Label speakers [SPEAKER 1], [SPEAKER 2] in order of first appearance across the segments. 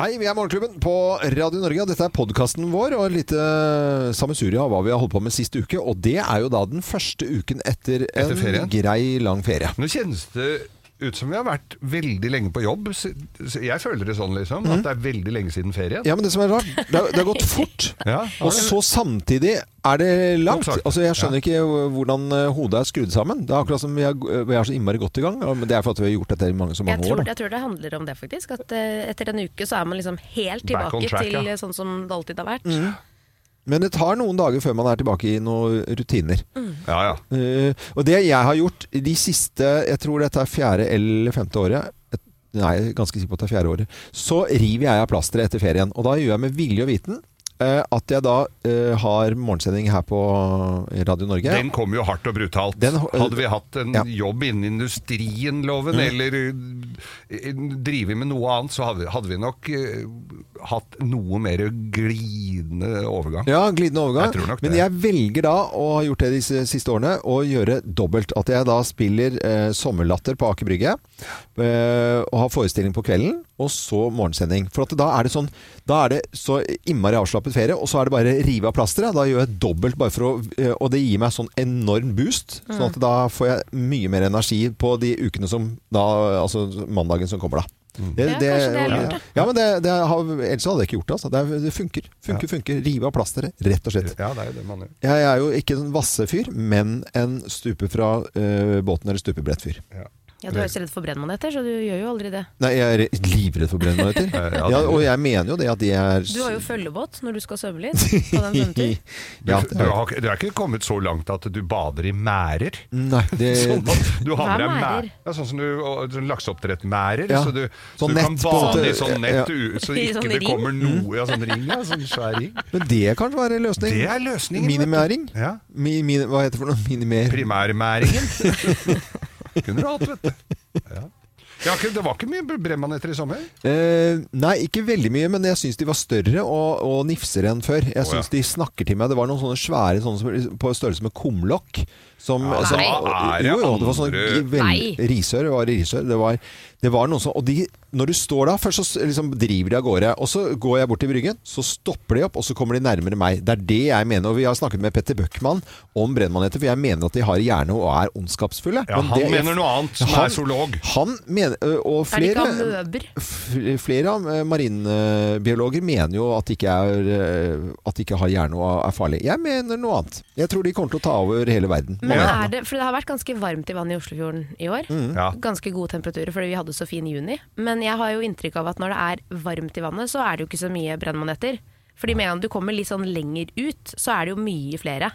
[SPEAKER 1] Hei, vi er Morgenklubben på Radio Norge. og Dette er podkasten vår og et lite eh, sammensurium av hva vi har holdt på med sist uke. Og det er jo da den første uken etter,
[SPEAKER 2] Etter ferien.
[SPEAKER 1] en grei, lang ferie.
[SPEAKER 2] Nå kjennes det ut som vi har vært veldig lenge på jobb. Så- så Jeg føler det sånn, liksom. At det er veldig lenge siden ferien.
[SPEAKER 1] Mhm. Ja, men det som er rart, det har, det har gått fort.
[SPEAKER 2] Ja.
[SPEAKER 1] Og så samtidig er det langt.
[SPEAKER 2] Godt sagt.
[SPEAKER 1] Altså, jeg skjønner ikke hvordan eh, hodet er skrudd sammen. Det er akkurat som vi er, vi er så innmari godt i gang. og- Men det er for at vi har gjort dette i mange så
[SPEAKER 3] Jeg
[SPEAKER 1] mange
[SPEAKER 3] tror,
[SPEAKER 1] år. Da.
[SPEAKER 3] jeg tror det handler om det, faktisk. At eh, etter en uke så er man liksom helt
[SPEAKER 2] Back on
[SPEAKER 3] tilbake
[SPEAKER 2] track,
[SPEAKER 3] til
[SPEAKER 2] ja.
[SPEAKER 3] eh, sånn som det alltid har vært.
[SPEAKER 1] Men det tar noen dager før man er tilbake i noen rutiner.
[SPEAKER 2] Ja, ja.
[SPEAKER 1] Eh, og det jeg har gjort de siste Jeg tror dette er fjerde eller femte året. Et- Nei, jeg er ganske sikker på at det er fjerde året. Så river jeg av plasteret etter ferien. Og da gjør jeg med vilje og viten eh, at jeg da eh, har morgensending her på Radio Norge.
[SPEAKER 2] Den kom jo hardt og brutalt.
[SPEAKER 1] Den-
[SPEAKER 2] Hadde vi hatt en
[SPEAKER 1] Ja. Mhm.
[SPEAKER 2] jobb innen industrien, loven, eller uh, drive med noe annet, så hadde, hadde vi nok uh, hatt noe mer glidende overgang.
[SPEAKER 1] Ja, glidende overgang.
[SPEAKER 2] Jeg tror nok
[SPEAKER 1] Men
[SPEAKER 2] det.
[SPEAKER 1] jeg velger da, og har gjort det de s- siste årene, å gjøre dobbelt. At jeg da spiller eh, sommerlatter på Aker Brygge, eh, og har forestilling på kvelden, og så morgensending. For at da er det sånn Da er det så innmari avslappet ferie, og så er det bare rive av plasteret. Da gjør jeg dobbelt, bare for å eh, Og det gir meg sånn enorm boost. Sånn
[SPEAKER 3] Mm.
[SPEAKER 1] at da får jeg mye mer energi på de ukene som da Altså mandagen som kommer, da.
[SPEAKER 2] Mm.
[SPEAKER 1] Det,
[SPEAKER 3] Ja, kanskje det er lurt, da.
[SPEAKER 1] ja, men det, det har, ellers hadde jeg ikke gjort det. Altså. Det, er, det funker. Funker, funker. Rive av plasteret, rett og slett.
[SPEAKER 2] Ja, det er jo det man gjør.
[SPEAKER 1] Jeg er jo ikke en vassefyr, men en stupe fra eh, båten eller stupebrettfyr.
[SPEAKER 2] Ja.
[SPEAKER 3] Ja, du er jo så redd for brennmaneter, så du gjør jo aldri det.
[SPEAKER 1] Nei, jeg er livredd for brennmaneter.
[SPEAKER 2] Ja,
[SPEAKER 1] ja,
[SPEAKER 2] det-
[SPEAKER 1] og jeg mener jo det at de er
[SPEAKER 3] Du har jo sånn følgebåt når du skal svømme litt. På den svømmetur.
[SPEAKER 2] Du,
[SPEAKER 1] ja,
[SPEAKER 2] du, har, ikke- du er ikke kommet så langt at du bader i mærer?
[SPEAKER 1] Nei, det
[SPEAKER 2] Sånn at du har
[SPEAKER 3] Hva
[SPEAKER 2] med deg
[SPEAKER 3] er
[SPEAKER 2] mærer.
[SPEAKER 3] mærer?
[SPEAKER 2] Ja, sånn som du og- sånn lakseoppdrettmærer.
[SPEAKER 1] Ja.
[SPEAKER 2] Så du,
[SPEAKER 1] Sånn
[SPEAKER 2] så du kan
[SPEAKER 1] nett på en
[SPEAKER 2] bade i
[SPEAKER 1] måte.
[SPEAKER 2] sånn
[SPEAKER 1] Ja.
[SPEAKER 2] nett, du- så
[SPEAKER 3] I
[SPEAKER 2] ikke
[SPEAKER 3] sånn
[SPEAKER 2] det
[SPEAKER 3] ring?
[SPEAKER 2] kommer noe Ja, sånn ring, ja. Sånn svær ring.
[SPEAKER 1] Men det kan være en løsning.
[SPEAKER 2] Det er løsningen. vet du.
[SPEAKER 1] Minimering.
[SPEAKER 2] Ja.
[SPEAKER 1] Mi, mi, hva heter det for noe? Minimer...
[SPEAKER 2] Primærmæringen. Kunne du hatt, vet du. Ja. Ja, ikke- det var ikke mye brennmaneter i sommer.
[SPEAKER 1] Eh, nei, ikke veldig mye, men jeg syns de var større og, og nifsere enn før. Jeg
[SPEAKER 2] Å, ja.
[SPEAKER 1] syns de snakker til meg. Det var noen sånne svære sånne som, på størrelse med kumlokk. Som,
[SPEAKER 2] Ja,
[SPEAKER 1] som-
[SPEAKER 2] da er det
[SPEAKER 1] jo, jo, det var sånne
[SPEAKER 2] andre-
[SPEAKER 1] vel-
[SPEAKER 3] Nei.
[SPEAKER 1] Risør det var i Risør. Det var, det var noen som Og de, når du står da, først så s- liksom driver de av gårde. Og så går jeg bort til bryggen, så stopper de opp, og så kommer de nærmere meg. Det er det jeg mener. Og vi har snakket med Petter Bøckmann om brennmaneter, for jeg mener at de har hjerne og er ondskapsfulle.
[SPEAKER 2] Ja,
[SPEAKER 1] Men
[SPEAKER 2] han
[SPEAKER 1] det-
[SPEAKER 2] mener noe annet, som
[SPEAKER 1] han-
[SPEAKER 2] er zoolog.
[SPEAKER 1] Han mener, ø, og
[SPEAKER 3] Er det
[SPEAKER 1] flere
[SPEAKER 3] ikke amøber?
[SPEAKER 1] F- Flere av eh, marinbiologer mener jo at de ikke, er, eh, at de ikke har hjerne og er farlig. Jeg mener noe annet. Jeg tror de kommer til å ta over hele verden.
[SPEAKER 3] Men
[SPEAKER 1] Mange-
[SPEAKER 3] er det, for det har vært ganske varmt i vannet i Oslofjorden i år.
[SPEAKER 2] Mm. Ja.
[SPEAKER 3] Ganske gode temperaturer fordi vi hadde så fin juni. Men jeg har jo inntrykk av at når det er varmt i vannet, så er det jo ikke så mye brennmaneter. Fordi med en gang du kommer litt sånn lenger ut, så er det jo mye flere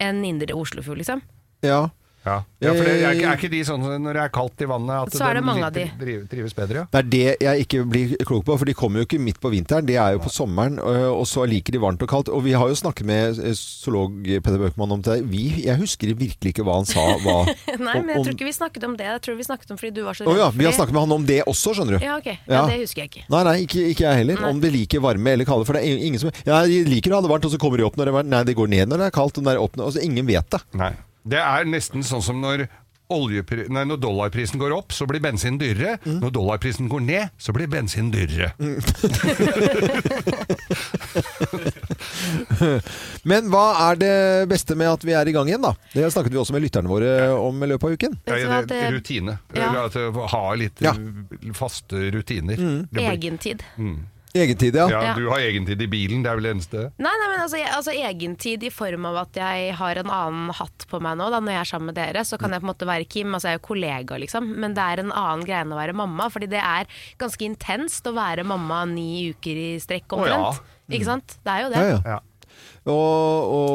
[SPEAKER 3] enn indre Oslofjord, liksom.
[SPEAKER 1] Ja.
[SPEAKER 2] Ja, ja for det er, ikke- er ikke de sånn når det er kaldt i vannet at
[SPEAKER 3] Så er det
[SPEAKER 2] de
[SPEAKER 3] mange av
[SPEAKER 2] liker- driv- trives bedre?
[SPEAKER 1] Det
[SPEAKER 2] Ja.
[SPEAKER 1] er det jeg ikke blir klok på, for de kommer jo ikke midt på vinteren. De er jo på sommeren, ø, og så liker de varmt og kaldt. Og vi har jo snakket med eh, zoolog Peder Bøckmann om det. Vi, jeg husker virkelig ikke hva han sa. Hva,
[SPEAKER 3] Nei, men jeg
[SPEAKER 1] om-
[SPEAKER 3] tror ikke vi snakket om det. Jeg tror vi snakket om fordi du var så
[SPEAKER 1] Å ja,
[SPEAKER 3] for
[SPEAKER 1] vi har
[SPEAKER 3] det.
[SPEAKER 1] snakket med han om det også, skjønner du.
[SPEAKER 3] Ja, ok.
[SPEAKER 1] Ja.
[SPEAKER 3] Ja, det husker jeg ikke.
[SPEAKER 1] Nei, nei, ikke, ikke jeg heller. Om de liker varme eller kalde. For det er ingen som Ja, de liker å ha det varmt, og så kommer de opp når det er varmt. Nei, det går ned når det er kaldt, og når det er opp når altså, Ingen vet det.
[SPEAKER 2] Nei. Det er nesten sånn som når, oljepri- nei, når dollarprisen går opp, så blir bensin dyrere.
[SPEAKER 1] Mm.
[SPEAKER 2] Når dollarprisen går ned, så blir bensin dyrere.
[SPEAKER 1] Men hva er det beste med at vi er i gang igjen, da? Det snakket vi også med lytterne våre om i løpet av uken.
[SPEAKER 3] Vet du
[SPEAKER 2] Ja,
[SPEAKER 3] hva,
[SPEAKER 2] det,
[SPEAKER 3] det-
[SPEAKER 2] rutine.
[SPEAKER 3] Ja.
[SPEAKER 2] Eller at du har litt
[SPEAKER 1] Ja.
[SPEAKER 2] uh, faste rutiner. Det blir-
[SPEAKER 3] Egentid.
[SPEAKER 1] Mm. Egentid, ja.
[SPEAKER 2] Ja,
[SPEAKER 3] Ja.
[SPEAKER 2] du har egentid i bilen, det er vel det eneste.
[SPEAKER 3] Nei, nei, men altså, jeg, altså egentid i form av at jeg har en annen hatt på meg nå. Da, når jeg er sammen med dere, så
[SPEAKER 1] Mm.
[SPEAKER 3] kan jeg på en måte være Kim. Altså, jeg er jo kollega, liksom. Men det er en annen greie enn å være mamma. Fordi det er ganske intenst å være mamma ni uker i strekk
[SPEAKER 2] Å, ja.
[SPEAKER 3] omtrent. Ikke sant? Det er jo det.
[SPEAKER 1] Mm. Ja, ja.
[SPEAKER 2] Ja.
[SPEAKER 1] Og,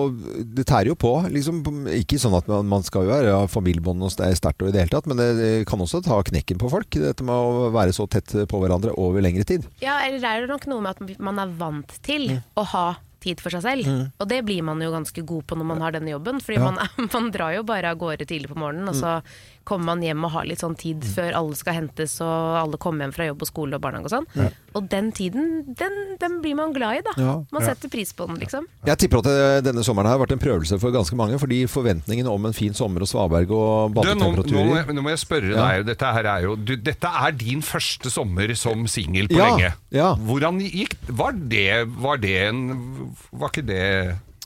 [SPEAKER 1] og det tærer jo på. Liksom, ikke sånn at man, man skal jo være ja, familiebånd og er sterkt og i det hele tatt, men det kan også ta knekken på folk, dette med å være så tett på hverandre over lengre tid. Mm.
[SPEAKER 3] Ja, eller det er jo nok noe med at man er vant til å ha
[SPEAKER 4] tid for seg selv. Og det blir man jo ganske god på når man har denne jobben, fordi
[SPEAKER 1] Ja. Mm.
[SPEAKER 4] man, er- man drar jo bare av gårde tidlig på morgenen, og så kommer man hjem og har litt sånn tid før alle skal hentes og alle kommer hjem fra jobb og skole og barnehage og sånn. Og den tiden, den, den blir man glad i, da.
[SPEAKER 1] Ja.
[SPEAKER 4] Man setter pris på den, liksom.
[SPEAKER 1] Jeg tipper at eh, denne sommeren her har vært en prøvelse for ganske mange, fordi forventningene om en fin sommer og svaberg og
[SPEAKER 2] Du, nå, nå, må
[SPEAKER 1] badetemperaturer
[SPEAKER 2] jeg, nå må jeg spørre deg, dette her er jo du, Dette er din første sommer som singel på
[SPEAKER 1] Ja,
[SPEAKER 2] lenge.
[SPEAKER 1] ja.
[SPEAKER 2] Hvordan gikk Var det, var det en Var ikke det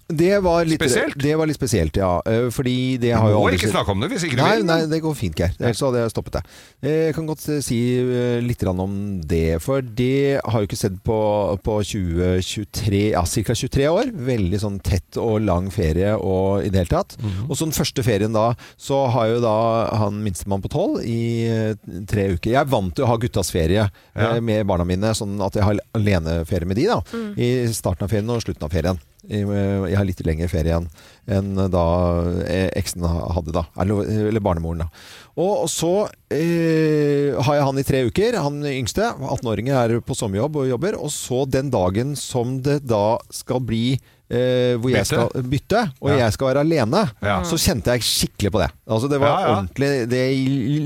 [SPEAKER 1] det var, litt,
[SPEAKER 2] Spesielt?
[SPEAKER 1] det var litt spesielt, ja. Eh, Fordi det har jo
[SPEAKER 2] Må
[SPEAKER 1] aldri
[SPEAKER 2] ikke
[SPEAKER 1] skjedd-
[SPEAKER 2] snakke om det hvis ikke du
[SPEAKER 1] Nei,
[SPEAKER 2] vil.
[SPEAKER 1] nei, det går fint, Geir. Ellers hadde jeg stoppet deg. Eh, Jeg kan godt eh, si eh, litt grann om det, for det har jo ikke sett på, på 2023, ja, ca. 23 år. Veldig sånn tett og lang ferie og i det hele tatt. Og så den første ferien da, så har jo da han minstemann på tolv i eh, tre uker. Jeg er vant til å ha guttas ferie
[SPEAKER 2] Ja.
[SPEAKER 1] eh, med barna mine, sånn at jeg har aleneferie med de da, i starten av ferien og slutten av ferien. Jeg jeg har litt lengre ferie igjen enn da eh, eksen hadde, da. Eller, eller barnemoren, da. Og så eh, har jeg han i tre uker, han yngste. 18-åringer er på sommerjobb og jobber. Og så den dagen som det da skal bli eh, hvor
[SPEAKER 2] Bytte?
[SPEAKER 1] jeg skal bytte, og
[SPEAKER 2] Ja.
[SPEAKER 1] jeg skal være alene,
[SPEAKER 2] Ja.
[SPEAKER 1] så kjente jeg skikkelig på det. Altså Det var
[SPEAKER 2] Ja, ja.
[SPEAKER 1] ordentlig det,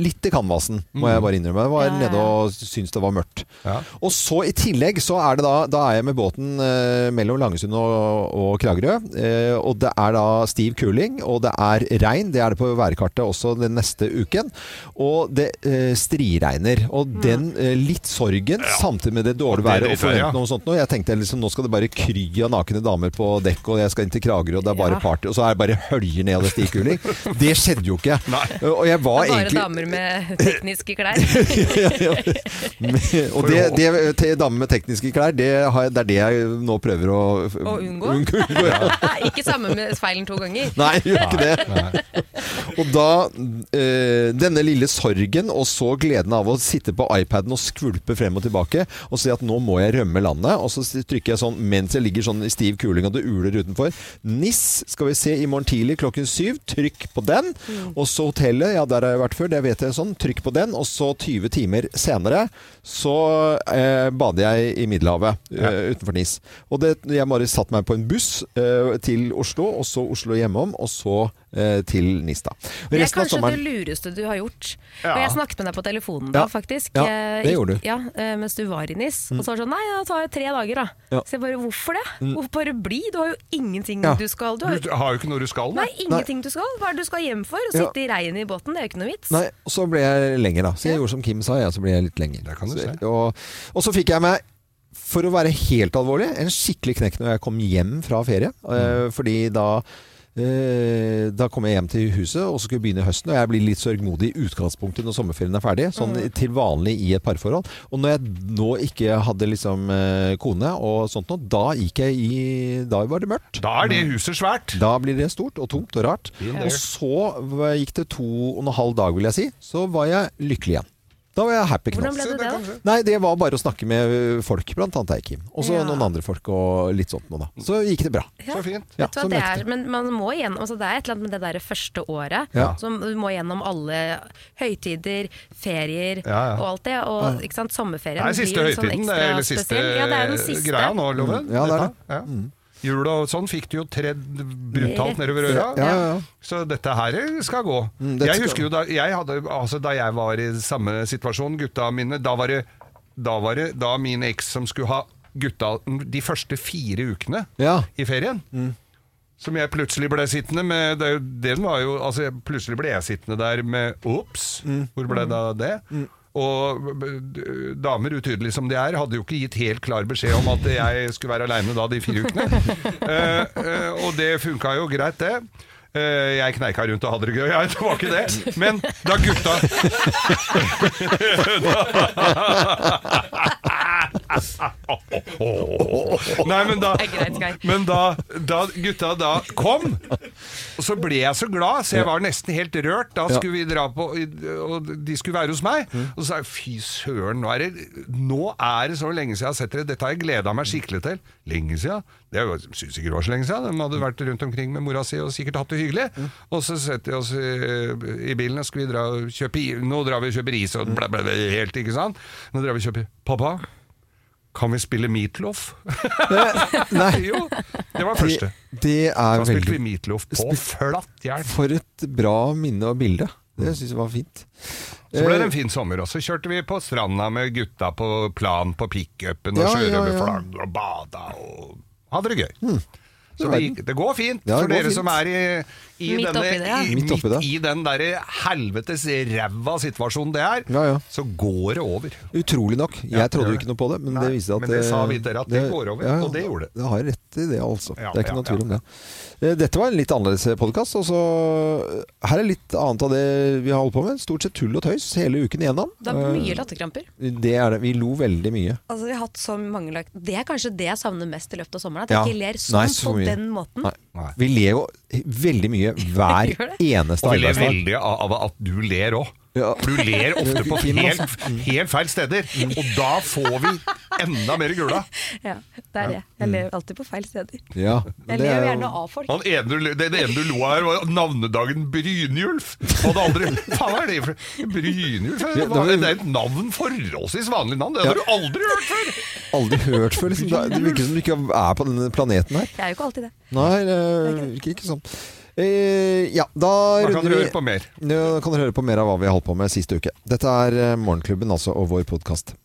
[SPEAKER 1] Litt i kanvasen, må jeg bare innrømme. Jeg var
[SPEAKER 4] Ja, ja.
[SPEAKER 1] nede og syntes det var mørkt.
[SPEAKER 2] Mm. Ja.
[SPEAKER 1] Og så i tillegg så er det da Da er jeg med båten eh, mellom Langesund og, og Kragerø. Eh, og det er da stiv kuling, og det er regn. Det er det på værkartet også den neste uken. Og det eh, striregner. Og
[SPEAKER 4] Mm.
[SPEAKER 1] den eh, litt sorgen, samtidig med det dårlige
[SPEAKER 2] Og det
[SPEAKER 1] været og
[SPEAKER 2] litt der, ja.
[SPEAKER 1] forventningene og sånt nå. Jeg tenkte liksom nå skal det bare kry av nakne damer på dekk, og jeg skal inn til Kragerø, og det er bare
[SPEAKER 4] Ja.
[SPEAKER 1] party. Og så er det bare høljer ned av det stivkuling. Det skjedde jo ikke.
[SPEAKER 2] Nei.
[SPEAKER 1] Og jeg var
[SPEAKER 4] Det er bare
[SPEAKER 1] egentlig
[SPEAKER 4] damer med tekniske klær.
[SPEAKER 1] Men- Og det, det te- damer med tekniske klær, det, har, jeg- det er det jeg nå prøver å
[SPEAKER 4] Å unngå?
[SPEAKER 1] ja.
[SPEAKER 4] Ikke samme med feilen to ganger.
[SPEAKER 1] Nei, jeg gjør ikke det. Og da eh, denne lille sorgen, og så gleden av å sitte på iPaden og skvulpe frem og tilbake, og si at nå må jeg rømme landet, og så trykker jeg sånn mens jeg ligger sånn i stiv kuling og det uler utenfor. NIS skal vi se i morgen tidlig klokken syv. Trykk på den. Og så hotellet, ja der har jeg vært før, det vet jeg sånn. Trykk på den. Og så 20 timer senere så eh, bader jeg i Middelhavet eh, utenfor NIS. Og det, jeg bare satt meg på en buss eh, til Oslo, og så Oslo hjemom, og så eh, til NIS da.
[SPEAKER 4] Det er
[SPEAKER 1] Resten av
[SPEAKER 4] kanskje
[SPEAKER 1] sommeren-
[SPEAKER 4] det lureste du har gjort.
[SPEAKER 2] Ja.
[SPEAKER 4] Og jeg snakket med deg på telefonen da,
[SPEAKER 1] Ja.
[SPEAKER 4] faktisk.
[SPEAKER 1] Ja,
[SPEAKER 4] Eh,
[SPEAKER 1] det
[SPEAKER 4] i-
[SPEAKER 1] gjorde du. Mm.
[SPEAKER 4] Ja, eh, mens du var i NIS. Og så var det sånn, nei, da tar jeg tre dager da.
[SPEAKER 1] Ja. Mm.
[SPEAKER 4] Så jeg bare, hvorfor det? Hvorfor bare bli? Du har jo ingenting
[SPEAKER 1] Ja.
[SPEAKER 4] du skal. Du har
[SPEAKER 2] Du har jo ikke noe du skal
[SPEAKER 4] Nei,
[SPEAKER 2] med.
[SPEAKER 4] ingenting du skal. Hva er det du skal hjem for? Å
[SPEAKER 1] Ja.
[SPEAKER 4] sitte i regnet i båten, det er jo ikke noe vits.
[SPEAKER 1] Nei, og så ble jeg lenger da. Så jeg
[SPEAKER 4] Ja.
[SPEAKER 1] gjorde som Kim sa, jeg, så ble jeg litt lenger.
[SPEAKER 2] Det kan du
[SPEAKER 1] så,
[SPEAKER 2] si.
[SPEAKER 1] og, og så fikk jeg meg, for å være helt alvorlig, en skikkelig knekk når jeg kom hjem fra ferie.
[SPEAKER 2] Mm.
[SPEAKER 1] Eh, fordi da eh, da kom jeg hjem til huset og så skulle vi begynne høsten. Og jeg blir litt sørgmodig i utgangspunktet når sommerferien er ferdig, sånn
[SPEAKER 4] Mm.
[SPEAKER 1] til vanlig i et parforhold. Og når jeg nå ikke hadde liksom eh, kone og sånt noe, da gikk jeg i Da var det mørkt.
[SPEAKER 2] Da er det
[SPEAKER 4] Mm.
[SPEAKER 2] huset svært.
[SPEAKER 1] Da blir det stort og tungt og rart.
[SPEAKER 2] Been there.
[SPEAKER 1] Og så var- gikk det to og en halv dag, vil jeg si. Så var jeg lykkelig igjen. Da var jeg happy
[SPEAKER 4] Hvordan
[SPEAKER 1] knots.
[SPEAKER 4] ble
[SPEAKER 2] Så
[SPEAKER 4] du
[SPEAKER 2] det
[SPEAKER 4] det?
[SPEAKER 2] kan
[SPEAKER 4] da?
[SPEAKER 2] skje.
[SPEAKER 1] Nei, det var bare å snakke med øh, folk, blant annet deg, Kim. Og så
[SPEAKER 4] Ja.
[SPEAKER 1] noen andre folk og litt sånt noe, da. Så gikk det bra.
[SPEAKER 2] Så fint.
[SPEAKER 1] Ja,
[SPEAKER 4] Vet du hva
[SPEAKER 1] så
[SPEAKER 4] det
[SPEAKER 1] møtte
[SPEAKER 4] er, men man må igjennom, altså det er et eller annet med det der første året.
[SPEAKER 1] Ja.
[SPEAKER 4] Som du må gjennom alle høytider, ferier
[SPEAKER 2] Ja, ja.
[SPEAKER 4] og alt det. Og ikke sant, sommerferien
[SPEAKER 2] Det er siste
[SPEAKER 4] blir jo sånn
[SPEAKER 2] høytiden,
[SPEAKER 4] ekstra
[SPEAKER 2] eller siste,
[SPEAKER 4] spesiell. Ja, det er den siste.
[SPEAKER 2] greia nå, Loven.
[SPEAKER 1] Mm, ja, det er det.
[SPEAKER 2] Ja. Jul og sånn fikk du jo tredd brutalt
[SPEAKER 4] Rett.
[SPEAKER 2] nedover øra.
[SPEAKER 1] Ja, ja, ja.
[SPEAKER 2] Så dette her skal gå.
[SPEAKER 1] Mm, dette
[SPEAKER 2] jeg
[SPEAKER 1] skal
[SPEAKER 2] husker jo da jeg, hadde, altså, da jeg var i samme situasjon, gutta mine, da var det da, var det, da min eks som skulle ha gutta de første fire ukene
[SPEAKER 1] Ja.
[SPEAKER 2] i ferien. Som jeg plutselig ble sittende med det, Den var jo Altså, jeg- plutselig ble jeg sittende der med Ops! Hvor ble da det? Og b- d- damer, utydelige som de er, hadde jo ikke gitt helt klar beskjed om at jeg skulle være aleine da de fire ukene. Eh, eh, og det funka jo greit, det. Eh, jeg kneika rundt og hadde det gøy, jeg. Det var ikke det. Men da gutta Nei, men da,
[SPEAKER 4] Det er greit, Geir.
[SPEAKER 2] men da, da gutta da kom, og så ble jeg så glad, så jeg var nesten helt rørt. Da
[SPEAKER 1] Ja. Mm.
[SPEAKER 2] skulle vi dra på, og de skulle være hos meg. Og så sa jeg fy søren, nå er, det, nå er det så lenge siden jeg har sett dere. Dette har jeg gleda meg skikkelig til. Lenge siden? Det var- synes ikke det var så lenge siden. De hadde vært rundt omkring med mora si og sikkert hatt det hyggelig.
[SPEAKER 1] Mm.
[SPEAKER 2] Og så setter vi oss i, i bilen og skulle vi dra og
[SPEAKER 1] Mm.
[SPEAKER 2] kjøpe Nå drar vi og kjøper is og bla, bla, bla, helt, ikke sant? Nå drar vi og kjøper Pappa, Kan vi spille Meatloaf?
[SPEAKER 1] Eh, Nei,
[SPEAKER 2] jo! Det var
[SPEAKER 1] det,
[SPEAKER 2] første.
[SPEAKER 1] det er
[SPEAKER 2] Da spilte vi
[SPEAKER 1] veldig
[SPEAKER 2] Meatloaf på
[SPEAKER 1] Spil-
[SPEAKER 2] flatt jern.
[SPEAKER 1] For et bra minne og bilde.
[SPEAKER 2] Mm.
[SPEAKER 1] Det syns jeg var fint.
[SPEAKER 2] Så ble
[SPEAKER 1] Eh,
[SPEAKER 2] det en fin sommer også. Kjørte vi på stranda med gutta på plan på pickupen og
[SPEAKER 1] Ja, ja, ja. Hmm.
[SPEAKER 2] sjørøverflagg og bada og hadde det gøy. Så det, gikk- det går fint
[SPEAKER 1] Ja, det
[SPEAKER 2] for
[SPEAKER 1] går
[SPEAKER 2] dere
[SPEAKER 1] fint.
[SPEAKER 2] som er i, i,
[SPEAKER 4] Midt
[SPEAKER 2] denne,
[SPEAKER 4] oppi det, ja.
[SPEAKER 2] i,
[SPEAKER 1] Midt
[SPEAKER 2] midt
[SPEAKER 1] oppi det.
[SPEAKER 2] i den derre helvetes ræva situasjonen det er.
[SPEAKER 1] Ja, ja.
[SPEAKER 2] Så går det over.
[SPEAKER 1] Utrolig nok.
[SPEAKER 2] Ja,
[SPEAKER 1] Jeg trodde
[SPEAKER 2] gjør
[SPEAKER 1] jo ikke noe på det, men
[SPEAKER 2] Nei,
[SPEAKER 1] det viste at
[SPEAKER 2] men det sa vi dere at det går over, og det gjorde det.
[SPEAKER 1] Det har rett i det, altså.
[SPEAKER 2] Ja,
[SPEAKER 1] det er ikke
[SPEAKER 2] ja,
[SPEAKER 1] noe tvil
[SPEAKER 2] ja.
[SPEAKER 1] om det. Eh, Dette var en litt annerledes podkast. eh, Her er litt annet av det vi har holdt på med. Stort sett tull og tøys hele uken igjennom.
[SPEAKER 4] Det er mye latterkramper.
[SPEAKER 1] Eh, Det er det. Vi lo veldig mye.
[SPEAKER 4] Altså, vi har hatt så mange lag. Det er kanskje det jeg savner mest i løpet av sommeren. At
[SPEAKER 1] Ja.
[SPEAKER 4] jeg ikke ler sånn
[SPEAKER 1] Nei, så
[SPEAKER 4] på
[SPEAKER 1] mye.
[SPEAKER 4] den måten.
[SPEAKER 1] Nei. Vi ler jo veldig mye hver
[SPEAKER 4] Gjør det.
[SPEAKER 1] eneste
[SPEAKER 2] Og vi ler
[SPEAKER 1] arbeidsdag.
[SPEAKER 2] veldig av av at du ler òg.
[SPEAKER 1] Ja.
[SPEAKER 2] Du ler ofte på
[SPEAKER 1] Fin,
[SPEAKER 2] helt,
[SPEAKER 1] altså.
[SPEAKER 2] helt feil steder,
[SPEAKER 1] Mm.
[SPEAKER 2] og da får vi enda mer gula.
[SPEAKER 4] Ja, det er det. Jeg ler alltid på feil steder.
[SPEAKER 1] Ja,
[SPEAKER 4] Jeg
[SPEAKER 1] men
[SPEAKER 4] ler
[SPEAKER 1] det er
[SPEAKER 4] jo
[SPEAKER 1] jo-
[SPEAKER 4] gjerne av folk.
[SPEAKER 2] Han ene du, det, det ene du lo av her, var navnedagen Brynjulf. Hadde aldri Faen, hva er det for Brynjulf?
[SPEAKER 1] Ja,
[SPEAKER 2] Det,
[SPEAKER 1] det var-
[SPEAKER 2] var, det er et navn forholdsvis vanlig navn. Det
[SPEAKER 1] Ja.
[SPEAKER 2] hadde du aldri hørt før!
[SPEAKER 1] Aldri hørt før. Liksom. Det det virker som du ikke er på denne planeten her.
[SPEAKER 4] Jeg er jo ikke alltid det.
[SPEAKER 1] Nei, det virker ikke sånn. Eh, ja, da
[SPEAKER 2] Da kan
[SPEAKER 1] runder
[SPEAKER 2] du
[SPEAKER 1] vi
[SPEAKER 2] høre på mer.
[SPEAKER 1] Nå kan dere høre på mer av hva vi har holdt på med siste uke. Dette er eh, Morgenklubben altså, og vår podkast.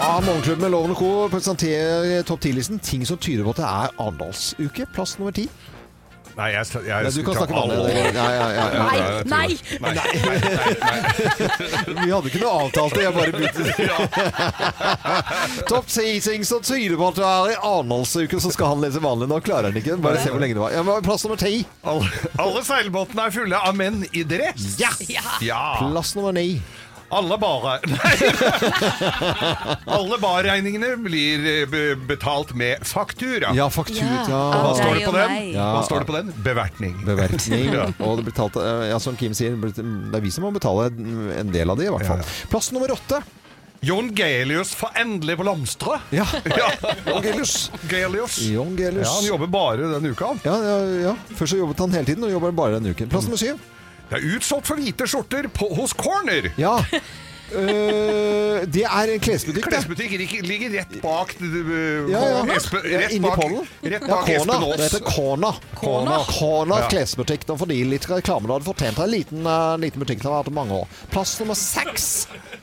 [SPEAKER 1] Ah, Morgenklubben med Loven og Co. presenterer topp 10-listen. Ting som tyder på at det er Arendalsuke. Plass nummer ti.
[SPEAKER 2] Nei, jeg, jeg,
[SPEAKER 1] Nei, Du kan
[SPEAKER 2] skal
[SPEAKER 1] snakke
[SPEAKER 2] ta
[SPEAKER 1] vanlig.
[SPEAKER 2] alle.
[SPEAKER 1] det går- Ja, ja, ja, ja.
[SPEAKER 4] Nei,
[SPEAKER 2] jeg tror
[SPEAKER 4] nei.
[SPEAKER 2] det. nei, nei, nei, nei.
[SPEAKER 1] Vi hadde ikke noe avtalt det. Jeg bare begynte
[SPEAKER 2] Ja,
[SPEAKER 1] Topp ti ting som tyder på at det er i Arendalsuke, så skal han lese vanlig. Nå klarer han ikke. Bare se hvor lenge det var. Ja, men plass nummer ti.
[SPEAKER 2] alle, alle seilbåtene er fulle av menn i dress!
[SPEAKER 1] Ja.
[SPEAKER 2] ja.
[SPEAKER 1] Plass nummer ni.
[SPEAKER 2] Alle bare Nei! Alle barregningene blir eh, be- betalt med faktura.
[SPEAKER 1] Ja, faktura.
[SPEAKER 2] Hva
[SPEAKER 4] av
[SPEAKER 2] står
[SPEAKER 4] deg
[SPEAKER 2] det på
[SPEAKER 4] og
[SPEAKER 2] den?
[SPEAKER 4] meg.
[SPEAKER 1] Ja.
[SPEAKER 2] Hva står det på den? Bevertning.
[SPEAKER 1] Beverkning.
[SPEAKER 2] Ja.
[SPEAKER 1] Og det blir talt, eh, ja, som Kim sier, det er vi som må betale en del av det, i hvert fall.
[SPEAKER 2] Ja,
[SPEAKER 1] Plass nummer åtte.
[SPEAKER 2] Jon Gelius får endelig blomstre.
[SPEAKER 1] Ja.
[SPEAKER 2] Ja.
[SPEAKER 1] Jon Gelius.
[SPEAKER 2] Gelius.
[SPEAKER 1] Jon Gelius.
[SPEAKER 2] Ja, han jobber bare den uka. han.
[SPEAKER 1] Ja, ja, ja. Først så jobbet han hele tiden, og jobber bare denne uken. Plass nummer syv.
[SPEAKER 2] Det er utsolgt for hvite skjorter på, hos Corner.
[SPEAKER 1] Ja. Eh, det er en klesbutikk, det.
[SPEAKER 2] Klesbutikken ikke- ligger rett bak uh,
[SPEAKER 1] Ja, ja.
[SPEAKER 2] Espe,
[SPEAKER 1] Ja,
[SPEAKER 2] rett
[SPEAKER 1] Inni
[SPEAKER 2] bak,
[SPEAKER 1] pollen. Ja,
[SPEAKER 2] rett bak
[SPEAKER 1] Kona.
[SPEAKER 2] Espen
[SPEAKER 1] Det heter
[SPEAKER 2] Aas.
[SPEAKER 1] Kona.
[SPEAKER 4] Kona.
[SPEAKER 1] Kona
[SPEAKER 2] Ja.
[SPEAKER 1] klesbutikk. Da får de litt reklame. Da hadde fortjent en liten, eh, liten butikk som har vært i mange år. Plass nummer seks.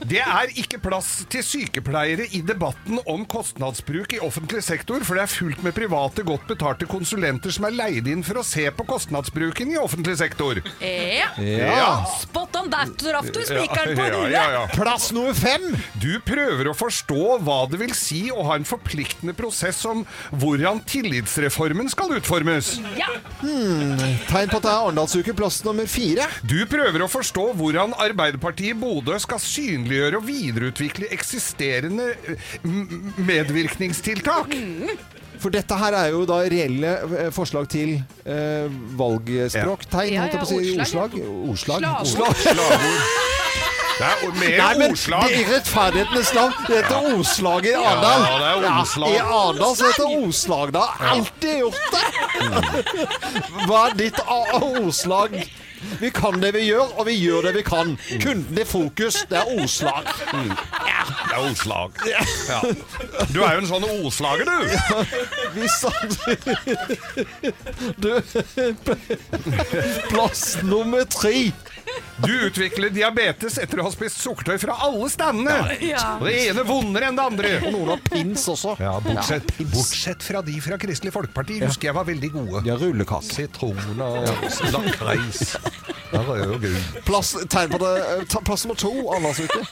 [SPEAKER 2] Det er ikke plass til sykepleiere i debatten om kostnadsbruk i offentlig sektor, for det er fullt med private, godt betalte konsulenter som er leid inn for å se på kostnadsbruken i offentlig sektor.
[SPEAKER 4] Ja.
[SPEAKER 2] Ja.
[SPEAKER 4] Spot on! Der traff du
[SPEAKER 2] Ja,
[SPEAKER 4] spikeren på
[SPEAKER 2] ja, ja,
[SPEAKER 4] huet!
[SPEAKER 2] ja.
[SPEAKER 1] Plass nummer fem.
[SPEAKER 2] Du prøver å forstå hva det vil si å ha en forpliktende prosess om hvordan tillitsreformen skal utformes.
[SPEAKER 4] Ja.
[SPEAKER 1] Tegn på at det er Arendalsuke. Plass nummer fire.
[SPEAKER 2] Du prøver å forstå hvordan Arbeiderpartiet i Bodø skal synliggjøre og videreutvikle eksisterende eh, m- medvirkningstiltak.
[SPEAKER 1] For dette her er jo da reelle eh, forslag til eh, valgspråktegn,
[SPEAKER 4] Ja.
[SPEAKER 1] holdt jeg på å si.
[SPEAKER 4] Ja, ja,
[SPEAKER 1] Ordslag. Ordslag.
[SPEAKER 4] Slagord.
[SPEAKER 2] Slagord. Det er o- mer
[SPEAKER 1] Nei, men
[SPEAKER 2] ordslag.
[SPEAKER 1] det er i rettferdighetens navn. Det heter ordslag i Arendal.
[SPEAKER 2] Ja, det er ordslag.
[SPEAKER 1] I Arendal så heter det ordslag. Det har alltid gjort det.
[SPEAKER 2] Mm.
[SPEAKER 1] Hva er ditt a- ordslag? Vi kan det vi gjør, og vi gjør det vi kan.
[SPEAKER 2] Mm.
[SPEAKER 1] Kunden i fokus, det er ordslag.
[SPEAKER 2] Det er ordslag. Ja. Du er jo en sånn ordslager, du.
[SPEAKER 1] Vi samler Du Plass nummer tre.
[SPEAKER 2] Du utvikler diabetes etter å ha spist sukkertøy fra alle standene.
[SPEAKER 4] Ja.
[SPEAKER 2] Og det ene vondere enn det andre.
[SPEAKER 1] Og noen har pins også.
[SPEAKER 2] Ja, bortsett, bortsett fra de fra Kristelig Folkeparti, husker jeg var veldig gode.
[SPEAKER 1] De har rullekake.
[SPEAKER 2] Sitron og lakreis. Ja, Rød og gul.
[SPEAKER 1] Plass, tegn på det. eh, ta- Plass nummer to. Arendalsuke.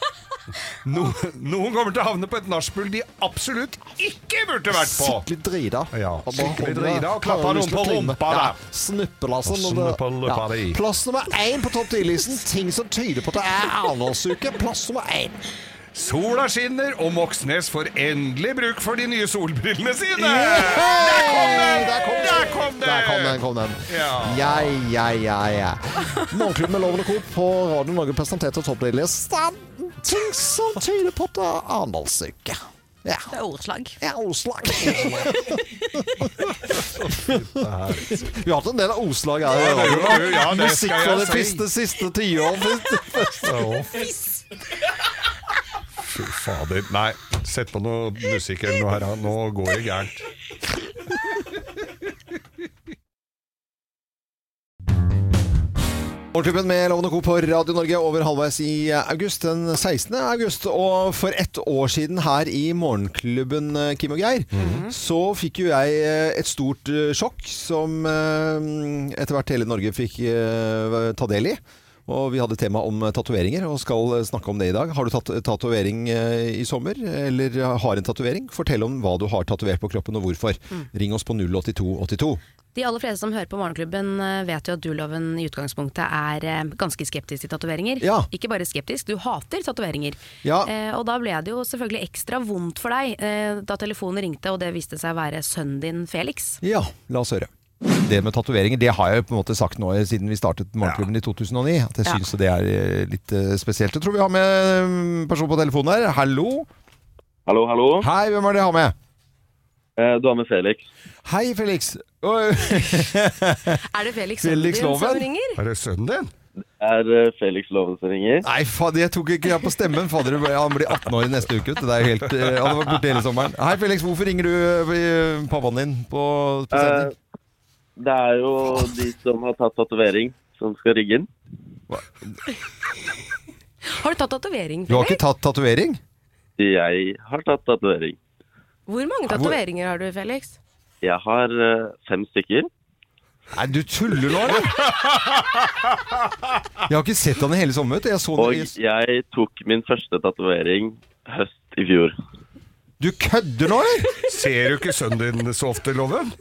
[SPEAKER 2] No, noen kommer til å havne på et nachspiel de absolutt ikke burde vært på.
[SPEAKER 1] Skikkelig drida.
[SPEAKER 2] Ja,
[SPEAKER 1] Og bare
[SPEAKER 2] skikkelig
[SPEAKER 1] hånda-
[SPEAKER 2] drida, og klappa
[SPEAKER 1] har
[SPEAKER 2] noen
[SPEAKER 1] lyst til å
[SPEAKER 2] på
[SPEAKER 1] klemme.
[SPEAKER 2] rumpa, da.
[SPEAKER 1] Ja, Snuppelassen.
[SPEAKER 2] Og
[SPEAKER 1] og det-
[SPEAKER 2] snuppeluppa di.
[SPEAKER 1] Plass nummer én på topp 10-listen. Ting som tyder på at det er Arendalsuke. Plass nummer én.
[SPEAKER 2] Sola skinner, og Moxnes får endelig bruk for de nye solbrillene sine!
[SPEAKER 1] Der kom den!
[SPEAKER 2] Der kom det!
[SPEAKER 1] Der kom den, kom den.
[SPEAKER 2] Ja.
[SPEAKER 1] Ja, ja, ja, ja. Morgenklubben med Loven og Co. på Radio Norge presenterte topplista ting som tyder på at det er Arendalsuke. Ja.
[SPEAKER 4] Det er ordslag.
[SPEAKER 1] Ja, Oslag. Vi har hatt en del Oslag her. i
[SPEAKER 2] det er jo-
[SPEAKER 1] radioen.
[SPEAKER 2] ja, det skal
[SPEAKER 1] Musikk fra det
[SPEAKER 2] jeg si.
[SPEAKER 1] siste, siste tiåret.
[SPEAKER 2] Fy fader. Nei, sett på noe musikk eller noe her. da. Nå går det gærent.
[SPEAKER 1] Morgenklubben med Lovende Co. på Radio Norge over halvveis i august, den 16. august. Og for ett år siden her i Morgenklubben, eh, Kim og Geir, så fikk jo jeg eh, et stort eh, sjokk som eh, etter hvert hele Norge fikk eh, ta del i. Og vi hadde tema om eh, tatoveringer, og skal eh, snakke om det i dag. Har du tatt tatovering eh, i sommer, eller eh, har en tatovering? Fortell om hva du har tatovert på kroppen, og hvorfor. Ring oss på 08282.
[SPEAKER 3] De aller fleste som hører på Morgenklubben eh, vet jo at du-loven i utgangspunktet er eh, ganske skeptisk til tatoveringer.
[SPEAKER 1] Ja.
[SPEAKER 3] Ikke bare skeptisk, du hater tatoveringer.
[SPEAKER 1] Ja.
[SPEAKER 3] Eh, og da ble det jo selvfølgelig ekstra vondt for deg eh, da telefonen ringte og det viste seg å være sønnen din Felix.
[SPEAKER 1] Ja, la oss høre. Det med tatoveringer, det har jeg jo på en måte sagt nå eh, siden vi startet Morgenklubben i 2009. At jeg
[SPEAKER 3] Ja.
[SPEAKER 1] syns det er eh, litt eh, spesielt. Jeg tror vi har med en person på telefonen her. Hallo.
[SPEAKER 5] Hallo, hallo.
[SPEAKER 1] Hei, hvem er det jeg har med?
[SPEAKER 5] Eh, Du har med Felix.
[SPEAKER 1] Hei, Felix. Oi,
[SPEAKER 4] Er det Felix,
[SPEAKER 1] Felix
[SPEAKER 4] Loven
[SPEAKER 1] Loven?
[SPEAKER 4] som ringer?
[SPEAKER 2] Er det sønnen din?
[SPEAKER 5] Er eh, Felix Loven som ringer?
[SPEAKER 1] Nei, faen, jeg tok ikke jeg på stemmen. Fader, han blir 18 år i neste uke. vet du. Det er jo helt, eh, han har vært borte hele sommeren. Hei, Felix. Hvorfor ringer du eh, pappaen din på, på
[SPEAKER 5] Eh,
[SPEAKER 1] sending?
[SPEAKER 5] Det er jo de som har tatt tatovering, som skal rigge den.
[SPEAKER 4] Har du tatt tatovering?
[SPEAKER 1] Du har
[SPEAKER 4] Felix?
[SPEAKER 1] ikke tatt tatovering?
[SPEAKER 5] Jeg har tatt tatovering.
[SPEAKER 4] Hvor mange
[SPEAKER 1] hvor-
[SPEAKER 4] tatoveringer har du, Felix?
[SPEAKER 5] Jeg har eh, fem stykker.
[SPEAKER 1] Nei, du tuller nå, eller? Jeg har ikke sett han i hele sommeren. vet du. Jeg så han
[SPEAKER 5] Og
[SPEAKER 1] i-
[SPEAKER 5] jeg tok min første tatovering høst i fjor.
[SPEAKER 1] Du kødder nå, eller?
[SPEAKER 2] Ser du ikke sønnen din så ofte, Loven?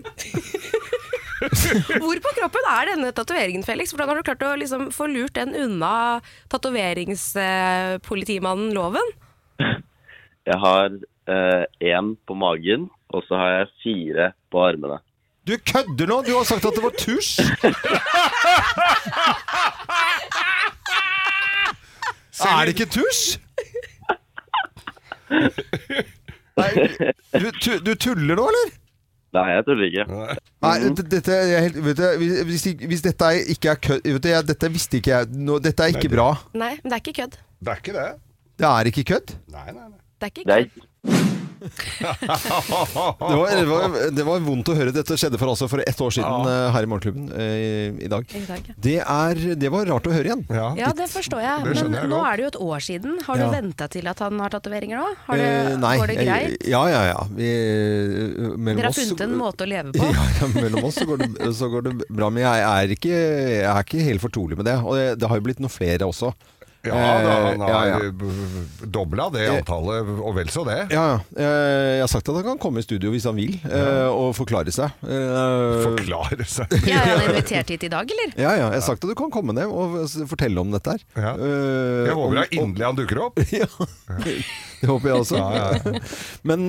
[SPEAKER 4] Hvor på kroppen er denne tatoveringen, Felix? Hvordan har du klart å liksom få lurt den unna tatoveringspolitimannen Loven?
[SPEAKER 5] Jeg har én på magen, og så har jeg fire på armene.
[SPEAKER 1] Du kødder nå! Du har sagt at det var tusj! Er det ikke tusj? Nei, du, tu- du tuller nå, eller?
[SPEAKER 5] Nei, jeg tuller ikke.
[SPEAKER 1] Nei, d- dette er helt, vet du, hvis- hvis, ikke- hvis dette er ikke er kødd vet du, jeg, Dette visste ikke jeg nå, Dette er ikke bra.
[SPEAKER 4] Nei, men det er ikke kødd.
[SPEAKER 2] Det er ikke det.
[SPEAKER 1] Det er ikke kødd.
[SPEAKER 2] Nei, nei, nei.
[SPEAKER 4] Det er ikke
[SPEAKER 5] Det er,
[SPEAKER 4] kødd.
[SPEAKER 1] Det var, det, var, det var vondt å høre. Dette skjedde for, altså, for ett år siden eh, her i Morgenklubben eh, i dag.
[SPEAKER 4] I dag, ja.
[SPEAKER 1] Det, er, det var rart å høre igjen.
[SPEAKER 2] Ja.
[SPEAKER 4] Ja, det forstår jeg.
[SPEAKER 2] Det skjønner
[SPEAKER 4] Men
[SPEAKER 2] jeg
[SPEAKER 4] nå
[SPEAKER 2] godt.
[SPEAKER 4] er det jo et år siden. Har
[SPEAKER 1] Ja.
[SPEAKER 4] du venta til at han har tatoveringer nå? Har du,
[SPEAKER 1] Eh, nei,
[SPEAKER 4] går det
[SPEAKER 1] jeg-
[SPEAKER 4] greit?
[SPEAKER 1] Ja, ja, ja. Vi, eh, mellom
[SPEAKER 4] Dere har
[SPEAKER 1] oss så-
[SPEAKER 4] funnet en måte å leve
[SPEAKER 1] Ja,
[SPEAKER 4] på?
[SPEAKER 1] ja, mellom oss så går, det, så går det bra. Men jeg er ikke, jeg er ikke helt fortrolig med det. Og det, det har jo blitt noen flere også.
[SPEAKER 2] Ja, da, han
[SPEAKER 1] Eh, ja,
[SPEAKER 2] har
[SPEAKER 1] ja.
[SPEAKER 2] eh, dobla det antallet, og vel så det.
[SPEAKER 1] Ja, ja. Eh, Jeg har sagt at han kan komme i studio hvis han vil, eh, og forklare seg. Eh,
[SPEAKER 2] Forklare seg.
[SPEAKER 3] Jeg er han invitert hit i dag, eller?
[SPEAKER 1] Ja, ja. Jeg har sagt at du kan komme ned og s- fortelle om dette her.
[SPEAKER 2] Ja.
[SPEAKER 1] Eh,
[SPEAKER 2] Jeg håper
[SPEAKER 1] om-
[SPEAKER 2] da inderlig han dukker opp.
[SPEAKER 1] Ja. Det håper jeg også. Men,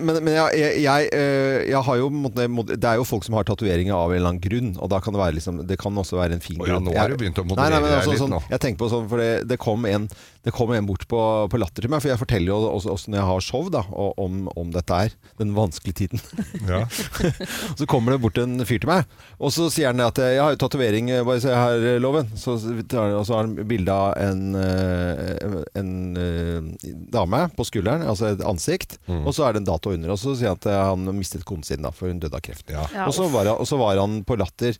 [SPEAKER 1] men, men jeg, jeg, jeg, eh, jeg har jo på en måte- mod- Det er jo folk som har tatoveringer av en eller annen grunn, og da kan det, være liksom, det kan også være en fin
[SPEAKER 2] Å ja,
[SPEAKER 1] grunn.
[SPEAKER 2] nå har
[SPEAKER 1] Jeg-
[SPEAKER 2] du begynt å
[SPEAKER 1] Nei,
[SPEAKER 2] moderere
[SPEAKER 1] nei, men
[SPEAKER 2] deg
[SPEAKER 1] altså,
[SPEAKER 2] litt
[SPEAKER 1] sånn,
[SPEAKER 2] nå.
[SPEAKER 1] Jeg tenker på sånn, for det, det, kom en, det kom en bort på, på latter til meg, for jeg forteller jo også, også når jeg har show da, og- om, om dette her, den vanskelige tiden.
[SPEAKER 2] Ja.
[SPEAKER 1] Så kommer det bort en fyr til meg, og så sier han det at jeg har jo tatovering, eh, bare se her, eh, Loven. Så, tar han- og så har han bilde av en, eh, en eh, dame på skulderen, altså et ansikt, og så er det en dato under. Og så sier han at eh, han mistet konen sin, da, for hun døde av kreft.
[SPEAKER 2] Ja.
[SPEAKER 3] Ja,
[SPEAKER 1] og, så var han, og så var han på latter.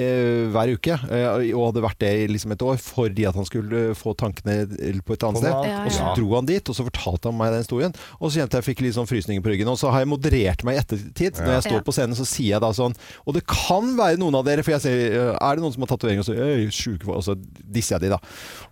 [SPEAKER 1] eh, hver uke, eh, og hadde vært det i liksom et år fordi at han skulle eh, få tankene på et annet sted.
[SPEAKER 2] Ja,
[SPEAKER 3] ja.
[SPEAKER 1] Og så dro han dit, og så fortalte han meg den historien. Og så kjente jeg jeg fikk litt sånn frysninger på ryggen. Og så har jeg moderert meg i ettertid. Når jeg
[SPEAKER 3] Ja.
[SPEAKER 1] står på scenen, så sier jeg da sånn Og det kan være noen av dere, for jeg sier «Øh, Er det noen som har tatovering? Og så «Øy, sjuke folk», og så disser jeg de, da.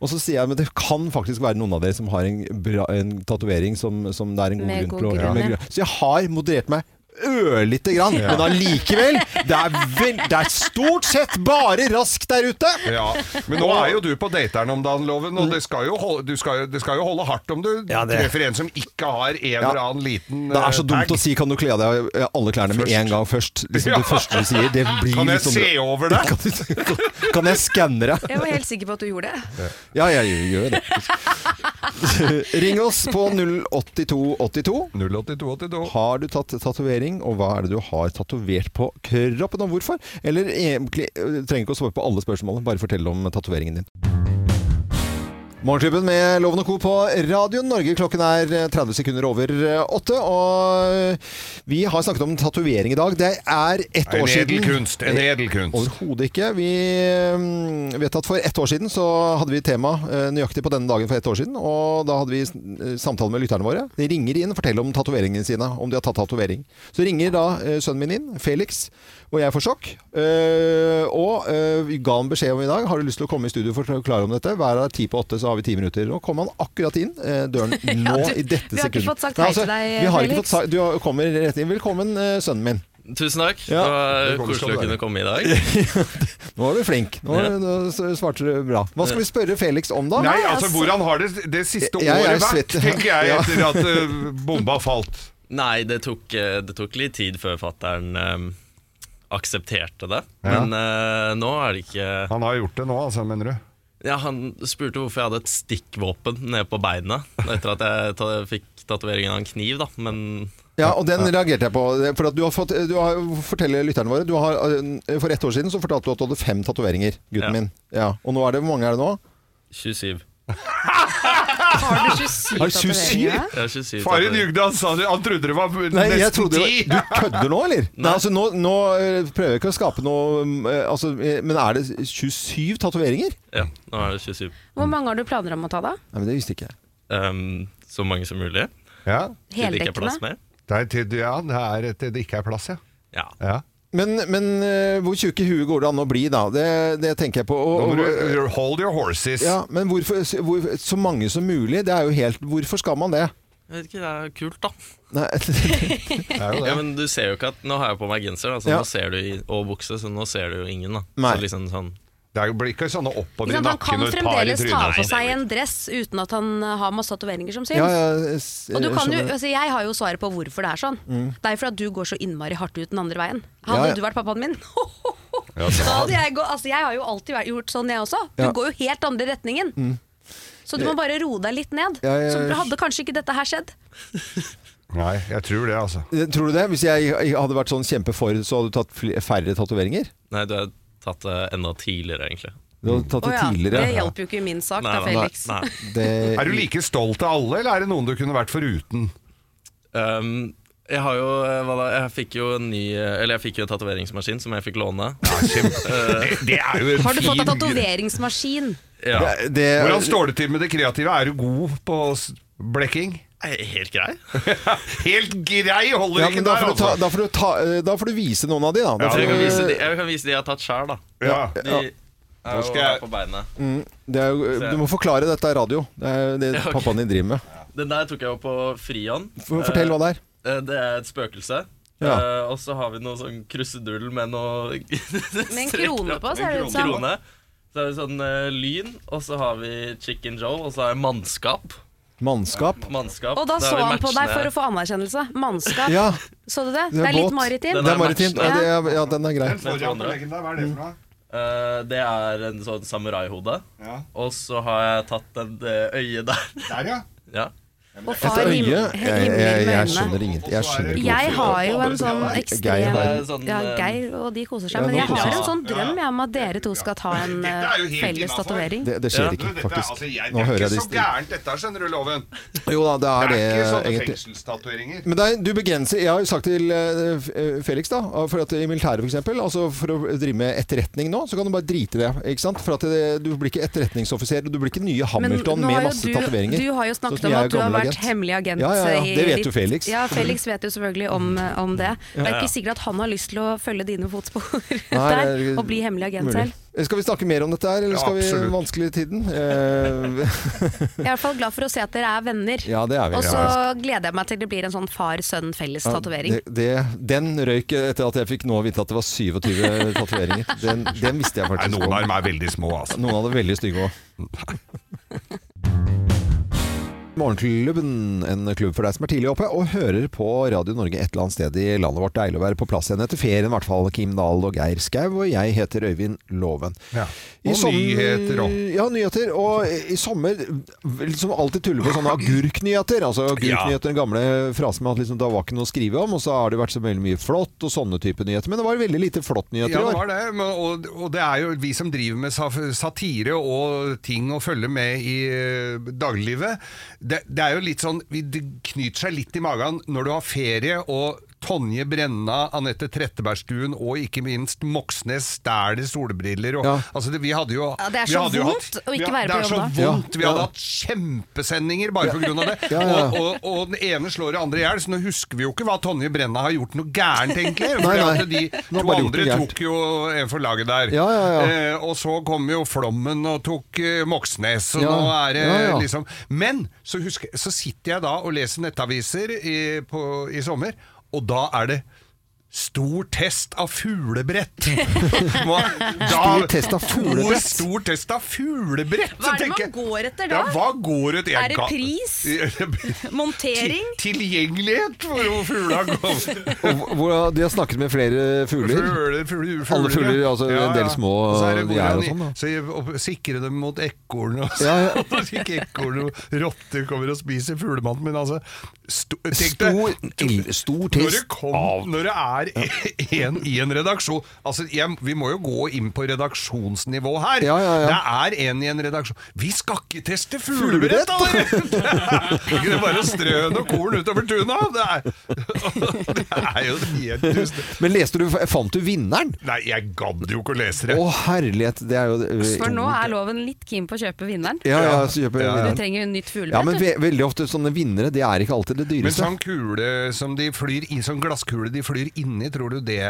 [SPEAKER 1] Og så sier jeg men det kan faktisk være noen av dere som har en, bra- en tatovering som, som det er en god
[SPEAKER 3] Med
[SPEAKER 1] grunn
[SPEAKER 3] god
[SPEAKER 1] til å
[SPEAKER 3] grunn,
[SPEAKER 1] med
[SPEAKER 3] ja.
[SPEAKER 1] grunn. Så jeg har moderert meg. Ørlite grann, men allikevel. Det er, vel- det er stort sett bare raskt der ute!
[SPEAKER 2] Ja. Men nå er jo du på dateren om dagen, Loven, og det skal jo holde, du skal, jo- det skal jo holde hardt om du
[SPEAKER 1] Ja, det-
[SPEAKER 2] treffer en som ikke har en eller annen liten
[SPEAKER 1] Det er så
[SPEAKER 2] eh,
[SPEAKER 1] dumt
[SPEAKER 2] tag.
[SPEAKER 1] å si 'kan du kle av deg eh, alle klærne med
[SPEAKER 2] Først.
[SPEAKER 1] en gang først'? Liksom,
[SPEAKER 2] Ja.
[SPEAKER 1] Det første du sier. Det blir
[SPEAKER 2] Kan jeg
[SPEAKER 1] litt sånn-
[SPEAKER 2] se over det?
[SPEAKER 1] Kan, du- kan jeg skanne deg?
[SPEAKER 4] Jeg var helt sikker på at du gjorde det.
[SPEAKER 1] Ja, jeg gjør- gjør det. Ring oss på 08282.
[SPEAKER 2] 08282.
[SPEAKER 1] Har du tatt tatovering, og hva er det du har tatovert på kroppen, og hvorfor? Eller egentlig eh, trenger ikke å svare på alle spørsmålene, bare fortell om tatoveringen din. Morgenklubben med Loven og Co. på Radio Norge. Klokken er eh, 30 sekunder over eh, åtte. Og eh, vi har snakket om tatovering i dag. Det er ett
[SPEAKER 2] En
[SPEAKER 1] år siden.
[SPEAKER 2] edelkunst. En edelkunst.
[SPEAKER 1] Overhodet ikke. Vi mm, vet at for ett år siden så hadde vi tema eh, nøyaktig på denne dagen for ett år siden. Og da hadde vi eh, samtale med lytterne våre. De ringer inn og forteller om tatoveringene sine. Om de har tatt tatovering. Så ringer da eh, sønnen min inn, Felix, og jeg får sjokk. Eh, Og eh, vi ga han beskjed om i dag. Har du lyst til å komme i studio for å forklare om dette? Hver av ti på åtte så har vi ti minutter. Nå kom han akkurat inn eh, døren nå
[SPEAKER 3] Ja, du-
[SPEAKER 1] i dette sekundet.
[SPEAKER 3] vi har ikke fått sagt
[SPEAKER 1] Nei,
[SPEAKER 3] hei
[SPEAKER 1] altså,
[SPEAKER 3] til deg,
[SPEAKER 1] vi har ikke
[SPEAKER 3] Felix.
[SPEAKER 1] fått sagt, du kommer rett inn. Velkommen, eh, sønnen min.
[SPEAKER 6] Tusen takk.
[SPEAKER 1] Ja.
[SPEAKER 6] Det var
[SPEAKER 2] Velkommen skal du
[SPEAKER 6] koselig å
[SPEAKER 2] være.
[SPEAKER 6] kunne komme i dag.
[SPEAKER 1] Nå er du flink. Nå,
[SPEAKER 6] Ja.
[SPEAKER 1] nå s- svarte du bra. Hva skal vi spørre Felix om, da?
[SPEAKER 2] Nei, altså, hvordan har det det siste
[SPEAKER 1] Jeg- jeg er
[SPEAKER 2] året vært,
[SPEAKER 1] svett.
[SPEAKER 2] tenker jeg,
[SPEAKER 1] Ja.
[SPEAKER 2] etter at eh, bomba falt?
[SPEAKER 6] Nei, det tok, eh, det tok litt tid før fattern ehm, aksepterte det.
[SPEAKER 2] Ja.
[SPEAKER 6] Men eh, nå er det ikke
[SPEAKER 2] Han har gjort det nå, altså, mener du?
[SPEAKER 6] ja, Han spurte hvorfor jeg hadde et stikkvåpen nede på beinet etter at jeg ta fikk tatoveringen av en kniv, da. Men
[SPEAKER 1] Ja, og den reagerte jeg på. For at du har fått, du har, forteller lytterne våre du har, eh, For ett år siden så fortalte du at du hadde fem tatoveringer, gutten
[SPEAKER 6] Ja.
[SPEAKER 1] min. Ja, og nå er det, Hvor mange er det nå?
[SPEAKER 6] 27.
[SPEAKER 3] Har du 27
[SPEAKER 1] Har du 27?
[SPEAKER 3] tatoveringer?
[SPEAKER 6] Jeg har
[SPEAKER 2] Faren
[SPEAKER 6] 27 tatoveringer.
[SPEAKER 2] jugde, han sa det. Han trodde det var
[SPEAKER 1] Nei, jeg
[SPEAKER 2] nesten
[SPEAKER 1] trodde
[SPEAKER 2] ti.
[SPEAKER 1] Du kødder nå, eller? Nei, altså nå, nå eh, prøver jeg ikke å skape noe eh, altså, eh, Men er det 27 tatoveringer?
[SPEAKER 6] Ja, nå er det 27.
[SPEAKER 3] Hvor mange har du planer om å ta, da?
[SPEAKER 1] Nei, men det visste ikke jeg.
[SPEAKER 6] Ehm, så mange som mulig.
[SPEAKER 2] Ja,
[SPEAKER 6] Til det ikke er plass
[SPEAKER 3] Heldekkende?
[SPEAKER 6] mer.
[SPEAKER 2] det er til, ja, det er til det ikke er plass, ja.
[SPEAKER 6] Ja.
[SPEAKER 2] ja.
[SPEAKER 1] Men, men eh, hvor tjukk i huet går det an å bli, da? Det, det tenker jeg på. Og,
[SPEAKER 2] Nå må
[SPEAKER 1] og,
[SPEAKER 2] du hold your horses.
[SPEAKER 1] ja, men hvorfor hvor, så mange som mulig? Det er jo helt Hvorfor skal man det?
[SPEAKER 6] Jeg vet ikke, det er kult, da.
[SPEAKER 1] Nei,
[SPEAKER 2] Det er jo
[SPEAKER 6] Ja,
[SPEAKER 2] det.
[SPEAKER 6] men du ser jo ikke at Nå har jeg på meg genser da, så
[SPEAKER 1] Ja.
[SPEAKER 6] nå ser du i, og bukse, så nå ser du jo ingen. da
[SPEAKER 1] Nei.
[SPEAKER 6] Så liksom sånn
[SPEAKER 2] Det er jo- blir ikke sånne
[SPEAKER 3] Ikke
[SPEAKER 2] oppover i
[SPEAKER 3] sant, han
[SPEAKER 2] nakken
[SPEAKER 3] kan
[SPEAKER 2] og et par i
[SPEAKER 3] fremdeles ta
[SPEAKER 2] trynet.
[SPEAKER 3] på
[SPEAKER 6] det
[SPEAKER 3] seg
[SPEAKER 6] blir-
[SPEAKER 3] en dress uten at han eh, har masse tatoveringer som syns.
[SPEAKER 1] ja, ja, jeg s-
[SPEAKER 3] Og du kan jo,
[SPEAKER 1] skjønner. Mm.
[SPEAKER 3] altså jeg har jo svaret på hvorfor det er sånn. Det er jo fordi at du går så innmari hardt ut den andre veien. Hadde
[SPEAKER 1] Ja, ja.
[SPEAKER 3] du vært pappaen min, så hadde jeg gått altså Jeg har jo alltid vært, gjort sånn, jeg også. Du
[SPEAKER 1] Ja. Mm.
[SPEAKER 3] går jo helt andre retningen. Så du må bare roe deg litt ned.
[SPEAKER 1] Ja, jeg-
[SPEAKER 3] Så hadde kanskje ikke dette her skjedd.
[SPEAKER 2] Nei, jeg tror det, altså.
[SPEAKER 1] Eh, Tror du det? Hvis jeg hadde vært sånn kjempe for, så hadde du tatt fl- færre tatoveringer?
[SPEAKER 6] Nei, du har tatt det enda tidligere, egentlig.
[SPEAKER 1] Du hadde tatt
[SPEAKER 3] Å
[SPEAKER 1] det
[SPEAKER 3] ja, det
[SPEAKER 1] tidligere.
[SPEAKER 3] hjalp jo ikke i min sak
[SPEAKER 6] Nei,
[SPEAKER 3] da,
[SPEAKER 6] nei,
[SPEAKER 3] Felix.
[SPEAKER 6] nei.
[SPEAKER 1] Det-
[SPEAKER 2] Er du like stolt av alle, eller er det noen du kunne vært foruten?
[SPEAKER 6] Ehm, jeg har jo eh, hva da, Jeg fikk jo en ny eh, Eller jeg fikk jo en tatoveringsmaskin som jeg fikk låne.
[SPEAKER 2] Det, det er jo en
[SPEAKER 3] Har du fått
[SPEAKER 2] fin
[SPEAKER 3] deg tatoveringsmaskin?
[SPEAKER 6] Ja,
[SPEAKER 1] det, det-
[SPEAKER 2] Hvordan står det til med det kreative? Er du god på s- blekking?
[SPEAKER 6] er Helt grei.
[SPEAKER 2] Helt grei holder
[SPEAKER 1] ja,
[SPEAKER 2] ikke
[SPEAKER 1] men da
[SPEAKER 2] der,
[SPEAKER 1] får, du ta,
[SPEAKER 2] altså.
[SPEAKER 1] da, får du ta, eh, da får du vise noen av de, da. da
[SPEAKER 2] Ja,
[SPEAKER 1] får
[SPEAKER 6] Jeg kan
[SPEAKER 1] du-
[SPEAKER 6] vise de jeg, kan vise de jeg har tatt sjøl, da.
[SPEAKER 2] Ja.
[SPEAKER 6] De er jo
[SPEAKER 2] skal jeg-
[SPEAKER 6] her på beinet.
[SPEAKER 1] det er, jo- eh, du må forklare dette er radio. Det er jo det
[SPEAKER 6] Ja, ok.
[SPEAKER 1] pappaen din driver med.
[SPEAKER 6] Den der tok jeg opp på frihånd.
[SPEAKER 1] For, fortell hva det er.
[SPEAKER 6] Eh, Det er et spøkelse.
[SPEAKER 1] Ja.
[SPEAKER 6] Eh, og så har vi noe sånn krusedull med noe
[SPEAKER 3] Med en krone på, ser det ut som.
[SPEAKER 6] krone. Så er det sånn eh, lyn, og så har vi Chicken Joe, og så er det mannskap.
[SPEAKER 1] Mannskap.
[SPEAKER 6] mannskap.
[SPEAKER 3] Og da
[SPEAKER 6] Der
[SPEAKER 3] så
[SPEAKER 6] er vi
[SPEAKER 3] han på deg
[SPEAKER 6] matchende-
[SPEAKER 3] for å få anerkjennelse. Mannskap.
[SPEAKER 1] Ja,
[SPEAKER 3] Så du det?
[SPEAKER 1] Det er
[SPEAKER 3] Det er litt
[SPEAKER 1] båt.
[SPEAKER 3] maritimt.
[SPEAKER 6] Den
[SPEAKER 1] det er
[SPEAKER 6] er
[SPEAKER 1] maritimt.
[SPEAKER 6] matchende.
[SPEAKER 1] Ja, det er- ja, den er grei.
[SPEAKER 6] står foran blekking
[SPEAKER 2] Hva er det for noe?
[SPEAKER 6] Eh, Det er en sånn samuraihode.
[SPEAKER 2] Ja.
[SPEAKER 6] Og så har jeg tatt en eh, øye der.
[SPEAKER 2] Der, ja.
[SPEAKER 6] ja.
[SPEAKER 3] Og
[SPEAKER 1] Et
[SPEAKER 3] far
[SPEAKER 1] øye
[SPEAKER 3] himler
[SPEAKER 1] Jeg, jeg,
[SPEAKER 3] med
[SPEAKER 1] jeg
[SPEAKER 3] øynene.
[SPEAKER 1] skjønner ingenting. Jeg skjønner ikke
[SPEAKER 3] Jeg har jo en sånn
[SPEAKER 1] Geir
[SPEAKER 3] ekstrem
[SPEAKER 1] har
[SPEAKER 6] en sånn,
[SPEAKER 3] Ja,
[SPEAKER 6] eh,
[SPEAKER 3] Geir og de koser
[SPEAKER 1] ja,
[SPEAKER 3] seg. Men
[SPEAKER 1] de
[SPEAKER 3] jeg
[SPEAKER 1] koser
[SPEAKER 3] har
[SPEAKER 6] seg.
[SPEAKER 3] en sånn drøm jeg, om at dere to skal ta en
[SPEAKER 2] Dette
[SPEAKER 3] eh,
[SPEAKER 2] er jo helt
[SPEAKER 3] felles
[SPEAKER 2] innenfor.
[SPEAKER 3] tatovering.
[SPEAKER 1] det, det skjer
[SPEAKER 6] Ja.
[SPEAKER 1] ikke,
[SPEAKER 2] Dette er- altså,
[SPEAKER 1] faktisk.
[SPEAKER 2] jeg-
[SPEAKER 1] Nå hører jeg det
[SPEAKER 2] Det er ikke så
[SPEAKER 1] i
[SPEAKER 2] gærent, dette her, skjønner du, Loven.
[SPEAKER 1] Jo da, det er
[SPEAKER 2] Det er ikke sånn
[SPEAKER 1] det,
[SPEAKER 2] sånne
[SPEAKER 1] egentlig.
[SPEAKER 2] fengselstatueringer.
[SPEAKER 1] Men det er, du begrenser Jeg har jo sagt til eh, F- eh, Felix, da for at I militæret, f.eks., altså for å drive med etterretning nå, så kan du bare drite i det. Ikke sant? For at det, Du blir ikke etterretningsoffiser, og du blir ikke nye Hamilton
[SPEAKER 3] nå
[SPEAKER 1] med
[SPEAKER 3] har jo
[SPEAKER 1] masse
[SPEAKER 3] du-
[SPEAKER 1] tatoveringer.
[SPEAKER 3] Du har jo snakket
[SPEAKER 1] Sånn som
[SPEAKER 3] om
[SPEAKER 1] jeg er
[SPEAKER 3] at du har
[SPEAKER 1] gammel
[SPEAKER 3] vært
[SPEAKER 1] agent.
[SPEAKER 3] hemmelig agent. eh,
[SPEAKER 1] Ja, ja, ja.
[SPEAKER 3] i
[SPEAKER 1] Det vet
[SPEAKER 3] ditt-
[SPEAKER 1] jo Felix.
[SPEAKER 3] Ja, Felix vet jo selvfølgelig om, eh, om det. Det er ikke sikkert at han har lyst til å følge dine fotspor
[SPEAKER 1] det
[SPEAKER 3] der
[SPEAKER 1] er-
[SPEAKER 3] og bli hemmelig agent
[SPEAKER 1] Mulig. Eh,
[SPEAKER 3] selv.
[SPEAKER 1] Skal vi snakke mer om dette her, eller
[SPEAKER 2] Ja,
[SPEAKER 1] skal vi
[SPEAKER 2] absolutt.
[SPEAKER 1] vanskelig i tiden? Eh,
[SPEAKER 3] Jeg er i hvert fall glad for å se at dere er venner.
[SPEAKER 1] ja, det er vi.
[SPEAKER 3] Og så
[SPEAKER 1] Ja.
[SPEAKER 3] gleder jeg meg til det blir en sånn far-sønn-felles-tatovering.
[SPEAKER 1] Det, det, den røyk etter at jeg fikk nå vite at det var 27 tatoveringer. Den, den visste jeg
[SPEAKER 2] Nei,
[SPEAKER 1] faktisk
[SPEAKER 2] noen av dem er veldig små, altså.
[SPEAKER 1] Noen av det veldig stygge òg. Morgenklubben, en klubb for deg som er tidlig oppe og hører på Radio Norge et eller annet sted i landet vårt. Deilig å være på plass igjen etter ferien, i hvert fall. Kim Dahl og Geir Skau, og jeg heter Øyvind Loven.
[SPEAKER 2] Ja.
[SPEAKER 1] I
[SPEAKER 2] Og nyheter òg.
[SPEAKER 1] Ja, nyheter. Og i sommer liksom alltid tuller på sånne agurknyheter. Altså agurknyheter, den gamle frasen med at liksom, det var ikke noe å skrive om, og så har det vært så veldig mye flott og sånne type nyheter. Men det var veldig lite flott nyheter
[SPEAKER 2] Ja,
[SPEAKER 1] i
[SPEAKER 2] det
[SPEAKER 1] år.
[SPEAKER 2] var det. Men, og, og det er jo vi som driver med saf- satire og ting å følge med i eh, dagliglivet. Det, det er jo litt sånn vi- Det knyter seg litt i magen når du har ferie og Tonje Brenna, Anette Trettebergstuen og ikke minst Moxnes stæler solbriller. Og,
[SPEAKER 1] Ja.
[SPEAKER 2] altså det, vi hadde jo,
[SPEAKER 3] Ja, det er
[SPEAKER 2] vi
[SPEAKER 3] så
[SPEAKER 2] hadde jo
[SPEAKER 3] vondt å ikke
[SPEAKER 2] vi- det
[SPEAKER 3] være på
[SPEAKER 2] er
[SPEAKER 3] jobb
[SPEAKER 2] så
[SPEAKER 1] da.
[SPEAKER 2] vondt. Vi
[SPEAKER 1] Ja.
[SPEAKER 2] hadde hatt kjempesendinger bare pga. det.
[SPEAKER 1] Ja, ja.
[SPEAKER 2] Og, og, og den ene slår det andre i hjel, så nå husker vi jo ikke hva Tonje Brenna har gjort noe gærent, egentlig. For
[SPEAKER 1] Nei, nei.
[SPEAKER 2] at De
[SPEAKER 1] Nå har bare
[SPEAKER 2] to
[SPEAKER 1] gjort
[SPEAKER 2] andre
[SPEAKER 1] noe gærent.
[SPEAKER 2] tok tok jo en for laget der.
[SPEAKER 1] Ja, ja, ja.
[SPEAKER 2] Eh, og så kom jo Flommen og tok eh, Moxnes, og
[SPEAKER 1] Ja.
[SPEAKER 2] nå er det
[SPEAKER 1] Ja, ja.
[SPEAKER 2] liksom Men så, husker, så sitter jeg da og leser nettaviser i, på, i sommer, og da er det Stor test av fuglebrett! Hva- da-
[SPEAKER 1] Stor test av fuglebrett?
[SPEAKER 2] Stor, stor test av fuglebrett!
[SPEAKER 3] Hva er det man
[SPEAKER 2] tenker jeg.
[SPEAKER 3] går etter
[SPEAKER 2] Ja,
[SPEAKER 3] da?
[SPEAKER 2] hva går ut? Jeg
[SPEAKER 3] Er det
[SPEAKER 2] kan-
[SPEAKER 3] pris?
[SPEAKER 2] Til,
[SPEAKER 3] Montering?
[SPEAKER 2] tilgjengelighet for hvor fugla går.
[SPEAKER 1] Og hvor- De har snakket med flere fugler.
[SPEAKER 2] Fugler, fugler, fugler,
[SPEAKER 1] Alle fugler, altså en del små
[SPEAKER 2] Og så er det
[SPEAKER 1] gjær og
[SPEAKER 2] hvordan-
[SPEAKER 1] sånn, da.
[SPEAKER 2] Så jeg- og sikre dem mot ekorn og så
[SPEAKER 1] Ja, ja.
[SPEAKER 2] og så ikke ekorn og rotter kommer og spiser fuglemannen min, altså. Sto, tenk deg,
[SPEAKER 1] Stor, stor
[SPEAKER 2] når
[SPEAKER 1] test
[SPEAKER 2] det, kom, når det er en i en redaksjon Altså, jeg, Vi må jo gå inn på redaksjonsnivå her.
[SPEAKER 1] Ja, ja,
[SPEAKER 2] Det er en i en redaksjon Vi skal ikke teste
[SPEAKER 1] Fuglebrett,
[SPEAKER 2] fuglebrett, da! dere! Det er bare å strø noe korn utover tuna! Det er, det er jo helt dust.
[SPEAKER 1] Men leste du, fant du vinneren?
[SPEAKER 2] Nei, jeg gadd jo ikke å lese
[SPEAKER 1] Å
[SPEAKER 2] det.
[SPEAKER 1] herlighet, det er jo eh,
[SPEAKER 3] For nå er loven litt keen på å kjøpe vinneren.
[SPEAKER 1] Ja, ja, så kjøper jeg
[SPEAKER 2] Ja, ja.
[SPEAKER 3] Du
[SPEAKER 1] vinneren.
[SPEAKER 3] trenger jo nytt
[SPEAKER 1] Ja, men
[SPEAKER 3] fuglebrett.
[SPEAKER 1] ve veldig ofte sånne vinnere, det er ikke alltid det
[SPEAKER 2] Men
[SPEAKER 1] dyreste.
[SPEAKER 2] sånn kule som de flyr i, sånn glasskule de flyr inni, tror du det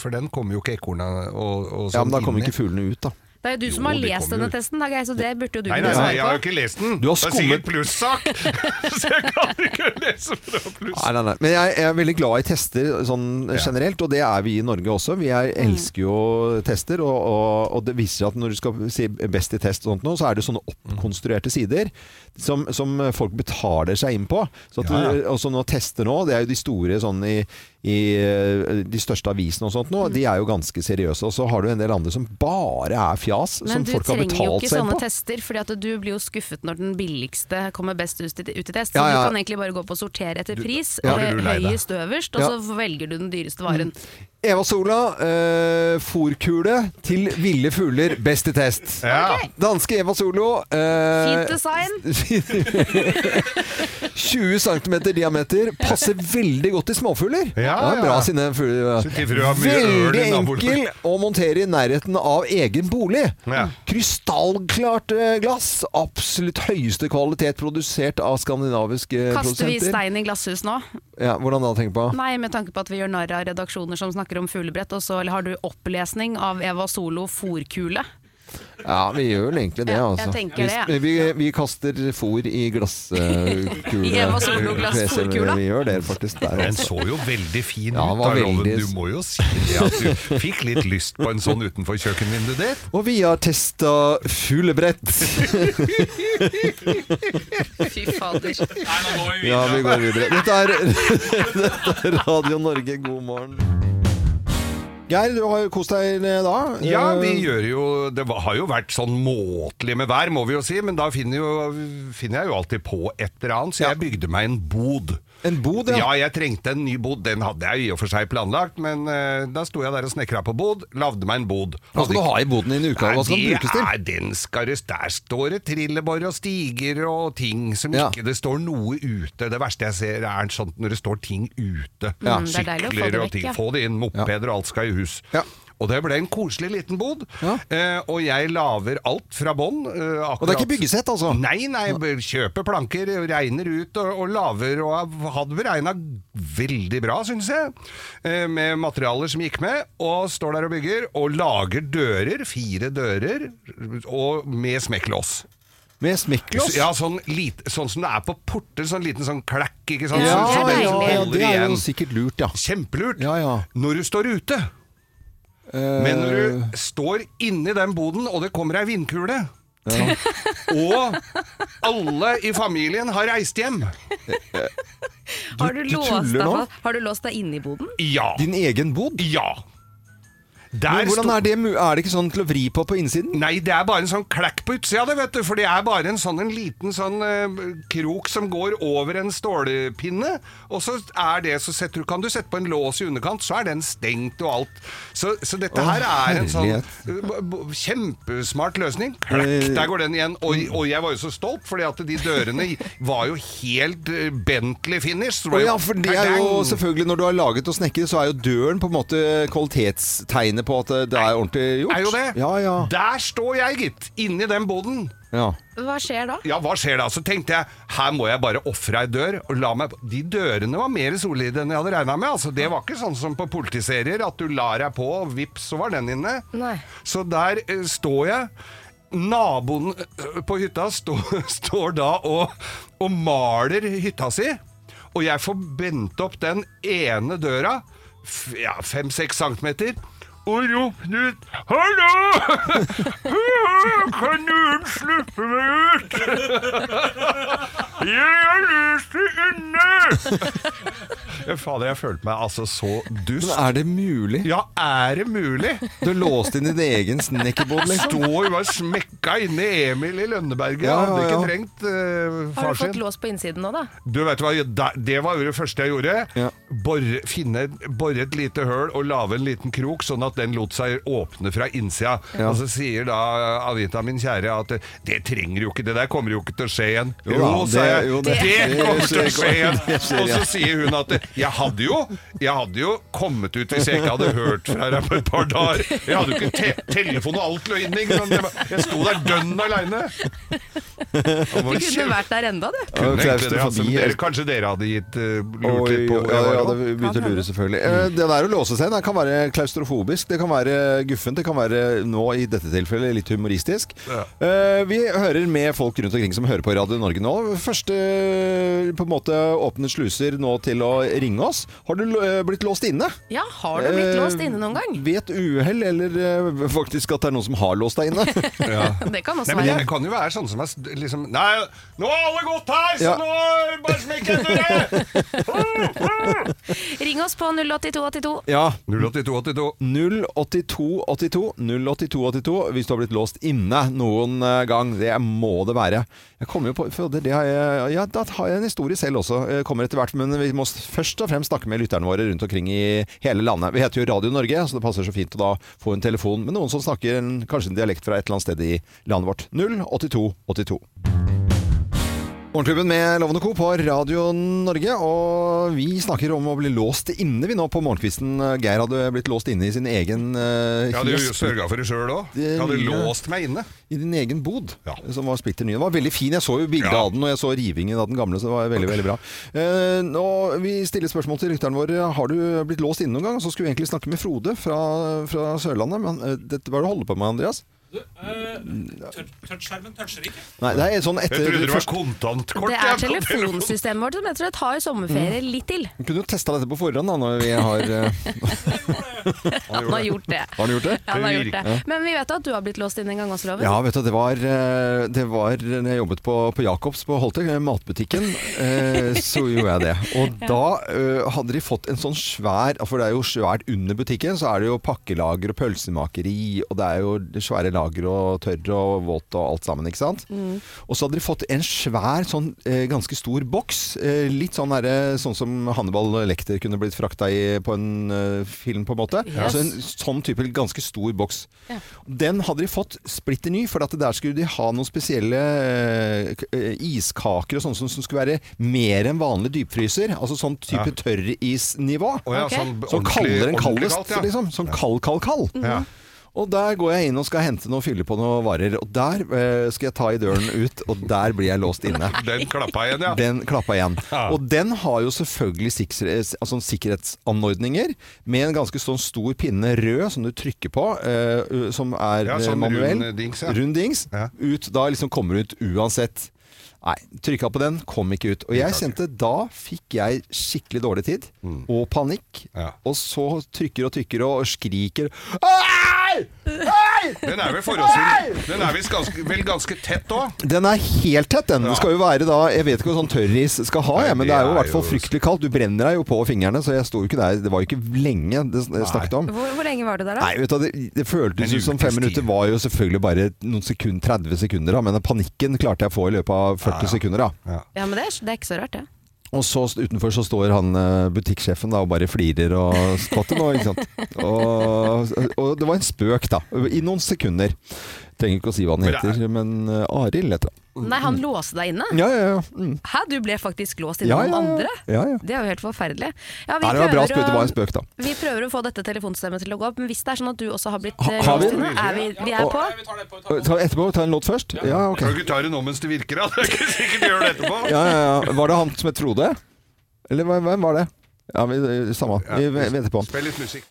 [SPEAKER 2] For den kommer jo ikke ekorna og, og
[SPEAKER 1] Ja, men da
[SPEAKER 2] sånn
[SPEAKER 1] kommer
[SPEAKER 2] inni.
[SPEAKER 1] ikke fuglene ut, da.
[SPEAKER 3] Det er jo du som
[SPEAKER 2] Jo,
[SPEAKER 3] har
[SPEAKER 2] de
[SPEAKER 3] lest
[SPEAKER 2] kommer
[SPEAKER 3] denne
[SPEAKER 2] ut.
[SPEAKER 3] testen, da, Geir, så det burde jo du
[SPEAKER 2] Nei, nei,
[SPEAKER 3] kunne
[SPEAKER 2] nei,
[SPEAKER 3] svare
[SPEAKER 2] jeg har jo
[SPEAKER 3] på.
[SPEAKER 2] ikke lest den.
[SPEAKER 1] Du har
[SPEAKER 2] Det er
[SPEAKER 1] skummet-
[SPEAKER 2] sikkert plussak! Så jeg kan ikke lese fra pluss.
[SPEAKER 1] Nei, nei, nei. Men jeg er veldig glad i tester sånn generelt, og det er vi i Norge også. Vi er,
[SPEAKER 3] Mm.
[SPEAKER 1] elsker jo tester, og, og, og det viser seg at når du skal si best i test og sånt nå, så er det sånne
[SPEAKER 3] Mm.
[SPEAKER 1] oppkonstruerte sider som, som folk betaler seg inn på. Så at
[SPEAKER 2] Ja,
[SPEAKER 1] Du, og så nå tester nå, det er jo de store sånn i, i eh, de største avisene og sånt nå,
[SPEAKER 3] Mm.
[SPEAKER 1] de er jo ganske seriøse. Og så har du en del andre som bare er fjas,
[SPEAKER 3] Men
[SPEAKER 1] som
[SPEAKER 3] du
[SPEAKER 1] folk har
[SPEAKER 3] trenger jo
[SPEAKER 1] betalt
[SPEAKER 3] ikke
[SPEAKER 1] seg inn
[SPEAKER 3] sånne
[SPEAKER 1] på.
[SPEAKER 3] tester, fordi at du blir jo skuffet når den billigste kommer best ut i, ut i test. Så
[SPEAKER 1] Ja, ja.
[SPEAKER 3] du kan egentlig bare gå på å sortere etter pris,
[SPEAKER 1] Ja.
[SPEAKER 3] eh,
[SPEAKER 2] Blir du lei deg?
[SPEAKER 3] høyest øverst, og
[SPEAKER 1] Ja. Mm.
[SPEAKER 3] så velger du den dyreste varen.
[SPEAKER 1] Eva Sola, eh, fòrkule til ville fugler, best i test.
[SPEAKER 2] Ja.
[SPEAKER 1] Danske Eva Solo. Eh,
[SPEAKER 3] Fint design.
[SPEAKER 1] 20 cm eh, diameter. Passer veldig godt til småfugler.
[SPEAKER 2] Ja,
[SPEAKER 1] det er bra
[SPEAKER 2] ja.
[SPEAKER 1] sine fugler.
[SPEAKER 2] Så tipper du har mye øl
[SPEAKER 1] eh, Veldig
[SPEAKER 2] i naboen.
[SPEAKER 1] enkel å montere i nærheten av egen bolig.
[SPEAKER 2] Ja.
[SPEAKER 1] Krystallklart eh, glass. Absolutt høyeste kvalitet produsert av skandinaviske
[SPEAKER 3] Kaster vi
[SPEAKER 1] eh, produsenter.
[SPEAKER 3] stein i glasshus nå?
[SPEAKER 1] Ja, hvordan da, tenker du på?
[SPEAKER 3] Nei, med tanke på at vi gjør narr av redaksjoner som snakker om fuglebrett, og så har du opplesning av Eva Solo fòrkule.
[SPEAKER 1] Ja, vi gjør vel egentlig det,
[SPEAKER 3] Ja, jeg
[SPEAKER 1] altså.
[SPEAKER 3] tenker det, ja.
[SPEAKER 1] Vi, vi, vi kaster fôr i glasskuler.
[SPEAKER 3] I Eva Solo-glass fôrkula.
[SPEAKER 1] Vi gjør det faktisk der altså.
[SPEAKER 2] Den
[SPEAKER 1] også.
[SPEAKER 2] så jo veldig fin
[SPEAKER 1] Ja, den
[SPEAKER 2] ut,
[SPEAKER 1] var
[SPEAKER 2] da, Loven.
[SPEAKER 1] veldig-
[SPEAKER 2] Du må jo si det at du fikk litt lyst på en sånn utenfor kjøkkenvinduet ditt.
[SPEAKER 1] Og vi har testa fuglebrett.
[SPEAKER 3] Fy fader.
[SPEAKER 6] Nei, nå går vi
[SPEAKER 1] Ja,
[SPEAKER 6] videre.
[SPEAKER 1] vi går videre. Dette er, dette er Radio Norge, god morgen. Geir, du har jo kost deg i dag.
[SPEAKER 2] Ja,
[SPEAKER 1] Eh,
[SPEAKER 2] vi gjør jo Det var- har jo vært sånn måtelig med vær, må vi jo si, men da finner, jo, finner jeg jo alltid på et eller annet, så jeg bygde meg en bod.
[SPEAKER 1] En bod, ja.
[SPEAKER 2] Ja, jeg trengte en ny bod. Den hadde jeg i og for seg planlagt, men eh, da sto jeg der og snekra på bod, lagde meg en bod.
[SPEAKER 1] Hva skal du ha i boden din i uka? Hva skal den brukes til?
[SPEAKER 2] Nei, den skal det, der står det trillebår og stiger og ting som
[SPEAKER 1] Ja.
[SPEAKER 2] ikke Det står noe ute. Det verste jeg ser, er sånt når det står ting ute.
[SPEAKER 1] Ja.
[SPEAKER 3] Mm, det er deilig å få
[SPEAKER 2] Sykler
[SPEAKER 3] det
[SPEAKER 2] og
[SPEAKER 3] vekk,
[SPEAKER 2] ting.
[SPEAKER 3] ja.
[SPEAKER 2] Få det inn. Mopeder og alt skal i hus.
[SPEAKER 1] Ja.
[SPEAKER 2] Og det ble en koselig liten bod.
[SPEAKER 1] Ja.
[SPEAKER 2] Eh, og jeg laver alt fra bånn. Eh,
[SPEAKER 1] Og det er ikke byggesett, altså?
[SPEAKER 2] Nei, nei, jeg b- kjøper planker, regner ut og, og laver, og jeg hadde beregna veldig bra, syns jeg, eh, med materialer som gikk med, og står der og bygger, og lager dører, fire dører, og med smekklås.
[SPEAKER 1] Med smekklås?
[SPEAKER 2] Ja, sånn, lit, sånn som det er på porter, sånn liten sånn klekk, ikke sant?
[SPEAKER 1] ja,
[SPEAKER 2] Sånn
[SPEAKER 1] ja,
[SPEAKER 2] som den
[SPEAKER 1] ja,
[SPEAKER 2] som
[SPEAKER 1] ja,
[SPEAKER 2] holder
[SPEAKER 1] det er jo
[SPEAKER 2] igjen.
[SPEAKER 1] sikkert lurt, ja.
[SPEAKER 2] Kjempelurt.
[SPEAKER 1] Ja, ja.
[SPEAKER 2] Når du står ute.
[SPEAKER 1] Eh,
[SPEAKER 2] Men når du står inni den boden, og det kommer ei vindkule Og alle i familien har reist hjem.
[SPEAKER 3] Har du,
[SPEAKER 1] du
[SPEAKER 3] låst
[SPEAKER 1] tuller
[SPEAKER 3] deg,
[SPEAKER 1] nå?
[SPEAKER 3] fast- har du låst deg inne i boden?
[SPEAKER 2] Ja.
[SPEAKER 1] Din egen bod?
[SPEAKER 2] Ja. Der
[SPEAKER 1] Men hvordan
[SPEAKER 2] sto-
[SPEAKER 1] er det, mu- er det ikke sånn til å vri på på innsiden?
[SPEAKER 2] Nei, det er bare en sånn klekk på utsida, det, vet du. For det er bare en sånn en liten sånn eh, krok som går over en stålpinne. Og så er det så setter, du- kan du sette på en lås i underkant, så er den stengt og alt. Så, så dette
[SPEAKER 1] Å,
[SPEAKER 2] her er en sånn
[SPEAKER 1] herlighet.
[SPEAKER 2] eh, b- b- kjempesmart løsning. Klekk,
[SPEAKER 1] Eh.
[SPEAKER 2] der går den igjen. Og, og jeg var jo så stolt, fordi at de dørene var jo helt eh, Bentley finish.
[SPEAKER 1] Å ja, for det er jo
[SPEAKER 2] Kardang!
[SPEAKER 1] selvfølgelig Når du har laget og snekket, så er jo døren på en måte kvalitetstegnet på at det er ordentlig gjort.
[SPEAKER 2] Er jo det.
[SPEAKER 1] Ja, ja.
[SPEAKER 2] Der står jeg, gitt. Inni den boden.
[SPEAKER 1] ja.
[SPEAKER 4] Hva skjer da?
[SPEAKER 2] ja, hva skjer da? Så tenkte jeg, her må jeg bare offre ei dør og la meg De dørene var mer solide enn jeg hadde regna med. Altså, det var ikke sånn som på politiserier, at du lar deg på, og vips, så var den inne.
[SPEAKER 3] Nei.
[SPEAKER 2] Så der eh, står jeg. Naboen eh, på hytta stå, står da og, og maler hytta si, og jeg får brent opp den ene døra, f- ja, fem-seks centimeter, og roper ut 'Hallo! Kan noen slippe meg ut?' Jeg har lyst til inne! Ja, Fader, jeg følte meg altså så
[SPEAKER 1] Men
[SPEAKER 2] dust.
[SPEAKER 1] er det mulig?
[SPEAKER 2] Ja, er det mulig?
[SPEAKER 1] Du er låst inn i din egen snekkerbod, liksom?
[SPEAKER 2] Stå og var smekka inne i Emil i Lønneberget.
[SPEAKER 1] Ja, ja,
[SPEAKER 2] Hadde ikke
[SPEAKER 1] ja.
[SPEAKER 2] trengt eh,
[SPEAKER 3] Har
[SPEAKER 2] far
[SPEAKER 3] du fått
[SPEAKER 2] sin.
[SPEAKER 3] lås på innsiden nå, da?
[SPEAKER 2] Du vet hva, da- Det var jo det første jeg gjorde.
[SPEAKER 1] Ja.
[SPEAKER 2] Borre, finne, borre et lite høl og lage en liten krok, sånn at den lot seg åpne fra innsida. Og så sier da Anita, min kjære, at eh, det trenger jo ikke, det der kommer jo ikke til å skje igjen.
[SPEAKER 1] Jo
[SPEAKER 2] Jo,
[SPEAKER 1] da,
[SPEAKER 2] sa
[SPEAKER 1] det-
[SPEAKER 2] jeg.
[SPEAKER 1] jo,
[SPEAKER 2] det,
[SPEAKER 1] det-
[SPEAKER 2] kommer til å
[SPEAKER 1] det
[SPEAKER 2] skje
[SPEAKER 1] skjer,
[SPEAKER 2] igjen.
[SPEAKER 1] det skjer,
[SPEAKER 2] Og
[SPEAKER 1] ja.
[SPEAKER 2] så sier hun at eh, jeg hadde jo, jeg hadde jo kommet ut hvis jeg ikke hadde hørt fra deg på et par dager. Jeg hadde jo ikke te telefon og alt lå inni. men Jeg bare- jeg sto der dønn aleine.
[SPEAKER 3] Du kunne vært der enda, du.
[SPEAKER 1] Ja,
[SPEAKER 2] Kunne
[SPEAKER 1] flaut
[SPEAKER 2] egentlig
[SPEAKER 1] å
[SPEAKER 2] det, altså,
[SPEAKER 1] forbi,
[SPEAKER 2] men dere,
[SPEAKER 1] eller-
[SPEAKER 2] kanskje dere hadde gitt eh, lurt
[SPEAKER 1] Oi,
[SPEAKER 2] litt på
[SPEAKER 1] ja,
[SPEAKER 2] hvor jeg
[SPEAKER 1] ja,
[SPEAKER 2] var
[SPEAKER 1] det
[SPEAKER 2] nå? Mm.
[SPEAKER 1] begynte å lure, selvfølgelig. Eh, Det der å låse seg det kan være klaustrofobisk, det kan være guffent, det kan være nå i dette tilfellet litt humoristisk.
[SPEAKER 2] Ja.
[SPEAKER 1] Eh, Vi hører med folk rundt omkring som hører på Radio Norge nå. Første eh, på en måte åpne sluser nå til å ringe oss. Har du eh, blitt låst inne?
[SPEAKER 3] Ja, har du blitt
[SPEAKER 1] Eh,
[SPEAKER 3] låst inne noen gang?
[SPEAKER 1] Ved et uhell, eller eh, faktisk at det er noen som har låst deg inne?
[SPEAKER 3] Det kan
[SPEAKER 2] Nei,
[SPEAKER 3] også
[SPEAKER 2] men
[SPEAKER 3] være.
[SPEAKER 2] jeg kan jo være sånn som er s- liksom Nei, nå har alle gått her, så
[SPEAKER 1] Ja.
[SPEAKER 2] nå bare smekk etter det!
[SPEAKER 3] Ring oss på 08282.
[SPEAKER 1] ja.
[SPEAKER 2] 08282.
[SPEAKER 1] 08282 08282 hvis du har blitt låst inne noen eh, gang. Det må det være. Jeg kommer jo på for det, det har jeg, Ja, da har jeg en historie selv også. eh, Kommer etter hvert. Men vi må s- først og fremst snakke med lytterne våre rundt omkring i hele landet. Vi heter jo Radio Norge, så det passer så fint å da få en telefon med noen som snakker en, kanskje en dialekt fra et eller annet sted i landet vårt. 08282. Morgenklubben med Lovende Co. på Radio Norge, og vi snakker om å bli låst inne vi nå på morgenkvisten. Geir hadde blitt låst inne i sin egen eh,
[SPEAKER 2] Jeg hadde jo
[SPEAKER 1] kiosk,
[SPEAKER 2] sørga for det sjøl òg.
[SPEAKER 1] Det
[SPEAKER 2] Jeg hadde
[SPEAKER 1] lille-
[SPEAKER 2] låst meg inne.
[SPEAKER 1] i din egen bod,
[SPEAKER 2] Ja.
[SPEAKER 1] som var splitter ny. Den var veldig fin, jeg så jo bildet
[SPEAKER 2] Ja.
[SPEAKER 1] av den, og jeg så rivingen av den gamle, så det var veldig, veldig bra. Eh, nå, vi stiller spørsmål til lytterne våre. Har du blitt låst inne noen gang? Så skulle vi egentlig snakke med Frode fra, fra Sørlandet, men eh, dette, hva er det du holder på med, Andreas?
[SPEAKER 7] Touchskjermen toucher ikke.
[SPEAKER 1] Nei, det er sånn
[SPEAKER 2] Jeg
[SPEAKER 1] etter...
[SPEAKER 2] trodde det var
[SPEAKER 1] først-
[SPEAKER 2] kontantkort.
[SPEAKER 3] Det
[SPEAKER 2] jeg,
[SPEAKER 3] er
[SPEAKER 2] på telefonen.
[SPEAKER 3] telefonsystemet vårt som jeg tror tar sommerferie
[SPEAKER 1] Mm.
[SPEAKER 3] litt til.
[SPEAKER 1] Vi kunne jo testa dette på forhånd da, når vi har eh,
[SPEAKER 3] Han har gjort det.
[SPEAKER 1] Har du gjort det?
[SPEAKER 3] Ja, han har gjort det. Men vi vet at du har blitt låst inn en gang også, Loven.
[SPEAKER 1] Ja, vet du, det var, eh, det var når jeg jobbet på, på Jacobs på Holte, eh, matbutikken, eh, så gjorde jeg det. Og da eh, hadde de fått en sånn svær, for det er jo svært under butikken, så er det jo pakkelager og pølsemakeri, og det er jo svære lager og tørr og våt og alt sammen, ikke sant? Og så hadde de fått en svær, sånn eh, ganske stor boks, eh, litt sånn, derre- sånn som Hannibal Lekter kunne blitt frakta i på en eh, film, på en måte. Altså en sånn type ganske stor boks. Den hadde de fått splitter ny, for at der skulle de ha noen spesielle eh, k- eh, iskaker og sånn som, som skulle være mer enn vanlig dypfryser. Altså sånn type tørrisnivå.
[SPEAKER 2] Å ja,
[SPEAKER 3] Ok.
[SPEAKER 2] sånn
[SPEAKER 1] Som
[SPEAKER 2] ordentlig-
[SPEAKER 1] kaldere enn
[SPEAKER 2] ordentlig
[SPEAKER 1] kaldest,
[SPEAKER 2] kaldt, ja.
[SPEAKER 1] liksom. Som kald, kald, kald.
[SPEAKER 2] Ja.
[SPEAKER 1] Og der går jeg inn og skal hente noe, fylle på noe varer. Og der eh, skal jeg ta i døren ut, og der blir jeg låst inne.
[SPEAKER 2] Den klappa igjen, ja.
[SPEAKER 1] Den klappa igjen.
[SPEAKER 2] Ja.
[SPEAKER 1] Og den har jo selvfølgelig sikre- altså sikkerhetsanordninger med en ganske sånn stor pinne rød som du trykker på, eh, som er
[SPEAKER 2] Ja,
[SPEAKER 1] ja,
[SPEAKER 2] sånn
[SPEAKER 1] manuell.
[SPEAKER 2] rund dings, ja.
[SPEAKER 1] Rund dings.
[SPEAKER 2] Ja.
[SPEAKER 1] Ut, da liksom kommer du ut uansett. Nei, trykka på den, kom ikke ut. Og jeg kjente da fikk jeg skikkelig dårlig tid og panikk.
[SPEAKER 2] Mm. Ja.
[SPEAKER 1] Og så trykker og trykker og skriker Hei! Hei!
[SPEAKER 2] Den er vel forholdsvis Den er visst ganske, vel ganske tett òg.
[SPEAKER 1] Den er helt tett, den. Det skal jo være da Jeg vet ikke hva sånn tørris skal ha,
[SPEAKER 2] Nei,
[SPEAKER 1] jeg, men
[SPEAKER 2] det
[SPEAKER 1] det er jo i
[SPEAKER 2] er
[SPEAKER 1] hvert fall
[SPEAKER 2] jo-
[SPEAKER 1] fryktelig kaldt. Du brenner deg jo på fingrene, så jeg sto jo ikke der. Det var jo ikke lenge det s- snakket om.
[SPEAKER 3] Hvor, hvor lenge var du der, da?
[SPEAKER 1] Nei, vet du, hva, det, det føltes
[SPEAKER 2] En
[SPEAKER 1] ut som
[SPEAKER 2] ukes
[SPEAKER 1] fem minutter
[SPEAKER 2] tid.
[SPEAKER 1] var jo selvfølgelig bare noen sekund, 30 sekunder, da, men panikken klarte jeg å få i løpet av 40 sekunder. da.
[SPEAKER 3] Ja, men det er, det er ikke så rart, det.
[SPEAKER 1] Og så st- utenfor så står han eh, butikksjefen da, og bare flirer og skvatter nå, ikke sant. Og, og det var en spøk, da. I noen sekunder. Trenger ikke å si hva han
[SPEAKER 2] Men det er-
[SPEAKER 1] heter, men eh, Arild heter han.
[SPEAKER 3] Nei, han låste deg inne?
[SPEAKER 1] Ja, ja, ja. Mm.
[SPEAKER 3] Hæ, du ble faktisk låst inne
[SPEAKER 1] Ja, ja,
[SPEAKER 3] av noen
[SPEAKER 1] ja.
[SPEAKER 3] andre?
[SPEAKER 1] Ja, ja.
[SPEAKER 3] Det er jo helt forferdelig. Ja, vi
[SPEAKER 1] Nei, det var bra
[SPEAKER 3] prøver
[SPEAKER 1] spøk.
[SPEAKER 3] å-
[SPEAKER 1] Det var en spøk, da.
[SPEAKER 3] Vi prøver å få dette telefonstemmet til å gå opp, men hvis det er sånn at du også har blitt
[SPEAKER 1] Ha-
[SPEAKER 3] eh,
[SPEAKER 1] har vi-
[SPEAKER 3] låst inne, er vi, vi er på?
[SPEAKER 1] Ta etterpå, ta en låt først. Ja, ok.
[SPEAKER 2] Kan du ikke ta det nå mens det virker? Da? Det er ikke sikkert du gjør det etterpå.
[SPEAKER 1] Ja, ja, ja. Var det han som het Frode? Eller hva- hvem var det? Ja, vi, samme. Vi venter på han.
[SPEAKER 2] Spill litt musikk.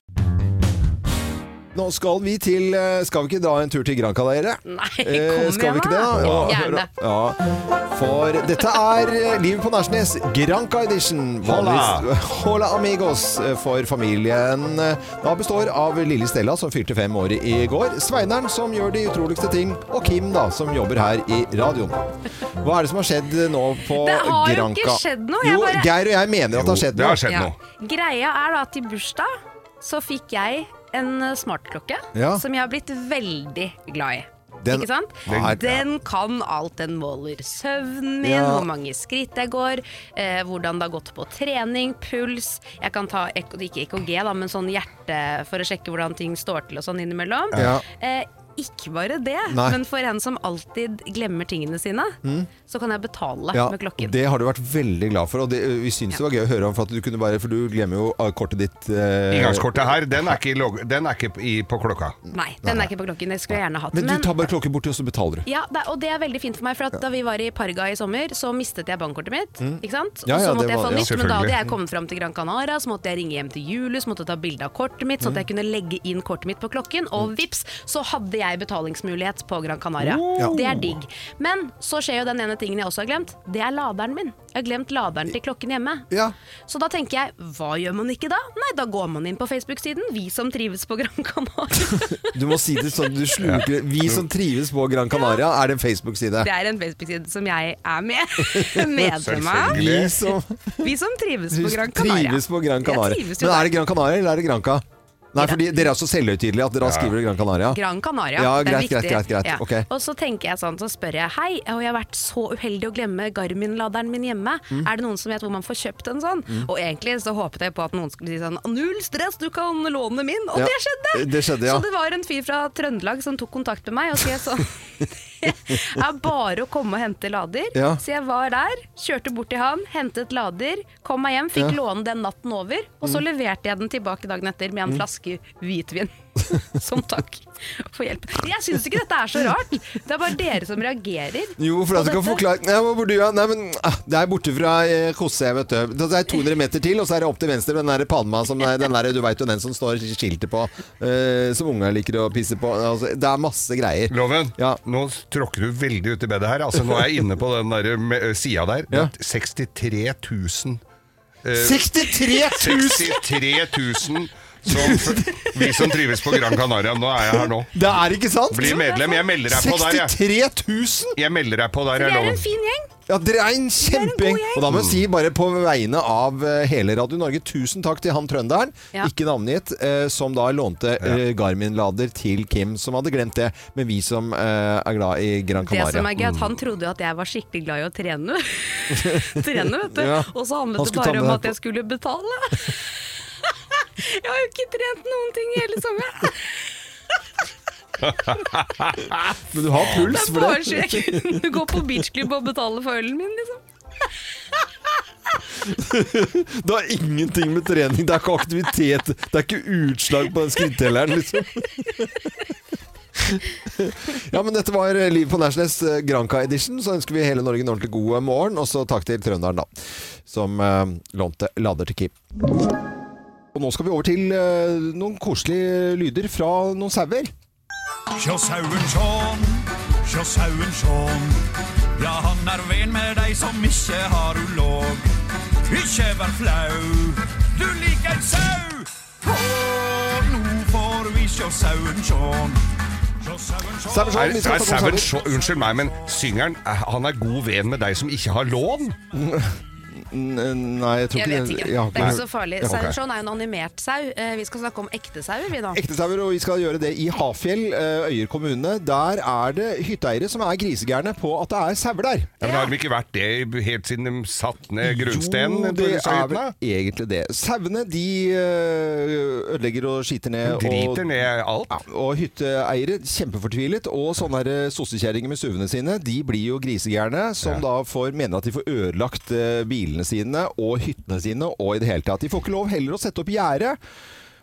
[SPEAKER 1] Nå skal vi til eh, Skal vi ikke dra en tur til Granca, dere?
[SPEAKER 3] Nei, kom
[SPEAKER 1] Eh,
[SPEAKER 3] igjen,
[SPEAKER 1] skal vi ikke det, da? Og
[SPEAKER 3] Gjerne.
[SPEAKER 1] høre- Ja. For dette er eh, Livet på Nærsnes, Granca edition. Vanligvis- Hola amigos eh, for familien. eh, Da består av lille Stella, som fylte fem år i går, Sveineren, som gjør de utroligste ting, og Kim, da, som jobber her i radioen. Hva er det som har skjedd nå på
[SPEAKER 3] Det har jo
[SPEAKER 1] Granca?
[SPEAKER 3] ikke skjedd noe, jeg
[SPEAKER 1] Jo,
[SPEAKER 3] bare-
[SPEAKER 1] Geir og jeg mener at det har skjedd
[SPEAKER 2] det
[SPEAKER 1] noe.
[SPEAKER 2] har skjedd
[SPEAKER 3] Ja.
[SPEAKER 2] nå.
[SPEAKER 3] Greia er da at i bursdag så fikk jeg en eh, smartklokke
[SPEAKER 1] Ja.
[SPEAKER 3] som jeg har blitt veldig glad i.
[SPEAKER 1] Den-
[SPEAKER 3] ikke sant?
[SPEAKER 1] Nei.
[SPEAKER 3] Den kan alt. Den måler søvnen min,
[SPEAKER 1] Ja.
[SPEAKER 3] hvor mange skritt jeg går, eh, hvordan det har gått på trening, puls. Jeg kan ta ek ikke EKG, da, men sånn hjerte for å sjekke hvordan ting står til og sånn innimellom.
[SPEAKER 1] Ja.
[SPEAKER 3] Eh, ikke bare det,
[SPEAKER 1] Nei. Mm.
[SPEAKER 3] men for en som alltid glemmer tingene sine, så kan jeg betale
[SPEAKER 1] Ja,
[SPEAKER 3] med klokken.
[SPEAKER 1] Det har du vært veldig glad for, og det, vi syns det var gøy å høre om, for at du kunne bare For du glemmer jo ah, kortet ditt eh,
[SPEAKER 2] Inngangskortet her, den er ikke, i log den er ikke i, på klokka.
[SPEAKER 3] Nei, den er ikke på klokken. Det skulle jeg gjerne hatt.
[SPEAKER 1] Men du tar bare klokken borti, og så betaler du.
[SPEAKER 3] Ja, det, og det er veldig fint for meg, for at da vi var i Parga i sommer, så mistet jeg bankkortet mitt. Ikke sant?
[SPEAKER 1] Mm. Ja, ja,
[SPEAKER 3] og
[SPEAKER 1] det
[SPEAKER 3] så måtte jeg
[SPEAKER 1] var-
[SPEAKER 3] få
[SPEAKER 1] ja,
[SPEAKER 3] nytt, men da
[SPEAKER 2] selvfølgelig.
[SPEAKER 3] hadde jeg kommet fram til Gran Canaria, så måtte jeg ringe hjem til Julius, måtte ta bilde av kortet mitt, sånn
[SPEAKER 1] Mm.
[SPEAKER 3] at jeg kunne legge inn kortet mitt på klokken, og vips, så hadde jeg betalingsmulighet på Gran Canaria.
[SPEAKER 1] Oh. Ja.
[SPEAKER 3] Det er digg. Men så skjer jo den ene tingen jeg også har glemt, det er laderen min. Jeg har glemt laderen til klokken hjemme.
[SPEAKER 1] Ja.
[SPEAKER 3] Så da tenker jeg, hva gjør man ikke da? Nei, da går man inn på Facebook-siden, vi som trives på Gran Canaria.
[SPEAKER 1] Du må si det sånn, du sluker det. Vi som trives på Gran Canaria, er det en Facebook-side.
[SPEAKER 3] Det er en Facebook-side som jeg er med. Medlem av.
[SPEAKER 1] Vi
[SPEAKER 2] Selvfølgelig.
[SPEAKER 1] som
[SPEAKER 3] Vi som trives
[SPEAKER 1] vi
[SPEAKER 3] på Gran Canaria.
[SPEAKER 1] trives på Gran Canaria.
[SPEAKER 3] Jeg trives
[SPEAKER 1] Men
[SPEAKER 3] jo
[SPEAKER 1] er
[SPEAKER 3] der.
[SPEAKER 1] det Gran Canaria, eller er det Granca? Nei, fordi dere er så selvhøytidelige at dere skriver Gran Canaria.
[SPEAKER 3] Gran Canaria.
[SPEAKER 1] Ja,
[SPEAKER 3] det er
[SPEAKER 1] greit, greit,
[SPEAKER 3] viktig.
[SPEAKER 1] greit, greit. Ok.
[SPEAKER 3] Og så tenker jeg sånn, så spør jeg hei, og jeg har vært så uheldig å glemme Garmin-laderen min hjemme.
[SPEAKER 1] Mm.
[SPEAKER 3] Er det noen som vet hvor man får kjøpt en sånn? Og egentlig så håpet jeg på at noen skulle si sånn null stress, du kan låne min. Og
[SPEAKER 1] Ja,
[SPEAKER 3] det skjedde!
[SPEAKER 1] det skjedde, ja.
[SPEAKER 3] Så det var en fyr fra Trøndelag som tok kontakt med meg og skrev sånn Det er bare å komme og hente lader.
[SPEAKER 1] Ja.
[SPEAKER 3] Så jeg var der, kjørte bort til han, hentet lader, kom meg hjem, fikk
[SPEAKER 1] Ja. Mm.
[SPEAKER 3] låne den natten over, og så leverte jeg den tilbake dagen etter med en flaske hvitvin. Som takk for hjelp. Jeg syns ikke dette er så rart. Det er bare dere som reagerer.
[SPEAKER 1] Jo, for at du kan
[SPEAKER 3] på dette.
[SPEAKER 1] forklare Nei, hvor bor du, ja? Nei, men ah, Det er borte fra eh, Kosse, vet du. Det er 200 meter til, og så er det opp til venstre den der Palma som er den der, Du veit jo den som står skiltet på, eh, som unga liker å pisse på. Altså, det er masse greier.
[SPEAKER 2] Loven,
[SPEAKER 1] Ja.
[SPEAKER 2] nå tråkker du veldig ut i bedet her. Altså, nå er jeg inne på den der me- sida der.
[SPEAKER 1] Ja.
[SPEAKER 2] 63 000
[SPEAKER 1] 63 000!
[SPEAKER 2] 63 000 som, vi som trives på Gran Canaria. Nå er jeg her nå.
[SPEAKER 1] Det er ikke sant?
[SPEAKER 2] Bli medlem. Jeg melder deg på der, jeg.
[SPEAKER 1] 63 000!
[SPEAKER 2] Jeg melder deg på der,
[SPEAKER 3] Dere
[SPEAKER 2] jeg
[SPEAKER 3] er
[SPEAKER 2] loven.
[SPEAKER 3] en fin gjeng.
[SPEAKER 1] Ja, dere er en
[SPEAKER 3] Det er
[SPEAKER 1] kjempegjeng.
[SPEAKER 3] en god gjeng.
[SPEAKER 1] Og da må jeg si bare på vegne av eh, hele Radio Norge, tusen takk til han trønderen,
[SPEAKER 3] Ja.
[SPEAKER 1] ikke navngitt, eh, som da lånte eh, Garmin-lader til Kim, som hadde glemt det. Men vi som eh, er glad i Gran
[SPEAKER 3] Det
[SPEAKER 1] Canaria.
[SPEAKER 3] som er gøy, at
[SPEAKER 1] Mm.
[SPEAKER 3] Han trodde jo at jeg var skikkelig glad i å trene. trene vet du.
[SPEAKER 1] Ja.
[SPEAKER 3] Og så
[SPEAKER 1] Han
[SPEAKER 3] handlet det
[SPEAKER 1] skulle ta
[SPEAKER 3] bare
[SPEAKER 1] med
[SPEAKER 3] om
[SPEAKER 1] deg
[SPEAKER 3] at jeg skulle betale. jeg har jo ikke trent noen ting i hele sommer.
[SPEAKER 1] Men du har
[SPEAKER 3] Det
[SPEAKER 1] puls
[SPEAKER 3] er
[SPEAKER 1] for
[SPEAKER 3] bare
[SPEAKER 1] det.
[SPEAKER 3] så jeg kunne gå på beachklubb og betale for ølen min, liksom.
[SPEAKER 1] Det har ingenting med trening, det er ikke aktivitet, det er ikke utslag på den skrittelleren, liksom. Ja, men dette var Liv på Nærsnes eh, Granca edition. Så ønsker vi hele Norge en ordentlig god eh, morgen. Og så takk til trønderen, da, som eh, lånte lader til Kim. Og nå skal vi over til eh, noen koselige lyder fra noen sauer.
[SPEAKER 7] Sjå sauen sjån, sjå sauen sjån. Ja, han er ven med dei som ikkje har ulåg. Ikkje vær flau, du liker ei sau. For nå får vi sjå sauen sjån.
[SPEAKER 1] Sauen Shaun,
[SPEAKER 2] Er,
[SPEAKER 1] vi skal
[SPEAKER 2] er
[SPEAKER 1] snakke om
[SPEAKER 2] Sauen
[SPEAKER 1] sauer.
[SPEAKER 2] Shaun- unnskyld meg, men syngeren er, han er god venn med deg som ikke har lån?
[SPEAKER 1] N- Nei, jeg tror
[SPEAKER 3] Jeg
[SPEAKER 1] ikke
[SPEAKER 3] vet ikke.
[SPEAKER 1] jeg har
[SPEAKER 3] Det er ikke så farlig.
[SPEAKER 1] Ja, ok.
[SPEAKER 3] Sauer Shaun er jo en animert sau. Eh, Vi skal snakke om ekte sauer, vi nå.
[SPEAKER 1] Ekte sauer, og vi skal gjøre det i Hafjell, eh, Øyer kommune. Der er det hytteeiere som er grisegærne på at det er sauer der.
[SPEAKER 2] Ja, men har de ikke vært det i- helt siden de satt ned grunnsteinen?
[SPEAKER 1] Jo,
[SPEAKER 2] til
[SPEAKER 1] det
[SPEAKER 2] disse
[SPEAKER 1] er vel
[SPEAKER 2] hyttene?
[SPEAKER 1] egentlig det. Sauene de øh, ødelegger og skiter ned.
[SPEAKER 2] Driter
[SPEAKER 1] og,
[SPEAKER 2] ned alt.
[SPEAKER 1] Ja, og hytteeiere kjempefortvilet, og sånne her eh, sossekjerringer med suvene sine, de blir jo grisegærne, som da får mene at de får ødelagt eh, bilene sine og hyttene sine, og i det hele tatt. De får ikke lov heller å sette opp gjerde.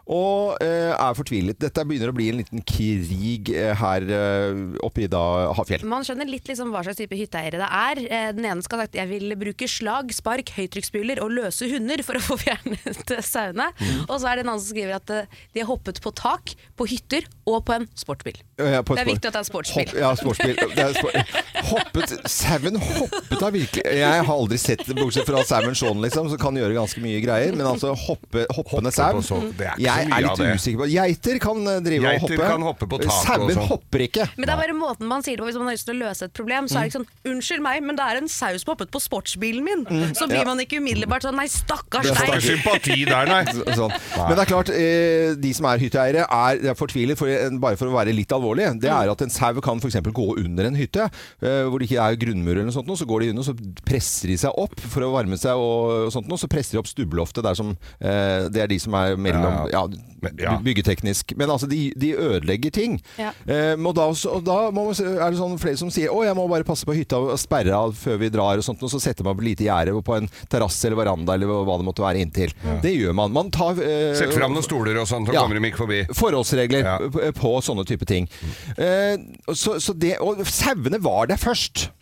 [SPEAKER 1] Og eh, er fortvilet. Dette begynner å bli en liten krig eh, her eh, oppe i da Hafjell.
[SPEAKER 3] Man skjønner litt liksom hva slags type hytteeiere det er. Eh, Den ene skal ha sagt jeg vil bruke slag, spark, høytrykksspyler og løse hunder for å få fjernet eh, sauene.
[SPEAKER 1] Mm.
[SPEAKER 3] Og så er det en annen som skriver at eh, de har hoppet på tak, på hytter og på en sportsbil.
[SPEAKER 1] Ja, på
[SPEAKER 3] Det
[SPEAKER 1] sport.
[SPEAKER 3] er viktig at det er sportsbil.
[SPEAKER 1] Hopp, ja, sportsbil. Det er spor- hoppet Sauen hoppet da virkelig Jeg har aldri sett det, bortsett fra Sauen Shaun, liksom, som kan gjøre ganske mye greier. Men altså hoppe, hoppende
[SPEAKER 2] Hoppe
[SPEAKER 1] sau
[SPEAKER 2] på så- det er
[SPEAKER 1] Jeg
[SPEAKER 2] ikke så mye
[SPEAKER 1] er
[SPEAKER 2] av
[SPEAKER 1] litt
[SPEAKER 2] det.
[SPEAKER 1] usikker på Geiter kan eh, drive
[SPEAKER 2] Geiter
[SPEAKER 1] og hoppe.
[SPEAKER 2] kan hoppe på tak og
[SPEAKER 1] Sauer
[SPEAKER 2] sånn.
[SPEAKER 1] hopper ikke.
[SPEAKER 3] Men det er bare måten man sier det på hvis man har lyst til å løse et problem. Så er det
[SPEAKER 1] Mm.
[SPEAKER 3] ikke sånn 'unnskyld meg, men det er en saus som hoppet på sportsbilen min'. Så blir man ikke umiddelbart sånn 'nei,
[SPEAKER 1] Mm.
[SPEAKER 3] stakkars
[SPEAKER 1] Det er
[SPEAKER 2] Det er
[SPEAKER 1] stakkars.
[SPEAKER 3] deg'.
[SPEAKER 2] sympati der, nei.
[SPEAKER 1] Så- Sånn. Men det er klart, eh, de som er hytteeiere er, er fortvilet, for, en- bare for å være litt alvorlig. Det er at en sau kan f.eks. gå under en hytte, eh, hvor det ikke er grunnmur eller noe sånt, og så går de under, og så presser de seg opp for å varme seg, og, og sånt, og så presser de opp stubbeloftet. Der som, eh, det er de som er mellom ja,
[SPEAKER 2] Ja, Men- ja.
[SPEAKER 1] Byggeteknisk. Men altså, de, de ødelegger ting.
[SPEAKER 3] Ja.
[SPEAKER 1] Eh, og da, også, og da må, man se- er det sånn flere som sier å, jeg må bare passe på hytta og sperre av før vi drar, og sånt, og så setter man opp lite gjerde på en terrasse eller veranda eller hva det måtte være inntil. Det gjør man. Man tar eh,
[SPEAKER 2] Sett fram noen stoler og sånn, så
[SPEAKER 1] Ja.
[SPEAKER 2] kommer de ikke forbi.
[SPEAKER 1] Forholdsregler
[SPEAKER 2] Ja.
[SPEAKER 1] på, på sånne type ting. Eh, så, så det, og sauene var der først.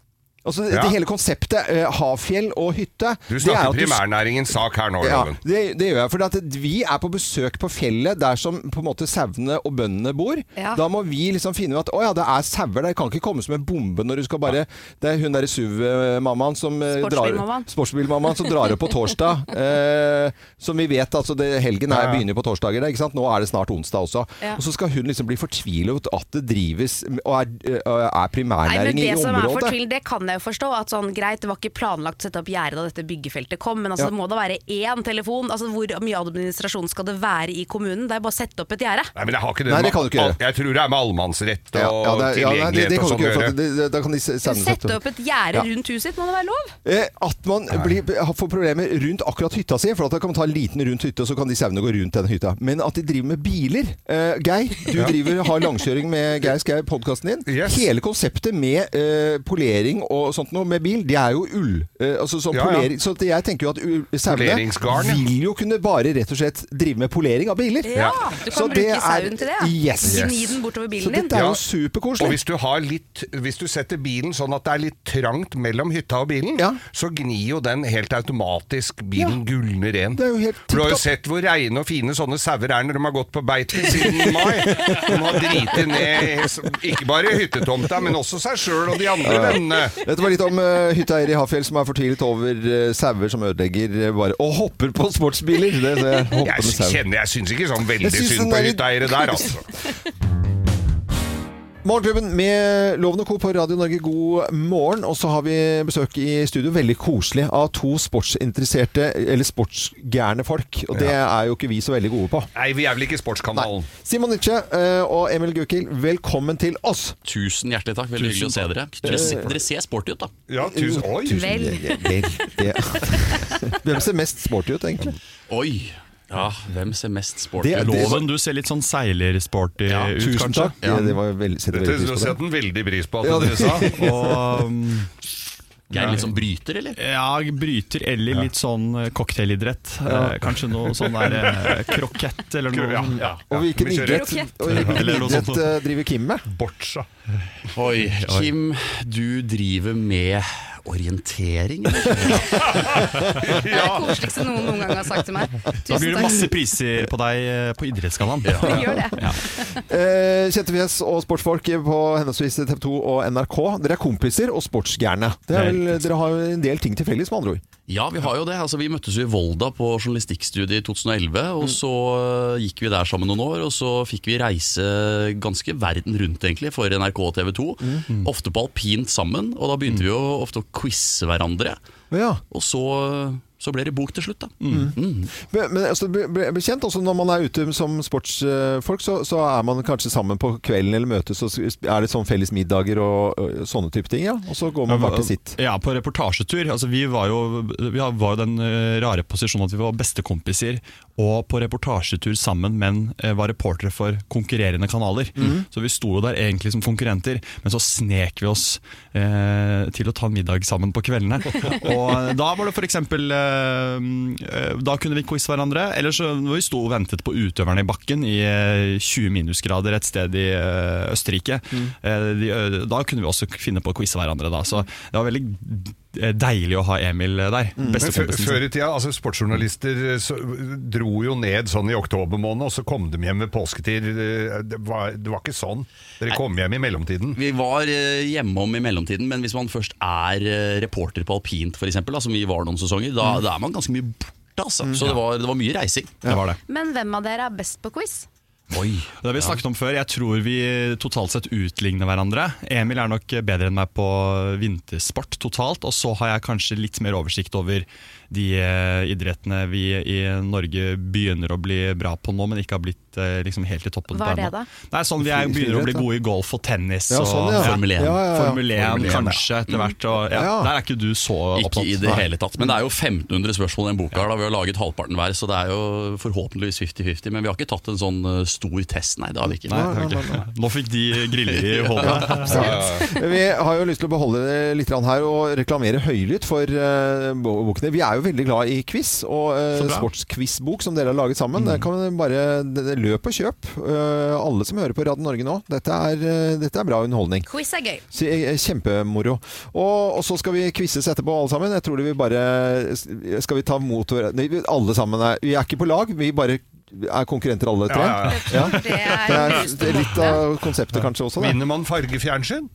[SPEAKER 1] Altså,
[SPEAKER 2] Ja.
[SPEAKER 1] Det hele konseptet eh, havfjell og hytte
[SPEAKER 2] Du
[SPEAKER 1] det er at
[SPEAKER 2] snakker
[SPEAKER 1] du-
[SPEAKER 2] primærnæringens sak her nå,
[SPEAKER 1] ja,
[SPEAKER 2] Loven.
[SPEAKER 1] det, det gjør jeg. For at vi er på besøk på fjellet der som på en måte sauene og bøndene bor.
[SPEAKER 3] Ja.
[SPEAKER 1] Da må vi liksom finne ut at å ja, det er sauer der. Det kan ikke komme som en bombe når du skal bare Det er hun derre SUV-mammaen som eh, drar
[SPEAKER 3] Sportsbilmammaen.
[SPEAKER 1] Sportsbilmammaen som drar opp på torsdag. eh, som vi vet, altså det, helgen her
[SPEAKER 2] Ja, ja.
[SPEAKER 1] begynner på torsdager. da, Ikke sant? Nå er det snart onsdag også.
[SPEAKER 3] Ja.
[SPEAKER 1] Og så skal hun liksom bli fortvilet at det drives og er, eh, er
[SPEAKER 3] Nei, men
[SPEAKER 1] primærnæring
[SPEAKER 3] det
[SPEAKER 1] i
[SPEAKER 3] som er
[SPEAKER 1] området.
[SPEAKER 3] fortvilt, det kan jeg jo forstå. At sånn, greit, Det var ikke planlagt å sette opp gjerde da dette byggefeltet kom, men altså,
[SPEAKER 1] Ja.
[SPEAKER 3] det må da være én telefon? Altså, Hvor mye administrasjon skal det være i kommunen? Det er jo bare å sette opp et gjerde.
[SPEAKER 2] Nei, men jeg har ikke det,
[SPEAKER 1] Nei,
[SPEAKER 2] med-
[SPEAKER 1] det kan du ikke gjøre.
[SPEAKER 2] Jeg tror det er med allemannsrett og
[SPEAKER 1] Ja, ja, det, ja, nei, det, det
[SPEAKER 2] tilgjengelighet
[SPEAKER 1] kan du
[SPEAKER 2] og sånn
[SPEAKER 1] ikke
[SPEAKER 2] å
[SPEAKER 1] gjøre. for at
[SPEAKER 2] gjøre.
[SPEAKER 1] det, det, da kan de se- sende
[SPEAKER 3] Sette opp et gjerde
[SPEAKER 1] Ja.
[SPEAKER 3] rundt huset sitt, må det være lov?
[SPEAKER 1] Eh, At man blir, får problemer rundt akkurat hytta si, for at da kan man ta en liten rundt hytte, og så kan de sauene gå rundt denne hytta. Men at de driver med biler eh, Geir, du driver, har langkjøring med Geir Skau, podkasten din.
[SPEAKER 2] Yes.
[SPEAKER 1] Hele konseptet med eh, polering og sånt noe med bil, det er jo ull. Eh, altså sånn
[SPEAKER 2] Ja, ja.
[SPEAKER 1] polering, Så at jeg tenker jo at u-
[SPEAKER 2] Poleringsgarn,
[SPEAKER 1] sauene
[SPEAKER 2] ja.
[SPEAKER 1] vil jo kunne bare rett og slett drive med polering av biler.
[SPEAKER 3] Ja,
[SPEAKER 2] Ja.
[SPEAKER 3] Du kan
[SPEAKER 1] Så det
[SPEAKER 3] bruke
[SPEAKER 1] er-
[SPEAKER 3] sauen til det. ja.
[SPEAKER 1] Yes.
[SPEAKER 3] Gni
[SPEAKER 2] Yes.
[SPEAKER 3] den bortover
[SPEAKER 1] Så
[SPEAKER 3] bilen din.
[SPEAKER 1] dette er
[SPEAKER 2] Ja.
[SPEAKER 1] jo superkoselig.
[SPEAKER 2] Og hvis du, har litt, hvis du setter bilen sånn at det er litt trangt mellom hytta og bilen,
[SPEAKER 1] Ja.
[SPEAKER 2] så gnir jo den helt automatisk. Bilen gulner ren.
[SPEAKER 1] Det er jo helt
[SPEAKER 2] For du har
[SPEAKER 1] tipp-topp.
[SPEAKER 2] jo sett hvor reine og fine sånne sauer er når de har gått på beite siden mai. De har driti ned ikke bare hyttetomta, men også seg sjøl og de andre vennene.
[SPEAKER 1] Dette var litt om uh, hytteeiere i Hafjell som er fortvilet over eh, sauer som ødelegger eh, bare Og hopper på sportsbiler! Det, det, hopper
[SPEAKER 2] Jeg
[SPEAKER 1] med sau.
[SPEAKER 2] kjenner, jeg syns ikke sånn veldig
[SPEAKER 1] Jeg synes den
[SPEAKER 2] synd på
[SPEAKER 1] er litt-
[SPEAKER 2] hytteeiere der, altså.
[SPEAKER 1] Morgenklubben med Loven og Co. på Radio Norge, god morgen. Og så har vi besøk i studio, veldig koselig, av to sportsinteresserte, eller sportsgærne folk. Og det er jo ikke vi så veldig gode på.
[SPEAKER 2] Nei, vi er vel ikke
[SPEAKER 1] Nei.
[SPEAKER 2] Sportskanalen.
[SPEAKER 1] Simon Nitsche eh, og Emil Gukild, velkommen til oss!
[SPEAKER 8] Tusen hjertelig takk. Veldig hyggelig å se dere. Dere ser, dere ser sporty ut, da.
[SPEAKER 2] Ja, tusen, oi.
[SPEAKER 3] Vel.
[SPEAKER 1] Vel, det- Hvem ser mest sporty ut, egentlig?
[SPEAKER 8] Oi! Ja, hvem ser mest sporty
[SPEAKER 1] Det-
[SPEAKER 8] ut?
[SPEAKER 1] det-
[SPEAKER 8] Loven.
[SPEAKER 9] Loven, du ser litt sånn seilersporty
[SPEAKER 8] Ja,
[SPEAKER 9] ut,
[SPEAKER 1] Tusen
[SPEAKER 9] kanskje.
[SPEAKER 1] takk. Ja. Det var veldig, setter
[SPEAKER 2] Dette
[SPEAKER 1] veldig pris på det.
[SPEAKER 2] setter den veldig pris på at
[SPEAKER 1] Ja,
[SPEAKER 2] dere
[SPEAKER 1] det-
[SPEAKER 2] sa.
[SPEAKER 9] Og um,
[SPEAKER 8] Geir litt sånn bryter, eller?
[SPEAKER 9] ja, bryter eller litt sånn eh, cocktailidrett. Eh, Kanskje noe sånn der eh, krokett eller noe.
[SPEAKER 2] Ja, ja.
[SPEAKER 1] Og hvilken
[SPEAKER 2] Vi kjører
[SPEAKER 1] idrett, og hvilken
[SPEAKER 9] Eller noe sånt.
[SPEAKER 1] idrett eh, driver Kim med?
[SPEAKER 2] Boccia.
[SPEAKER 8] Oi, Kim, du driver med orientering, eller?
[SPEAKER 3] Det er det koseligste noen noen gang har sagt til meg.
[SPEAKER 9] Da blir
[SPEAKER 3] Tusen
[SPEAKER 9] det
[SPEAKER 3] takk.
[SPEAKER 9] masse priser på deg eh, på Idrettsgallaen.
[SPEAKER 3] Gjør det.
[SPEAKER 1] Eh, eh, kjente fjes og sportsfolk på henholdsvis TV 2 og NRK. Dere er kompiser og sportsgærne. Det er vel, dere har jo en del ting til felles, med andre ord.
[SPEAKER 8] Ja, vi har jo det. Altså, vi møttes jo i Volda på journalistikkstudiet i 2011. Og så øh, gikk vi der sammen noen år, og så fikk vi reise ganske verden rundt egentlig for NRK og TV 2. Ofte på alpint sammen, og da begynte vi jo ofte å quize hverandre.
[SPEAKER 1] Ja.
[SPEAKER 8] Og så, så ble det bok til slutt, da. Mm.
[SPEAKER 1] Men, men altså, ble, ble ble kjent også når man er ute som sportsfolk, så, så er man kanskje sammen på kvelden eller møtes, og så er det sånn felles middager og, og sånne type ting, ja. Og så går man bare til sitt.
[SPEAKER 9] Ja, på reportasjetur. Altså, vi var jo vi var jo den eh, rare posisjonen at vi var bestekompiser, og på reportasjetur sammen, men eh, var reportere for konkurrerende kanaler. Så vi sto jo der egentlig som konkurrenter, men så snek vi oss eh, til å ta en middag sammen på kveldene. og da var det for eksempel eh, eh, Da kunne vi quize hverandre, eller så når vi sto og ventet på utøverne i bakken i eh, 20 minusgrader et sted i eh, Østerrike. Eh, de, ø- da kunne vi også finne på å quize hverandre, da. Så det var veldig eh, deilig å ha Emil eh, der.
[SPEAKER 2] Før
[SPEAKER 9] Bestekompisen.
[SPEAKER 2] før i tida, altså sportsjournalister eh, så, dro jo ned sånn i oktober måned, og så kom de hjem ved påsketid. Eh, Det var, det var ikke sånn. Dere kom hjem i mellomtiden.
[SPEAKER 8] Vi var eh, hjemom i mellomtiden, men hvis man først er eh, reporter på alpint, for eksempel, da, som vi var noen sesonger, da, da er man ganske mye borte. Altså. Så det var, det var mye reising.
[SPEAKER 9] Det var det.
[SPEAKER 3] Men hvem av dere er best på quiz?
[SPEAKER 9] Det har vi snakket om før. Jeg tror vi totalt sett utligner hverandre. Emil er nok bedre enn meg på vintersport totalt, og så har jeg kanskje litt mer oversikt over de eh, idrettene vi i Norge begynner å bli bra på nå, men ikke har blitt eh, liksom helt i toppen
[SPEAKER 4] Hva er
[SPEAKER 9] på
[SPEAKER 4] det
[SPEAKER 9] ennå.
[SPEAKER 4] da?
[SPEAKER 9] Det er sånn vi er, begynner å bli gode i golf og tennis
[SPEAKER 1] Ja,
[SPEAKER 9] og
[SPEAKER 1] sånn, ja.
[SPEAKER 8] Formel 1.
[SPEAKER 1] Ja, ja, ja.
[SPEAKER 9] Formel 1 kanskje etter hvert. Og, ja,
[SPEAKER 1] Ja.
[SPEAKER 9] Der er ikke du så opptatt.
[SPEAKER 8] Ikke i det hele tatt. Men det er jo 1500 spørsmål i den boka, her, da vi har laget halvparten hver, så det er jo forhåpentligvis 50-50. Men vi har ikke tatt en sånn eh, stor test, nei. Det har vi ikke.
[SPEAKER 9] Nei, det er ikke. Nå fikk de griller i hodet.
[SPEAKER 1] Vi har jo lyst til å beholde det litt grann her og reklamere høylytt for eh, bo- bokene. Vi er jo veldig glad i quiz, og uh, sportsquiz-bok som dere har laget sammen.
[SPEAKER 2] Mm.
[SPEAKER 1] Det kan man bare det- det- løp og kjøp. Eh, alle som hører på Radio Norge nå, dette er, eh, dette er bra underholdning.
[SPEAKER 3] Quiz er gøy.
[SPEAKER 1] Så, eh, Kjempemoro. Og, og så skal vi quizzes etterpå, alle sammen. Jeg tror det vi bare Skal vi ta mot hver- Nei, vi- Alle sammen er Vi er ikke på lag, vi bare er konkurrenter alle tre.
[SPEAKER 2] Ja, ja,
[SPEAKER 1] Ja.
[SPEAKER 3] Det er,
[SPEAKER 1] Det er det er litt av konseptet kanskje også. Det.
[SPEAKER 2] Vinner man fargefjernsyn?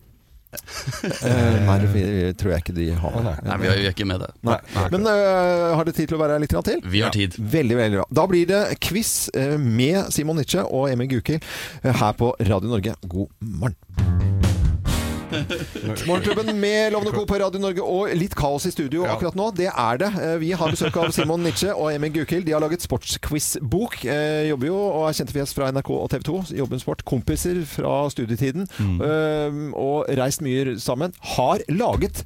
[SPEAKER 1] Eh, Nei, det det tror jeg ikke de har.
[SPEAKER 8] Nei, vi er, vi er ikke med det.
[SPEAKER 1] Nei. Men øh, har dere tid til å være her litt grann til?
[SPEAKER 8] Vi har tid.
[SPEAKER 1] Veldig, veldig bra. Da blir det quiz eh, med Simon Nitsche og Emil Gukild eh, her på Radio Norge. God morgen. Morgenklubben med Lovende Co på Radio Norge og litt kaos i studio
[SPEAKER 2] Ja.
[SPEAKER 1] akkurat nå. Det er det. Eh, Vi har besøk av Simon Nitsche og Emil Gukild. De har laget sportsquiz-bok. Eh, Jobber jo og er kjente fjes fra NRK og TV 2. Jobber med sport. Kompiser fra studietiden. Eh, Og reist mye sammen. Har laget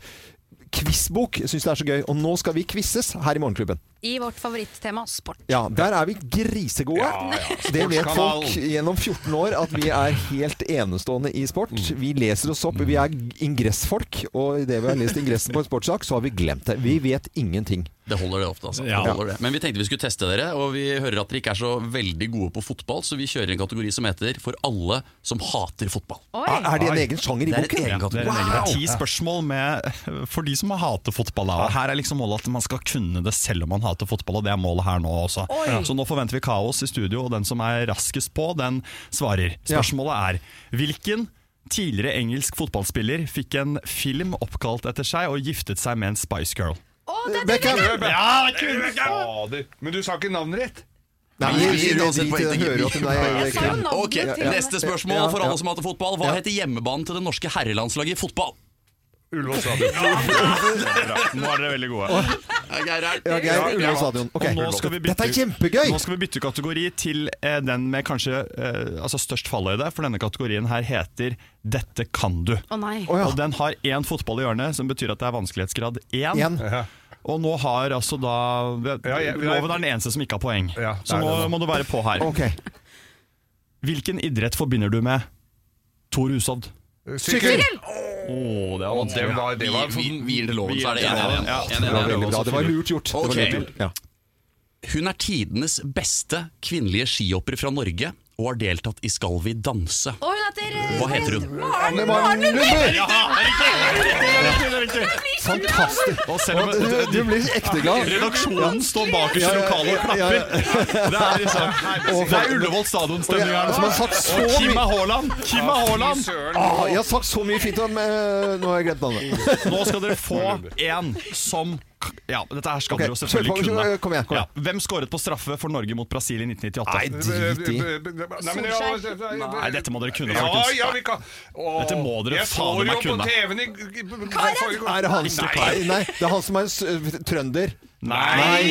[SPEAKER 1] quizbok. Jeg syns det er så gøy. Og nå skal vi quizes her i Morgenklubben.
[SPEAKER 3] I vårt favorittema sport.
[SPEAKER 1] Ja, der er vi grisegode. Det vet folk gjennom 14 år at vi er helt enestående i sport. Vi leser oss opp. Vi er ingressfolk, og idet vi har lest ingressen på en sportssak, så har vi glemt det. Vi vet ingenting.
[SPEAKER 8] Det holder det ofte, altså.
[SPEAKER 9] Ja.
[SPEAKER 8] Det holder det. Men vi tenkte vi skulle teste dere, og vi hører at dere ikke er så veldig gode på fotball, så vi kjører en kategori som heter For alle som hater fotball.
[SPEAKER 1] Ah, Er er det en egen sjanger i
[SPEAKER 8] Det er en egen
[SPEAKER 1] boken?
[SPEAKER 9] Det er,
[SPEAKER 8] kategori.
[SPEAKER 9] en egen- det er ti spørsmål med, for de som hater fotball. Da. Her er liksom målet at man skal kunne det selv om man hater fotball, og det er målet her nå også. Så nå forventer vi kaos i studio, og den som er raskest på, den svarer. Spørsmålet er hvilken tidligere engelsk fotballspiller fikk en film oppkalt etter seg og giftet seg med en Spice Girl?
[SPEAKER 1] Beckham!
[SPEAKER 9] Ja,
[SPEAKER 2] Fader. Men du sa ikke navnet ditt.
[SPEAKER 1] Nei,
[SPEAKER 8] Vi
[SPEAKER 1] vi
[SPEAKER 8] gir
[SPEAKER 1] gir
[SPEAKER 8] oss et poeng til Kim.
[SPEAKER 3] Jeg sa jo navnet
[SPEAKER 8] Ok,
[SPEAKER 3] til og med.
[SPEAKER 8] Neste
[SPEAKER 1] Ja,
[SPEAKER 8] spørsmål for
[SPEAKER 1] ja.
[SPEAKER 8] alle som hater fotball. Hva heter hjemmebanen til det norske herrelandslaget i fotball?
[SPEAKER 2] Ullevål stadion.
[SPEAKER 9] Nå er dere veldig gode.
[SPEAKER 1] Ja, Geir, Ullevål stadion. Ok.
[SPEAKER 9] Og nå skal vi bytte
[SPEAKER 1] Dette er
[SPEAKER 9] ut-
[SPEAKER 1] kjempegøy!
[SPEAKER 9] Nå skal vi bytte kategori til eh, den med kanskje eh, altså størst falløyde, for denne kategorien her heter 'Dette kan du'.
[SPEAKER 3] Å nei.
[SPEAKER 1] Å ja.
[SPEAKER 9] Og den har én fotball i hjørnet, som betyr at det er vanskelighetsgrad én.
[SPEAKER 1] Igjen.
[SPEAKER 9] Og nå har altså da
[SPEAKER 2] Ja, jeg-
[SPEAKER 9] Loven er den eneste som ikke har poeng.
[SPEAKER 2] Ja, det
[SPEAKER 9] så
[SPEAKER 2] er
[SPEAKER 9] nå
[SPEAKER 2] det.
[SPEAKER 9] må du være på her.
[SPEAKER 1] Ok.
[SPEAKER 9] Hvilken idrett forbinder du med Tor Hushovd?
[SPEAKER 2] Sykkel!
[SPEAKER 8] Oh, det var
[SPEAKER 2] Det var- det var-
[SPEAKER 8] vi, vi, vi gir den til loven, så er det
[SPEAKER 9] Vi gir den til loven,
[SPEAKER 8] 1-1.
[SPEAKER 9] ja.
[SPEAKER 1] Det var veldig bra. Det var lurt gjort. Det var
[SPEAKER 8] Ok.
[SPEAKER 1] lurt gjort. Ja.
[SPEAKER 8] Hun er tidenes beste kvinnelige skihopper fra Norge og har deltatt i Skal vi danse.
[SPEAKER 3] Å, hun er heter eh,
[SPEAKER 8] Hva heter hun?
[SPEAKER 3] Maren,
[SPEAKER 1] Anne Maren
[SPEAKER 3] Maren Lundby!
[SPEAKER 1] Lundby!
[SPEAKER 6] Ja, er det ikke?
[SPEAKER 1] Fantastisk!
[SPEAKER 9] Og selv om
[SPEAKER 1] Og Du, du blir ekte glad.
[SPEAKER 9] redaksjonen står bakerst i lokalet og klapper Det er liksom Det er Ullevål stadion-stemning her.
[SPEAKER 1] Og jeg- som har sagt så
[SPEAKER 9] Og Kim
[SPEAKER 1] mye-
[SPEAKER 9] er Haaland! Kim er Haaland!
[SPEAKER 1] Ah, jeg har sagt så mye fint om eh, Nå har jeg glemt navnet.
[SPEAKER 9] Nå skal dere få en som Ja, dette her skal
[SPEAKER 1] Ok,
[SPEAKER 9] dere jo selvfølgelig
[SPEAKER 1] kjør på,
[SPEAKER 9] kunne.
[SPEAKER 1] kom igjen, kom igjen.
[SPEAKER 9] Ja, hvem skåret på straffe for Norge mot Brasil i 1998?
[SPEAKER 1] drit i.
[SPEAKER 2] Nei, men ja,
[SPEAKER 9] Nei, dette må dere kunne,
[SPEAKER 2] Ja,
[SPEAKER 9] folkens.
[SPEAKER 2] ja, vi kan Åh,
[SPEAKER 9] Dette må dere
[SPEAKER 2] Jeg så
[SPEAKER 9] fader
[SPEAKER 2] jo
[SPEAKER 9] meg
[SPEAKER 2] på
[SPEAKER 9] kunne.
[SPEAKER 2] TV-en i Karen!
[SPEAKER 1] Er det han som Nei, nei, det er han som er en s- trønder.
[SPEAKER 9] Nei!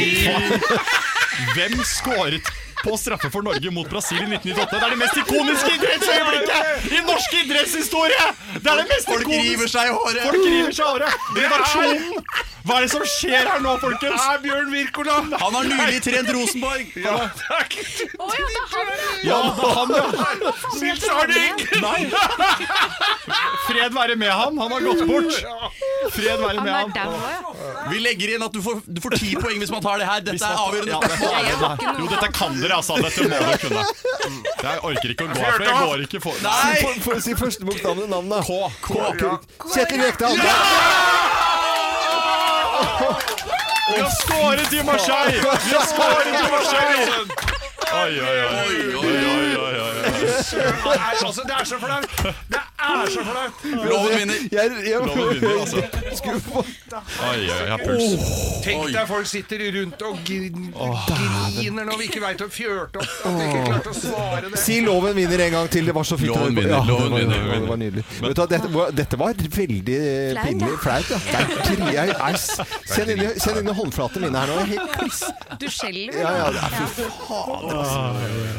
[SPEAKER 9] Hvem skåret på straffe for Norge mot Brasil i 1998? Det er det mest ikoniske idrettsøyeblikket i norsk idrettshistorie! Det er det mest
[SPEAKER 8] Folk
[SPEAKER 9] ikoniske-
[SPEAKER 8] river seg i håret.
[SPEAKER 9] Folk river seg i håret! Redaksjonen! Hva er det som skjer her nå, folkens?
[SPEAKER 2] Er Bjørn Wirkola!
[SPEAKER 8] Han har nylig trent Rosenborg!
[SPEAKER 2] Ja, takk!
[SPEAKER 3] Å ja, det er han, ja.
[SPEAKER 9] Ja, han, ja.
[SPEAKER 2] Nils Arning!
[SPEAKER 9] Nei! Fred være med ham. Han har gått bort. Fred være med
[SPEAKER 3] Han er
[SPEAKER 9] ham.
[SPEAKER 3] dau òg, ja.
[SPEAKER 8] Vi legger inn at du får, du får ti poeng hvis man tar det her. Dette er
[SPEAKER 9] Ja,
[SPEAKER 8] avgjørende.
[SPEAKER 9] det er- jo, dette kan dere, altså. Dette må dere kunne. Mm. Jeg orker ikke å gå her, for jeg går ikke for
[SPEAKER 8] Nei!
[SPEAKER 1] For, for å si første bokstaven i navnet.
[SPEAKER 9] K. K.
[SPEAKER 1] Kjetil Rekdal. Ja!
[SPEAKER 9] Vi har skåret i Marseille! Vi har skåret i Marseille! Oi, oi, oi. oi, oi, oi, oi.
[SPEAKER 2] Det er altså, det er så flaut! Det er så flaut!
[SPEAKER 8] Loven vinner.
[SPEAKER 1] Jeg, jeg,
[SPEAKER 9] Loven vinner, altså.
[SPEAKER 1] Skulle få-
[SPEAKER 9] Oi, oi, jeg har puls.
[SPEAKER 2] Tenk
[SPEAKER 8] Oi.
[SPEAKER 2] deg folk sitter rundt og grin, griner når vi ikke veit å fjørte opp. At de ikke klarte å svare det.
[SPEAKER 1] Si 'Loven vinner' en gang til. Det var så fint.
[SPEAKER 8] Loven vinner,
[SPEAKER 1] Ja, det
[SPEAKER 8] loven
[SPEAKER 1] var-
[SPEAKER 8] vinner,
[SPEAKER 1] det var- Det var nydelig. Vet du, hva, dette, var- dette var veldig
[SPEAKER 3] Flaut,
[SPEAKER 1] pinlig.
[SPEAKER 3] ja.
[SPEAKER 1] Flaut, ja. Det er kri- jeg er s- Kjenn inn i- kjenn inn i håndflatene mine her nå. Helt piss.
[SPEAKER 3] Du skjelver.
[SPEAKER 1] Ja, ja, det er fy faen.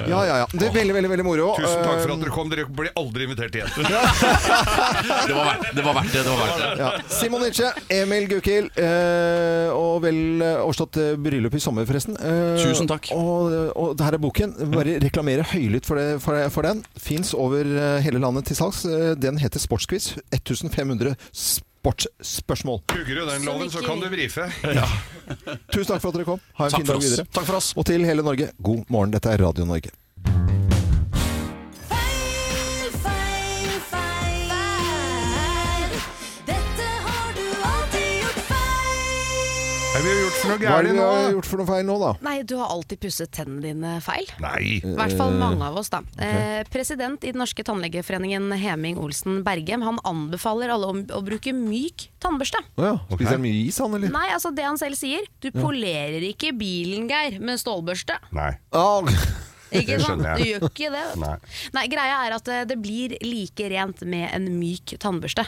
[SPEAKER 1] Ja, ja, ja. Det er veldig, veldig, veldig moro.
[SPEAKER 2] Tusen takk for at dere kom. Dere blir aldri invitert igjen.
[SPEAKER 8] Det var verdt det. var verdt det, det, var verdt det.
[SPEAKER 1] Ja. Simon Nietzsche, Emil Gukild, eh, og vel eh, overstått eh, bryllup i sommer, forresten. Eh,
[SPEAKER 8] Tusen takk.
[SPEAKER 1] Og, og det her er boken. Bare reklamere høylytt for, det, for, for den. Fins over eh, hele landet til salgs. Eh, Den heter Sportsquiz. 1500 sportsspørsmål.
[SPEAKER 2] Hugger du den loven, så kan du vrife.
[SPEAKER 1] Tusen takk for at dere kom. Ha en
[SPEAKER 8] Takk
[SPEAKER 1] fin
[SPEAKER 8] for
[SPEAKER 1] dag
[SPEAKER 8] oss.
[SPEAKER 1] videre.
[SPEAKER 8] Takk for oss.
[SPEAKER 1] Og til hele Norge, god morgen. Dette er Radio Norge.
[SPEAKER 10] Feil, feil, feil. Dette har du alltid gjort feil.
[SPEAKER 2] Hva har vi gjort for noe
[SPEAKER 1] Hva er det
[SPEAKER 2] gærent
[SPEAKER 1] vi
[SPEAKER 2] nå?
[SPEAKER 1] har gjort for noe feil nå, da?
[SPEAKER 3] Nei, du har alltid pusset tennene dine feil.
[SPEAKER 2] Nei.
[SPEAKER 3] I hvert fall mange av oss, da. Eh, president i den norske tannlegeforeningen Heming Olsen Bergem han anbefaler alle om å bruke myk tannbørste.
[SPEAKER 1] Å ja. Spiser han mye is, han, eller?
[SPEAKER 3] Nei, altså det han selv sier. Du polerer ikke bilen, Geir, med stålbørste.
[SPEAKER 2] Nei.
[SPEAKER 1] Ah,
[SPEAKER 3] Ikke sant?
[SPEAKER 2] skjønner
[SPEAKER 3] Du
[SPEAKER 2] jeg.
[SPEAKER 3] gjør ikke det.
[SPEAKER 2] Nei.
[SPEAKER 3] Nei, greia er at eh, det blir like rent med en myk tannbørste.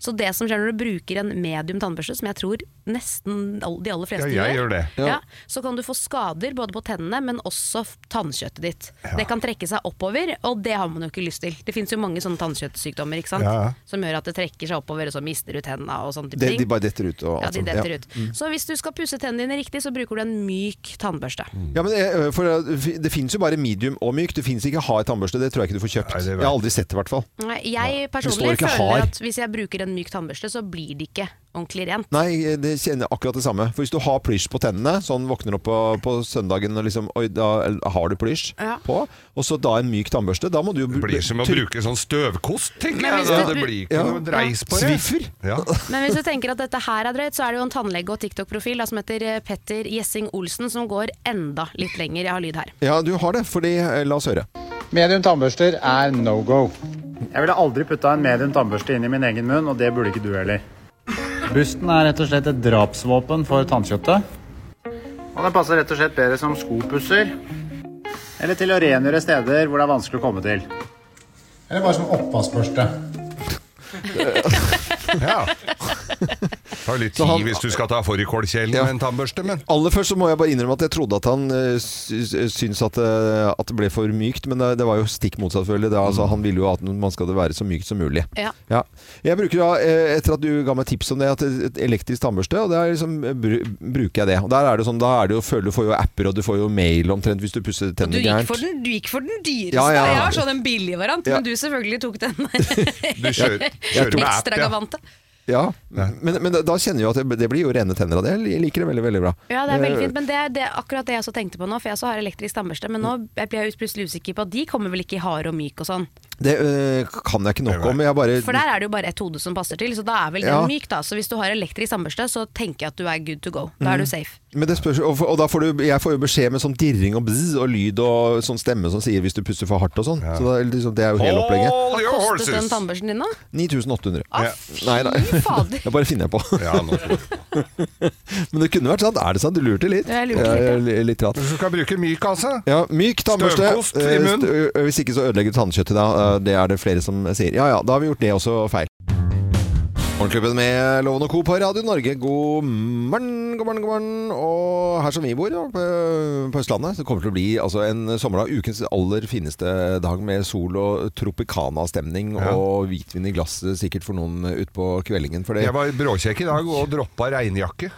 [SPEAKER 3] Så det som skjer når du bruker en medium tannbørste, som jeg tror nesten all- de aller fleste
[SPEAKER 2] Ja, jeg gjør det.
[SPEAKER 3] Ja. så kan du få skader både på tennene, men også f- tannkjøttet ditt. Det kan trekke seg oppover, og det har man jo ikke lyst til. Det fins jo mange sånne tannkjøttsykdommer ikke sant?
[SPEAKER 2] Ja.
[SPEAKER 3] som gjør at det trekker seg oppover, og så mister du tenna og sånne type
[SPEAKER 1] det,
[SPEAKER 3] ting.
[SPEAKER 1] de altså, bare detter ut. Og,
[SPEAKER 3] ja,
[SPEAKER 1] alt
[SPEAKER 3] de
[SPEAKER 1] sånt.
[SPEAKER 3] detter ut. Så hvis du skal pusse tennene dine riktig, så bruker du en myk tannbørste.
[SPEAKER 1] Ja, men eh, for eh, Det finnes jo bare medium og myk. Det finnes ikke hard tannbørste. Det tror jeg ikke du får kjøpt.
[SPEAKER 2] Nei, det vet jeg.
[SPEAKER 1] jeg har aldri sett det, i hvert fall.
[SPEAKER 3] Nei,
[SPEAKER 1] står
[SPEAKER 3] Jeg personlig
[SPEAKER 1] ikke
[SPEAKER 3] føler
[SPEAKER 1] hard.
[SPEAKER 3] at hvis jeg bruker en myk tannbørste, så blir det ikke ordentlig rent.
[SPEAKER 1] Nei, eh, det kjenner jeg akkurat det samme. For hvis du har plysj på tennene, sånn våkner opp på, på søndagen og liksom Oi, da har du plysj
[SPEAKER 3] Ja.
[SPEAKER 1] på. Og så da en myk tannbørste. Da må du jo
[SPEAKER 2] Det blir som å bruke sånn støvkost, tenker jeg.
[SPEAKER 3] hvis
[SPEAKER 2] da.
[SPEAKER 3] du-
[SPEAKER 2] Det blir ikke noe dreis på det.
[SPEAKER 1] Sviffer.
[SPEAKER 2] Ja.
[SPEAKER 3] Men hvis du tenker at dette her er drøyt, så er det jo en tannlege og TikTok-profil da, som heter eh, Petter Gjessing Olsen, som går enda litt lenger. Jeg har lyd her.
[SPEAKER 1] Ja, du har det. Fordi eh, La oss høre.
[SPEAKER 11] Medium tannbørster er no go. Jeg ville aldri putta en medium tannbørste inn i min egen munn, og det burde ikke du heller. Busten er rett og slett et drapsvåpen for tannkjøttet. Og den passer rett og slett bedre som skopusser. Eller til å rengjøre steder hvor det er vanskelig å komme til. Eller bare som oppvaskbørste.
[SPEAKER 2] Ja. Tar litt
[SPEAKER 1] Så han-
[SPEAKER 2] tid hvis du skal ta fårikålkjelen
[SPEAKER 1] Ja.
[SPEAKER 2] med en tannbørste, men
[SPEAKER 1] Aller først så må jeg bare innrømme at jeg trodde at han eh, sy- syntes at, eh, at det ble for mykt, men eh, det, det var jo stikk motsatt, selvfølgelig. Det, er
[SPEAKER 2] Mm.
[SPEAKER 1] altså, han ville jo at man skal være så mykt som mulig.
[SPEAKER 3] Ja.
[SPEAKER 1] Jeg bruker da, eh, etter at du ga meg tips om det, at et elektrisk tannbørste, og der liksom eh, bru, bruker jeg det. Og der er det sånn, da er det jo, føler du får jo apper, og du får jo mail omtrent hvis du pusser
[SPEAKER 3] Du
[SPEAKER 1] tennene
[SPEAKER 3] gikk
[SPEAKER 1] gærent.
[SPEAKER 3] for den, du gikk for den dyreste.
[SPEAKER 1] Ja, ja.
[SPEAKER 3] Jeg har sånn en billig variant,
[SPEAKER 1] Ja.
[SPEAKER 3] men du selvfølgelig tok den
[SPEAKER 2] du kjører, kjører med app. Ja.
[SPEAKER 3] ekstragavante.
[SPEAKER 1] Ja, men, men da kjenner jeg jo at det, det blir jo rene tenner av det. Jeg liker det veldig, veldig bra.
[SPEAKER 3] Ja, det er veldig
[SPEAKER 1] Eh,
[SPEAKER 3] fint, men det er det, er akkurat det jeg også tenkte på nå, for jeg også har elektrisk tannbørste, men nå blir jeg jo plutselig usikker på at de kommer vel ikke i hard og myk og sånn.
[SPEAKER 1] Det øh, kan jeg ikke nok om. Jeg bare
[SPEAKER 3] For der er det jo bare ett hode som passer til, så da er vel den
[SPEAKER 1] Ja.
[SPEAKER 3] myk, da. Så hvis du har elektrisk tannbørste, så tenker jeg at du er good to go. Da er
[SPEAKER 1] Mhm.
[SPEAKER 3] du safe.
[SPEAKER 1] Men det spørs, og, og da får du, jeg får jo beskjed med sånn dirring og bzz og lyd og sånn stemme som sier hvis du puster for hardt og sånn. Så da, liksom, det er jo hele
[SPEAKER 3] Hva
[SPEAKER 1] opplegget.
[SPEAKER 3] kostet den tannbørsten din, da?
[SPEAKER 1] 9800.
[SPEAKER 3] Ah,
[SPEAKER 1] Nei da.
[SPEAKER 3] fy fader.
[SPEAKER 1] Det bare finner jeg på. Men det kunne vært sant. Er det sant? Du lurte litt.
[SPEAKER 2] Jeg lurte litt, ja.
[SPEAKER 1] litt, litt rart.
[SPEAKER 2] Du skal bruke myk, altså.
[SPEAKER 1] Ja, myk tannbørste.
[SPEAKER 2] Støvkost i
[SPEAKER 1] Eh,
[SPEAKER 2] munn.
[SPEAKER 1] stø- Hvis ikke så ødelegger tannkjøttet da. Eh, Det er det flere som sier. Ja ja, da har vi gjort det også feil. Morgenklubben med Loven og Co. på Radio Norge. God morgen, god morgen, god morgen. Og her som vi bor, da, på på Østlandet, så kommer det til å bli altså, en sommerdag. Ukens aller fineste dag med sol og tropicana-stemning.
[SPEAKER 2] Ja.
[SPEAKER 1] Og hvitvin i glasset sikkert for noen utpå kveldingen. For det
[SPEAKER 2] Jeg var bråkjekk i dag og droppa regnjakke.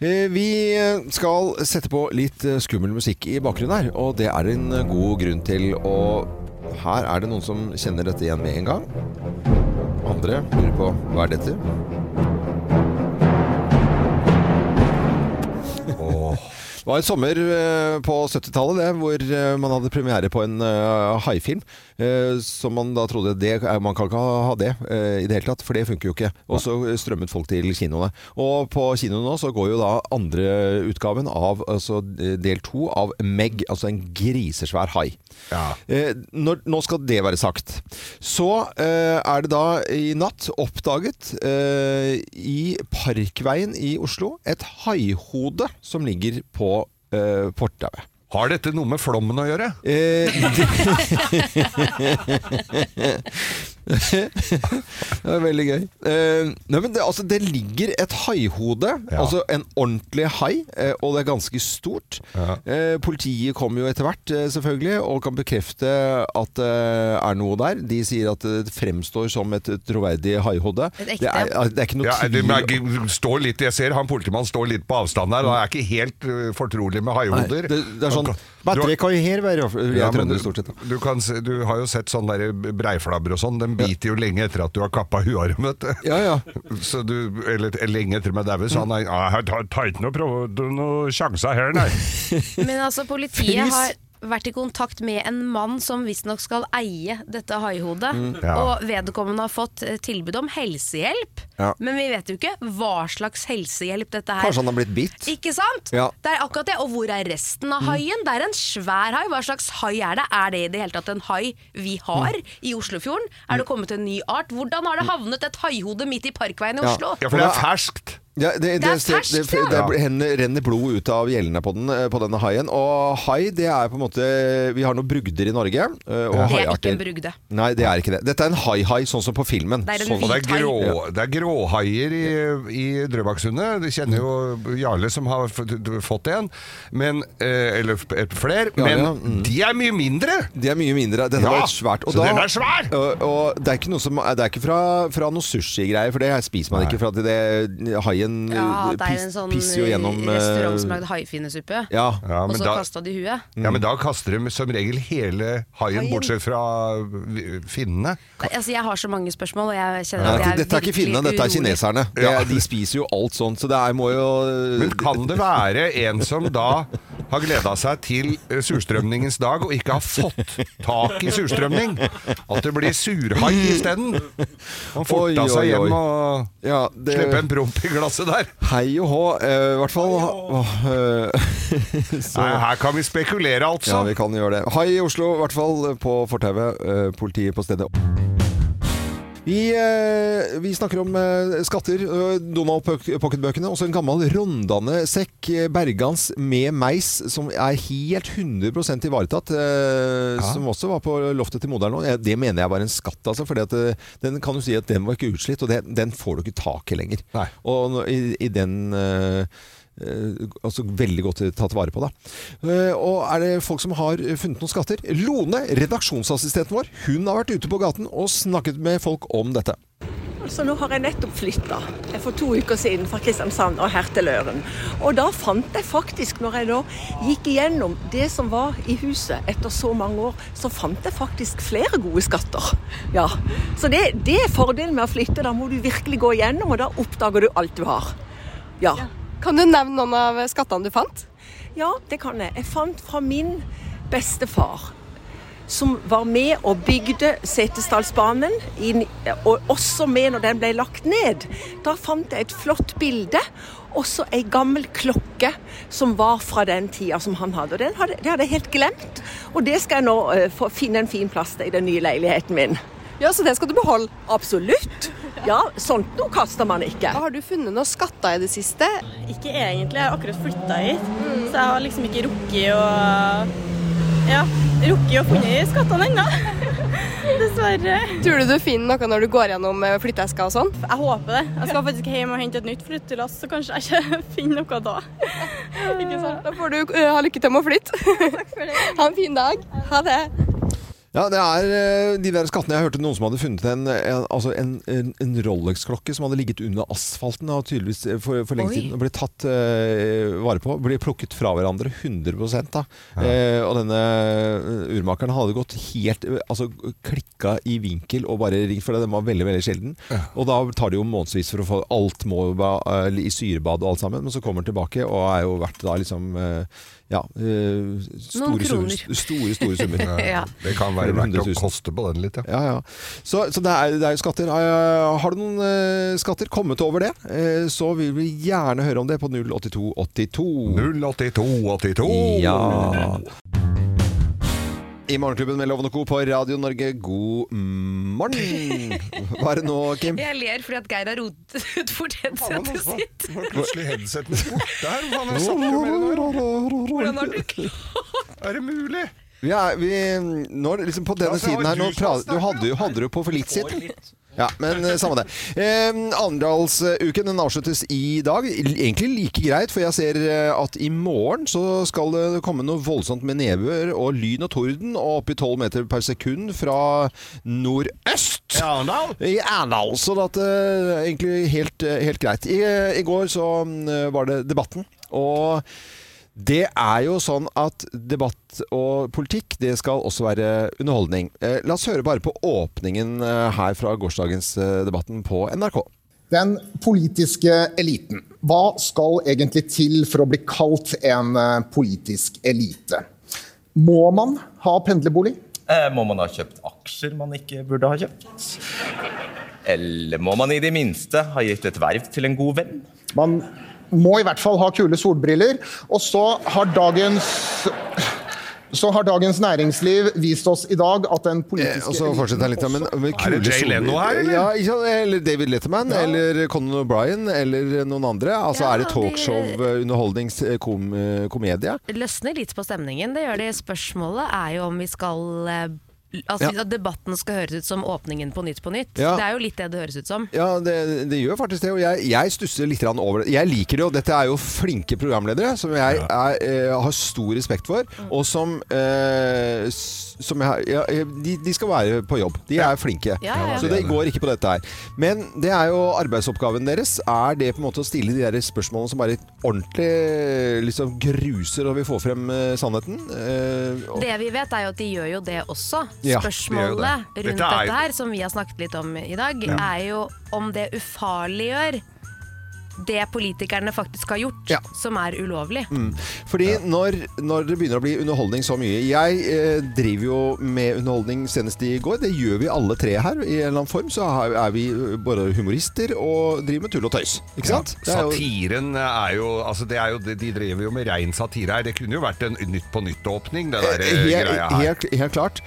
[SPEAKER 1] Eh, Vi skal sette på litt eh, skummel musikk i bakgrunnen her, og det er en eh, god grunn til. Og her er det noen som kjenner dette igjen med en gang. Andre lurer på hva er dette? Det var en sommer eh, på 70-tallet det, hvor eh, man hadde premiere på en eh, haifilm. eh, Som man da trodde det, eh, Man kan ikke ha ha det eh, i det hele tatt, for det funker jo ikke. Og så strømmet folk til kinoene. Og på kinoen nå så går jo da andre utgaven av altså eh, del to av Meg, altså en grisesvær hai. Eh, Når, nå skal det være sagt. Så eh, er det da i natt oppdaget eh, i Parkveien i Oslo et haihode som ligger på eh, fortauet.
[SPEAKER 2] Har dette noe med flommen å gjøre?
[SPEAKER 1] Eh, det var veldig gøy. Eh, nei, men det, altså, det ligger et haihode, altså en ordentlig hai, eh, og det er ganske stort. Eh, politiet kommer jo etter hvert, eh, selvfølgelig, og kan bekrefte at det er noe der. De sier at det fremstår som et troverdig haihode.
[SPEAKER 2] Et
[SPEAKER 1] Det
[SPEAKER 2] ekte.
[SPEAKER 1] er, det er ikke noe
[SPEAKER 2] Ja, det,
[SPEAKER 1] tvil
[SPEAKER 2] men jeg står litt, jeg ser han politimannen står litt på avstand her, og er ikke helt øh, fortrolig med haihoder.
[SPEAKER 1] Nei, det, det er sånn Batterie kan jo her være vil
[SPEAKER 2] Ja,
[SPEAKER 1] jeg
[SPEAKER 2] men
[SPEAKER 1] trønder
[SPEAKER 2] du-
[SPEAKER 1] stort sett.
[SPEAKER 2] Du, kan, se- du har jo sett sånne der breiflabber og sånn. Den biter jo lenge etter at du har kappa huet av dem.
[SPEAKER 1] Ja, ja.
[SPEAKER 2] Så du, eller lenge etter med daue, så han har «Ah, jeg tar- tar ikke noe prøv- noe sjanser her, nei.
[SPEAKER 3] Men altså, politiet
[SPEAKER 2] Frys.
[SPEAKER 3] har vært i kontakt med en mann som visstnok skal eie dette haihodet.
[SPEAKER 2] Mm. Ja.
[SPEAKER 3] Og vedkommende har fått eh, tilbud om helsehjelp.
[SPEAKER 1] Ja.
[SPEAKER 3] Men vi vet jo ikke hva slags helsehjelp dette her
[SPEAKER 1] Kanskje han har blitt bitt?
[SPEAKER 3] Ikke sant?
[SPEAKER 1] Ja.
[SPEAKER 3] Det er akkurat det. Og hvor er resten av
[SPEAKER 1] Mm.
[SPEAKER 3] haien? Det er en svær hai. Hva slags hai er det? Er det i det hele tatt en hai vi har
[SPEAKER 1] Mm.
[SPEAKER 3] i Oslofjorden? Er det kommet en ny art? Hvordan har det havnet et haihode midt i Parkveien i
[SPEAKER 1] Ja.
[SPEAKER 3] Oslo?
[SPEAKER 1] Ja, for det er
[SPEAKER 2] ferskt.
[SPEAKER 1] Ja, det, det,
[SPEAKER 3] Det er
[SPEAKER 1] det-
[SPEAKER 3] ferskt,
[SPEAKER 1] det,
[SPEAKER 3] ja.
[SPEAKER 1] det, det renner- renner blod ut av gjellene på, den, eh, på denne haien. Og hai, det er på en måte Vi har noen brugder i Norge. eh, Og
[SPEAKER 3] Det er
[SPEAKER 1] haiarter.
[SPEAKER 3] ikke en brugde.
[SPEAKER 1] Nei, det er ikke det. Dette er en hai-hai, sånn som på filmen.
[SPEAKER 3] Det er en
[SPEAKER 1] sånn.
[SPEAKER 3] hvit
[SPEAKER 2] Og det er, grå, det er gråhaier i, i Drøbaksundet. Du kjenner jo Jarle som har f- fått en, men, eh, eller flere.
[SPEAKER 1] Ja,
[SPEAKER 2] Men
[SPEAKER 1] ja,
[SPEAKER 2] de er mye mindre!
[SPEAKER 1] De er mye mindre. Dette
[SPEAKER 2] Ja,
[SPEAKER 1] var svært.
[SPEAKER 2] så den er svær!
[SPEAKER 1] Og, og det er ikke, noe som, det er ikke fra, fra noe sushigreier, for det her spiser man
[SPEAKER 2] Nei.
[SPEAKER 1] ikke. For at det, haien
[SPEAKER 3] Ja,
[SPEAKER 1] eh,
[SPEAKER 3] det er
[SPEAKER 1] pis,
[SPEAKER 3] en sånn
[SPEAKER 1] pisser jo gjennom eh,
[SPEAKER 3] restaurant som lagde haifinnesuppe.
[SPEAKER 1] Ja.
[SPEAKER 3] og så kasta de huet.
[SPEAKER 2] Ja,
[SPEAKER 1] Mm.
[SPEAKER 2] men da kaster de som regel hele haien,
[SPEAKER 3] Haien.
[SPEAKER 2] bortsett fra eh, finnene.
[SPEAKER 3] Nei, Altså, jeg har så mange spørsmål, og jeg kjenner
[SPEAKER 1] Nei,
[SPEAKER 3] at jeg er
[SPEAKER 1] dette er ikke finnene, dette er kineserne. Det,
[SPEAKER 2] Ja.
[SPEAKER 1] De spiser jo alt sånt, så det er, må jo
[SPEAKER 2] Men kan det være en som da har gleda seg til eh, surstrømningens dag og ikke har fått tak i surstrømning? At det blir surhai isteden? Han
[SPEAKER 1] Oi,
[SPEAKER 2] forta
[SPEAKER 1] oi,
[SPEAKER 2] seg
[SPEAKER 1] oi.
[SPEAKER 2] hjem og
[SPEAKER 1] Ja, det-
[SPEAKER 2] slippe en promp i glasset der.
[SPEAKER 1] Hei og hå, eh, i hvert fall. Åh, eh, så-
[SPEAKER 2] Nei, her kan vi spekulere, altså.
[SPEAKER 1] Ja, vi kan gjøre det. Hai i Oslo, i hvert fall på fortauet. eh, Politiet på stedet. Vi, eh, vi snakker om eh, skatter, eh, Donald-pocketbøkene, også en gammel Rondane-sekk, eh, Bergans med meis, som er helt 100 ivaretatt. Eh, Som også var på loftet til moderen nå. Eh, Det mener jeg var en skatt, altså. For den kan du si at den var ikke utslitt, og det, den får du ikke tak i lenger. Og nå- i, i den eh, eh, altså veldig godt tatt vare på, da. Eh, og er det folk som har funnet noen skatter? Lone, redaksjonsassistenten vår, hun har vært ute på gaten og snakket med folk om dette.
[SPEAKER 12] Altså, nå har jeg nettopp flytta for to uker siden fra Kristiansand og her til Løren. Og da fant jeg faktisk, når jeg da gikk igjennom det som var i huset etter så mange år, så fant jeg faktisk flere gode skatter. Ja. Så det, det er fordelen med å flytte. Da må du virkelig gå igjennom, og da oppdager du alt du har. Ja. Kan du nevne noen av skattene du fant? Ja, det kan jeg. Jeg fant fra min bestefar
[SPEAKER 13] som var med og bygde Setesdalsbanen, inn- og også med når den ble lagt ned. Da fant jeg et flott bilde. Også ei gammel klokke som var fra den tida som han hadde. Og den hadde, Det hadde jeg helt glemt. Og det skal jeg nå eh, få finne en fin plass til i den nye leiligheten min. Ja, Så det skal du beholde? Absolutt. Ja, sånt noe kaster man ikke.
[SPEAKER 14] Har du funnet noe skatter i det siste? Ikke egentlig, jeg har akkurat flytta hit. Så jeg har liksom ikke rukket å Ja, rukket å finne skattene ennå. Dessverre. Tror du du finner noe når du går gjennom eh, flytteesker og sånn? Jeg håper det. Jeg skal faktisk hjem og hente et nytt flyttelass, så kanskje jeg ikke finner noe da. Ikke sant? Da får du eh, ha lykke til med å flytte. Takk for det. Ha en fin dag. Ha det.
[SPEAKER 1] Ja, det er eh, de der skattene. Jeg hørte noen som hadde funnet en, en, altså en, en, en Rolex-klokke som hadde ligget under asfalten og tydeligvis eh, for, for lenge
[SPEAKER 15] Oi.
[SPEAKER 1] siden og ble tatt eh, vare på. Ble plukket fra hverandre 100 da. Eh, og denne eh, urmakeren hadde gått helt eh, Altså klikka i vinkel og bare ringt, for den var veldig, veldig sjelden. Og da tar det jo månedsvis for å få alt må ba- eh, i syrebad og alt sammen. Men så kommer den tilbake og er jo verdt da liksom eh, ja, eh, store, summer,
[SPEAKER 3] kroner.
[SPEAKER 1] store, store summer.
[SPEAKER 3] Ja.
[SPEAKER 2] Det kan være verdt å
[SPEAKER 1] 100 000.
[SPEAKER 2] koste på den litt, ja.
[SPEAKER 1] Ja, ja. Så, så det, er, det er jo skatter. Eh, Har du noen eh, skatter kommet over det, eh, så vil vi gjerne høre om det på 08282.
[SPEAKER 2] 08282!
[SPEAKER 1] Ja. I Morgenklubben med Loven og Co. på Radio Norge, god morgen! Hva er det nå, Kim?
[SPEAKER 3] Jeg ler fordi at Geir har rotet ut for headsetet
[SPEAKER 12] altså.
[SPEAKER 3] sitt.
[SPEAKER 2] Plutselig headsetet borte her. Hva faen er det som snakker med det nå?
[SPEAKER 1] Hvordan
[SPEAKER 3] har du
[SPEAKER 2] Er det mulig?
[SPEAKER 1] Ja, vi, nå, er det liksom på denne
[SPEAKER 2] Altså, har
[SPEAKER 1] siden her nå
[SPEAKER 2] du
[SPEAKER 1] pra-
[SPEAKER 2] snakket,
[SPEAKER 1] Du hadde jo hadde du på for litt siden. Ja, men eh, samme det. Eh, Arendalsuken den avsluttes i dag. L- Egentlig like greit, for jeg ser eh, at i morgen så skal det komme noe voldsomt med nedbør og lyn og torden og opp i 12 meter per sekund fra nordøst. I Arendal? I Arendal. Så at, eh, egentlig helt, eh, helt greit. I, I går så mm, var det debatten, og det er jo sånn at debatt og politikk, det skal også være underholdning. Eh, La oss høre bare på åpningen eh, her fra gårsdagens eh, debatten på NRK.
[SPEAKER 9] Den politiske eliten. Hva skal egentlig til for å bli kalt en eh, politisk elite? Må man ha pendlerbolig?
[SPEAKER 6] Eh, Må man ha kjøpt aksjer man ikke burde ha kjøpt? Eller må man i det minste ha gitt et verv til en god venn?
[SPEAKER 9] Man må i hvert fall ha kule solbriller. Og så har dagens så har Dagens Næringsliv vist oss i dag at den
[SPEAKER 1] Eh,
[SPEAKER 9] politiske
[SPEAKER 1] Og så fortsetter jeg litt, ja, men med kule
[SPEAKER 2] Jay
[SPEAKER 1] soler-
[SPEAKER 2] Leno her, eller?
[SPEAKER 1] Ja, ikke sant? eller David Letterman, eller Conan O'Brien, eller noen andre. Altså er det talkshow, eh, underholdnings, eh, kom, eh, komedie?
[SPEAKER 3] løsner litt på stemningen. Det gjør det. Spørsmålet er jo om vi skal eh, Altså
[SPEAKER 1] Ja.
[SPEAKER 3] At debatten skal høres ut som åpningen på Nytt på Nytt.
[SPEAKER 1] Ja.
[SPEAKER 3] Det er jo litt det det høres ut som.
[SPEAKER 1] Ja, det, det gjør faktisk det. Og jeg, jeg stusser litt grann over det. Jeg liker det, og dette er jo flinke programledere som jeg er, eh, har stor respekt for.
[SPEAKER 15] Mm.
[SPEAKER 1] Og som, eh, s- som jeg, har- ja, eh, de, de skal være på jobb. De er flinke.
[SPEAKER 15] Ja, ja, ja.
[SPEAKER 1] Så det går ikke på dette her. Men det er jo arbeidsoppgaven deres. Er det på en måte å stille de der spørsmålene som bare ordentlig liksom gruser og vil få frem eh, sannheten? Eh, og-
[SPEAKER 3] Det vi vet er jo at de gjør jo det også.
[SPEAKER 1] Ja,
[SPEAKER 3] Spørsmålet
[SPEAKER 1] de gjør det.
[SPEAKER 3] rundt
[SPEAKER 1] Dette
[SPEAKER 3] dette,
[SPEAKER 1] er-
[SPEAKER 3] her, som vi har snakket litt om i dag,
[SPEAKER 1] Ja.
[SPEAKER 3] er jo om det ufarliggjør det politikerne faktisk har gjort, som er ulovlig.
[SPEAKER 1] Mm. Fordi når, når det begynner å bli underholdning så mye Jeg eh, driver jo med underholdning senest i går. Det gjør vi alle tre her. I en eller annen form så har- er vi eh, både humorister og driver med tull og tøys. Ikke sant? Det er jo-
[SPEAKER 2] Satiren er jo, altså det er jo De driver jo med rein satire her. Det kunne jo vært en Nytt på nytt-åpning, det der eh, greia
[SPEAKER 1] helt,
[SPEAKER 2] her.
[SPEAKER 1] helt, helt klart.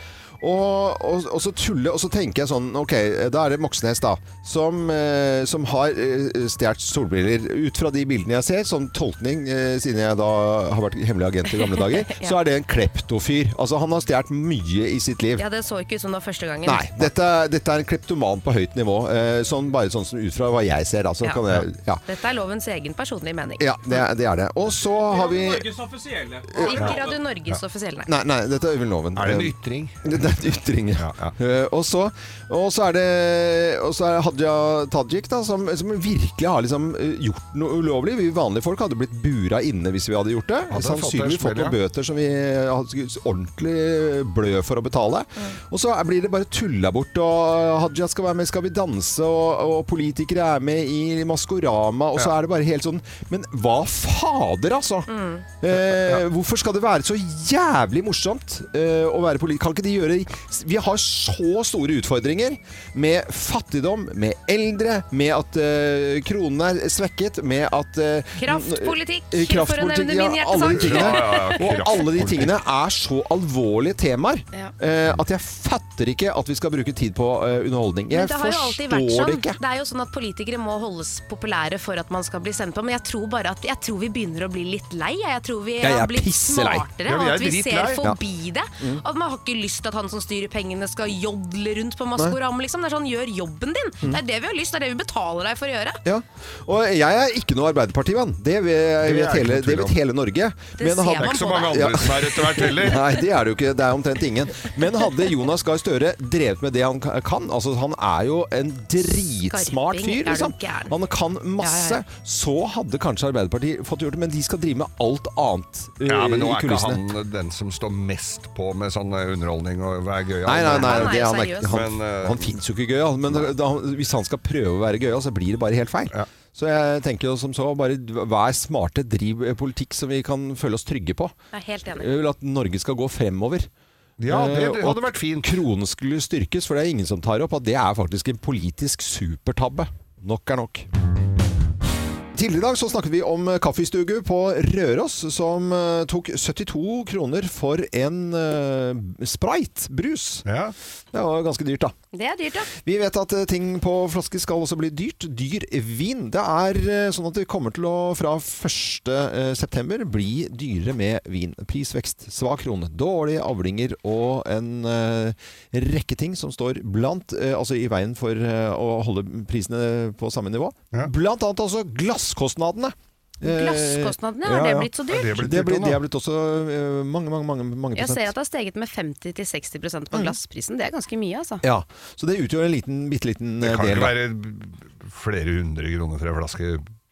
[SPEAKER 1] Og, og, og så tulle, og så tenker jeg sånn Ok, da er det Moxnes, da. Som, eh, som har eh, stjålet solbriller. Ut fra de bildene jeg ser, som tolkning, eh, siden jeg da har vært hemmelig agent i gamle dager,
[SPEAKER 3] Ja.
[SPEAKER 1] så er det en kleptofyr. Altså, han har stjålet mye i sitt liv.
[SPEAKER 3] Ja, det så ikke ut som det var første gangen.
[SPEAKER 1] Nei, dette, dette er en kleptoman på høyt nivå. Eh, sånn, bare sånn som ut fra hva jeg ser, da. Så
[SPEAKER 3] Ja.
[SPEAKER 1] kan jeg Ja.
[SPEAKER 3] Dette er lovens egen personlige mening.
[SPEAKER 1] ja det, er- det er det. Og så har vi
[SPEAKER 3] offisielle.
[SPEAKER 1] Ja.
[SPEAKER 3] Ikke Radio Norges offisielle,
[SPEAKER 1] Nei,
[SPEAKER 3] nei.
[SPEAKER 1] nei, dette er Øyvind Loven.
[SPEAKER 2] Er det en
[SPEAKER 1] Eh,
[SPEAKER 2] ytring?
[SPEAKER 1] Det er en ytring, ja. Eh, og, så, og så er det, og så er det Hadia Tajik, da, som, som virkelig har liksom, eh, gjort noe ulovlig. Vi vanlige folk hadde blitt bura inne hvis vi hadde gjort det.
[SPEAKER 2] Hadde fått en
[SPEAKER 1] Sannsynligvis
[SPEAKER 2] smell,
[SPEAKER 1] fått noen
[SPEAKER 2] ja.
[SPEAKER 1] bøter som vi hadde ordentlig blø for å betale.
[SPEAKER 2] Mm.
[SPEAKER 1] Og så er- blir det bare tulla bort. Og Hadia skal være med, skal vi danse? Og, og politikere er med i Maskorama. Og så er det bare helt sånn Men hva fader, altså!
[SPEAKER 2] Mm.
[SPEAKER 1] Eh, hvorfor skal det være så jævlig morsomt eh, å være politiker? Kan ikke de gjøre vi har så store utfordringer med fattigdom, med eldre, med at eh, kronen er svekket, med at eh,
[SPEAKER 4] Kraftpolitikk,
[SPEAKER 1] eh,
[SPEAKER 4] for å nevne min
[SPEAKER 1] ja, alle de
[SPEAKER 4] hjertesak.
[SPEAKER 1] tingene.
[SPEAKER 4] Ja, ja, ja,
[SPEAKER 1] Og alle de
[SPEAKER 4] kraftpolitikk.
[SPEAKER 1] tingene er så alvorlige temaer eh, at jeg fatter ikke at vi skal bruke tid på eh, underholdning. Jeg
[SPEAKER 4] Men det har jo alltid
[SPEAKER 1] forstår
[SPEAKER 4] vært sånn.
[SPEAKER 1] det ikke.
[SPEAKER 4] Det er jo sånn at Politikere må holdes populære for at man skal bli sendt på, men jeg tror bare at jeg tror vi begynner å bli litt lei. jeg. Jeg tror vi
[SPEAKER 1] Ja, jeg er
[SPEAKER 4] har blitt
[SPEAKER 1] pisselei.
[SPEAKER 4] smartere,
[SPEAKER 1] Ja, vi
[SPEAKER 4] og
[SPEAKER 1] er
[SPEAKER 4] at vi ser
[SPEAKER 1] dritlei.
[SPEAKER 4] forbi det.
[SPEAKER 1] Mm.
[SPEAKER 4] At Man har ikke lyst til at han som styrer pengene skal jodle rundt på
[SPEAKER 1] Nei.
[SPEAKER 4] Maskorama. Liksom. Det er sånn, gjør jobben din!
[SPEAKER 1] Mm.
[SPEAKER 4] Det er det vi har lyst, det er det vi betaler deg for å gjøre.
[SPEAKER 1] Ja. Og jeg er ikke noe Arbeiderpartimann. Det vet,
[SPEAKER 2] Det er
[SPEAKER 1] vet,
[SPEAKER 2] ikke
[SPEAKER 1] hele,
[SPEAKER 2] noe tvil
[SPEAKER 1] det
[SPEAKER 2] om.
[SPEAKER 1] vet hele Norge.
[SPEAKER 2] Det ser man Det er ikke så på mange deg. andre som er etter hvert heller.
[SPEAKER 1] sånn- Nei, det er det jo ikke. Det er omtrent ingen. Men hadde Jonas Gahr Støre drevet med det han ka- kan Altså, han er jo en dritsmart
[SPEAKER 4] Skarping,
[SPEAKER 1] fyr,
[SPEAKER 4] er du
[SPEAKER 1] liksom.
[SPEAKER 4] gæren?
[SPEAKER 1] Han kan masse.
[SPEAKER 4] Ja, ja,
[SPEAKER 1] Så hadde kanskje Arbeiderpartiet fått gjort det, men de skal drive med alt annet eh,
[SPEAKER 2] Ja, men nå
[SPEAKER 1] i
[SPEAKER 2] er ikke
[SPEAKER 1] kulissene.
[SPEAKER 2] han eh, den som står mest på med sånn underholdning og hva er gøy.
[SPEAKER 1] Nei, nei, nei, det, han, er, ikke- han,
[SPEAKER 2] Men, eh,
[SPEAKER 1] han fins jo ikke gøyal. Men eh, da, hvis han skal prøve å være gøyal, så blir det bare helt feil. Så jeg tenker jo som så, bare vær smarte, driv eh, politikk som vi kan føle oss trygge på.
[SPEAKER 4] Jeg er helt enig.
[SPEAKER 1] Jeg vil at Norge skal gå fremover.
[SPEAKER 2] Ja, det- det
[SPEAKER 1] Eh, og
[SPEAKER 2] hadde
[SPEAKER 1] at Kronen skulle styrkes, for det er ingen som tar opp at det er faktisk en politisk supertabbe. Nok er nok. Tidligere i dag så snakket vi om eh, kaffestugu på Røros, som eh, tok 72 kroner for en eh, Sprite-brus. Det var ganske dyrt, da.
[SPEAKER 4] Det er dyrt, ja.
[SPEAKER 1] Vi vet at eh, ting på flaske skal også bli dyrt. Dyr vin. Det er eh, sånn at det kommer til å fra 1.9 bli dyrere med vin. Prisvekst, svak krone, dårlige avlinger og en eh, rekke ting som står blant, eh, altså i veien for eh, å holde prisene på samme nivå. Blant annet altså glasskostnadene. Eh,
[SPEAKER 4] Glasskostnadene, har det blitt så dyrt? Er
[SPEAKER 1] Det,
[SPEAKER 4] det blitt dyrt
[SPEAKER 1] blir-
[SPEAKER 2] sånn,
[SPEAKER 4] nå, da?
[SPEAKER 1] det er blitt også eh, mange, mange, mange, mange
[SPEAKER 4] Jeg
[SPEAKER 1] prosent.
[SPEAKER 4] ser at det har steget med 50-60
[SPEAKER 1] Mm.
[SPEAKER 4] på glassprisen. Det er ganske mye, altså.
[SPEAKER 1] Ja, så det utgjør en liten, bitte liten
[SPEAKER 2] Det
[SPEAKER 1] del.
[SPEAKER 2] kan jo
[SPEAKER 1] da.
[SPEAKER 2] ikke være flere hundre kroner for en flaske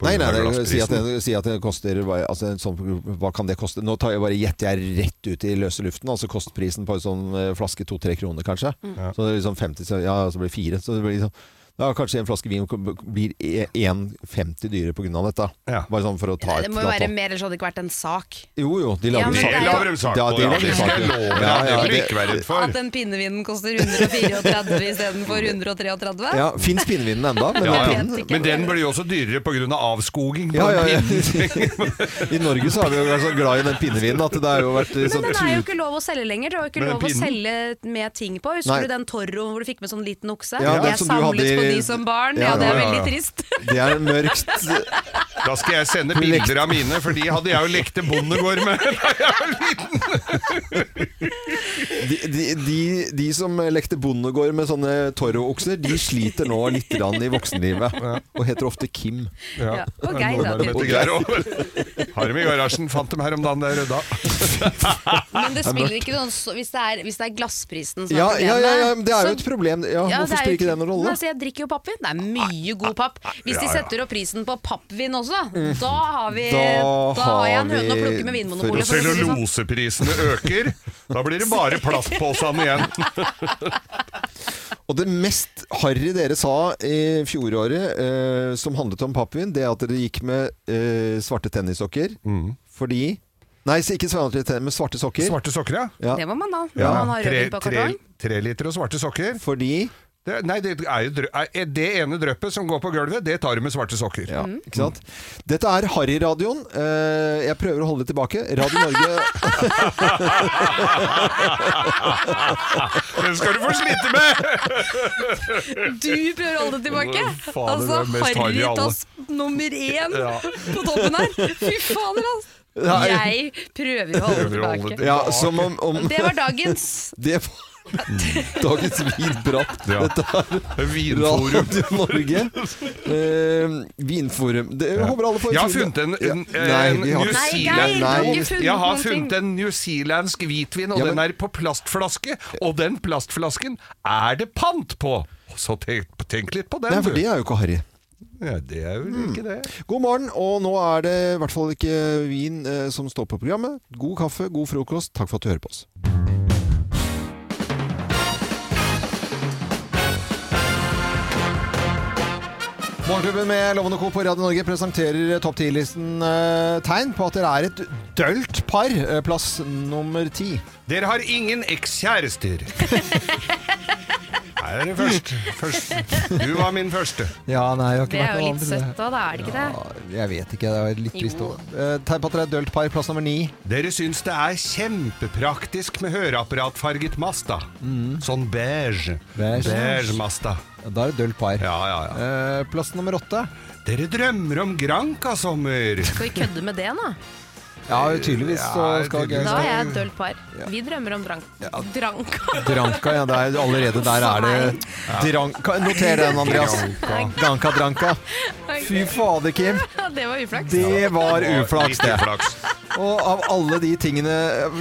[SPEAKER 2] på
[SPEAKER 1] Nei, nei,
[SPEAKER 2] grunn av
[SPEAKER 1] nei si, at
[SPEAKER 2] glassprisen.
[SPEAKER 1] det, si at det koster hva- altså, en sånn, Hva kan det koste? Nå tar jeg bare gjetter jeg rett ut i løse luften. Altså kostprisen på en sånn eh, flaske to-tre kroner, kanskje.
[SPEAKER 2] Mm.
[SPEAKER 1] Så det er liksom 50, så, ja, så blir det fire. Så det blir liksom ja, Kanskje en flaske vin blir e- 1,50 dyrere pga. dette. Bare sånn for å ta
[SPEAKER 4] Det
[SPEAKER 1] et
[SPEAKER 4] må jo være
[SPEAKER 1] datoll.
[SPEAKER 4] mer, ellers hadde det ikke vært en sak.
[SPEAKER 1] Jo jo, de
[SPEAKER 4] Ja,
[SPEAKER 1] lager
[SPEAKER 4] men
[SPEAKER 1] sak.
[SPEAKER 4] det er jo-
[SPEAKER 2] Lager de sak
[SPEAKER 1] Ja,
[SPEAKER 2] på,
[SPEAKER 1] de
[SPEAKER 2] ja,
[SPEAKER 1] lager
[SPEAKER 2] det skal
[SPEAKER 1] sak.
[SPEAKER 2] jeg love deg, det bør du ikke være redd
[SPEAKER 3] At den pinnevinen koster 134 istedenfor 133?
[SPEAKER 1] Ja, Fins pinnevinen enda? Men,
[SPEAKER 2] Ja, ja.
[SPEAKER 1] pinnen-
[SPEAKER 2] men den blir jo også dyrere pga. avskoging. på
[SPEAKER 1] Ja, ja, ja.
[SPEAKER 2] en pinne.
[SPEAKER 1] I Norge så har vi jo vært så glad i den pinnevinen at det har jo vært eh,
[SPEAKER 4] Men
[SPEAKER 1] sånn
[SPEAKER 4] den er jo
[SPEAKER 1] tut-
[SPEAKER 4] ikke lov å selge lenger. Det var jo ikke lov å
[SPEAKER 1] Men den pinnen?
[SPEAKER 4] selge med ting på. Husker
[SPEAKER 1] Nei.
[SPEAKER 4] du den Toro hvor du fikk med sånn liten okse?
[SPEAKER 1] Ja, den
[SPEAKER 4] jeg
[SPEAKER 1] som du hadde
[SPEAKER 4] samlet
[SPEAKER 1] i-
[SPEAKER 4] på de som barn.
[SPEAKER 1] Ja,
[SPEAKER 4] Ja, det er
[SPEAKER 1] ja, ja, ja.
[SPEAKER 4] veldig trist.
[SPEAKER 1] Det er mørkt.
[SPEAKER 2] Da skal jeg sende bilder av mine, for de hadde jeg jo lekt til bondegård med.
[SPEAKER 1] De, de, de, de som lekte bondegård med sånne Toro-okser, de sliter nå litt grann i voksenlivet. Og heter ofte Kim.
[SPEAKER 2] Ja.
[SPEAKER 4] Og Geir, da,
[SPEAKER 2] Og
[SPEAKER 4] tydeligvis.
[SPEAKER 2] Geir også. Har dem i garasjen. Fant dem her om dagen, det er rydda.
[SPEAKER 3] Men det spiller ikke noen så, hvis, det er, hvis det er glassprisen som
[SPEAKER 1] Ja,
[SPEAKER 3] er
[SPEAKER 1] ja,
[SPEAKER 3] problemet
[SPEAKER 1] ja, ja, men det er jo et problem. Ja,
[SPEAKER 3] Ja,
[SPEAKER 1] hvorfor
[SPEAKER 3] det er jo
[SPEAKER 1] spiller ikke det noen
[SPEAKER 3] Nei,
[SPEAKER 1] rolle?
[SPEAKER 3] altså, jeg drikker jo pappvin. Det er mye god papp. Hvis de
[SPEAKER 1] Ja, ja.
[SPEAKER 3] setter opp prisen på pappvin også,
[SPEAKER 1] Mm.
[SPEAKER 3] da har vi Da,
[SPEAKER 1] Da
[SPEAKER 3] har jeg
[SPEAKER 1] har
[SPEAKER 3] en høne å
[SPEAKER 1] vi-
[SPEAKER 3] plukke med Vinmonopolet. for å si det sånn.
[SPEAKER 2] Celluloseprisene øker. Da blir det bare plastposene igjen.
[SPEAKER 1] Og det mest harry dere sa i fjoråret eh, som handlet om pappvin, det er at dere gikk med eh, svarte tennissokker fordi Nei, så ikke svarte tennis, men svarte sokker.
[SPEAKER 2] Svarte sokker, ja.
[SPEAKER 3] Det må man ha.
[SPEAKER 1] Ja.
[SPEAKER 3] Når man har
[SPEAKER 2] Tre,
[SPEAKER 3] rødvin på
[SPEAKER 2] tre,
[SPEAKER 3] kartong.
[SPEAKER 2] tre liter og svarte sokker.
[SPEAKER 1] Fordi?
[SPEAKER 2] Det, nei, det er jo drø er det ene dryppet som går på gulvet, det tar du med svarte sokker.
[SPEAKER 3] Mm.
[SPEAKER 1] Ikke sant? Dette er Harry-radioen. Eh, jeg prøver å holde det tilbake. Radio Norge
[SPEAKER 2] Den skal du få slite med!
[SPEAKER 3] Du prøver å holde det tilbake!
[SPEAKER 1] Fader,
[SPEAKER 3] Altså,
[SPEAKER 1] det er mest harry i alle.
[SPEAKER 3] Harritas nummer én
[SPEAKER 1] Ja.
[SPEAKER 3] på toppen her! Fy fader, altså!
[SPEAKER 1] Nei.
[SPEAKER 3] Jeg prøver å holde det tilbake.
[SPEAKER 1] Ja, som om, om
[SPEAKER 3] Det var dagens.
[SPEAKER 1] Det var dagens vinprat. Dette er
[SPEAKER 2] Vinforum.
[SPEAKER 1] Radio Norge. Eh, vinforum. Det, jeg håper alle får
[SPEAKER 2] Jeg har funnet en, en,
[SPEAKER 1] Ja. Nei,
[SPEAKER 2] en
[SPEAKER 1] vi har
[SPEAKER 2] New
[SPEAKER 1] ikke-
[SPEAKER 2] Zealand-
[SPEAKER 1] Nei.
[SPEAKER 2] Jeg har funnet en newzealandsk hvitvin, og
[SPEAKER 1] Ja, men-
[SPEAKER 2] den er på plastflaske. Og den plastflasken er det pant på! Så tenk, tenk litt på den,
[SPEAKER 1] Nei, for det er Mm. jo ikke harry.
[SPEAKER 2] Ja, det er vel ikke det.
[SPEAKER 1] God morgen, og nå er det i hvert fall ikke vin eh, som står på programmet. God kaffe, god frokost. Takk for at du hører på oss. Morgenklubben med Lovende Co. på Radio Norge presenterer topp 10-listen eh, tegn på at dere er et dølt par. Eh, Plass nummer ti.
[SPEAKER 2] Dere har ingen ekskjærester. Her er det først. først. Du var min første.
[SPEAKER 1] Ja, nei, jeg har ikke
[SPEAKER 4] Det
[SPEAKER 1] vært
[SPEAKER 4] er jo
[SPEAKER 1] noen
[SPEAKER 4] litt
[SPEAKER 1] andre.
[SPEAKER 4] søtt òg, da, er det ikke det?
[SPEAKER 1] Jeg vet ikke, det var litt trist
[SPEAKER 4] Jo.
[SPEAKER 1] òg. Eh, Tegn på at dere er et dølt par. Plass nummer ni.
[SPEAKER 2] Dere syns det er kjempepraktisk med høreapparatfarget Mazda. Sånn beige.
[SPEAKER 1] Mm. Beige.
[SPEAKER 2] Mazda.
[SPEAKER 1] Da er det dølt par. Eh,
[SPEAKER 2] Ja, ja, ja.
[SPEAKER 1] plass nummer åtte.
[SPEAKER 2] Dere drømmer om Granca-sommer.
[SPEAKER 4] Skal vi kødde med det nå?
[SPEAKER 1] Ja, tydeligvis så
[SPEAKER 2] Ja,
[SPEAKER 1] skal
[SPEAKER 2] tydeligvis.
[SPEAKER 4] Da er jeg et dølt par. Vi drømmer om drank. Dranka.
[SPEAKER 1] Dranka, ja. Det er, allerede der er det Dranka. Noter den, Andreas.
[SPEAKER 4] Dranka.
[SPEAKER 1] Dranka, dranka. Fy fader, Kim.
[SPEAKER 4] Det var uflaks.
[SPEAKER 1] Det var
[SPEAKER 2] det var
[SPEAKER 1] uflaks,
[SPEAKER 2] litt
[SPEAKER 1] det.
[SPEAKER 2] uflaks.
[SPEAKER 1] Og av alle de tingene,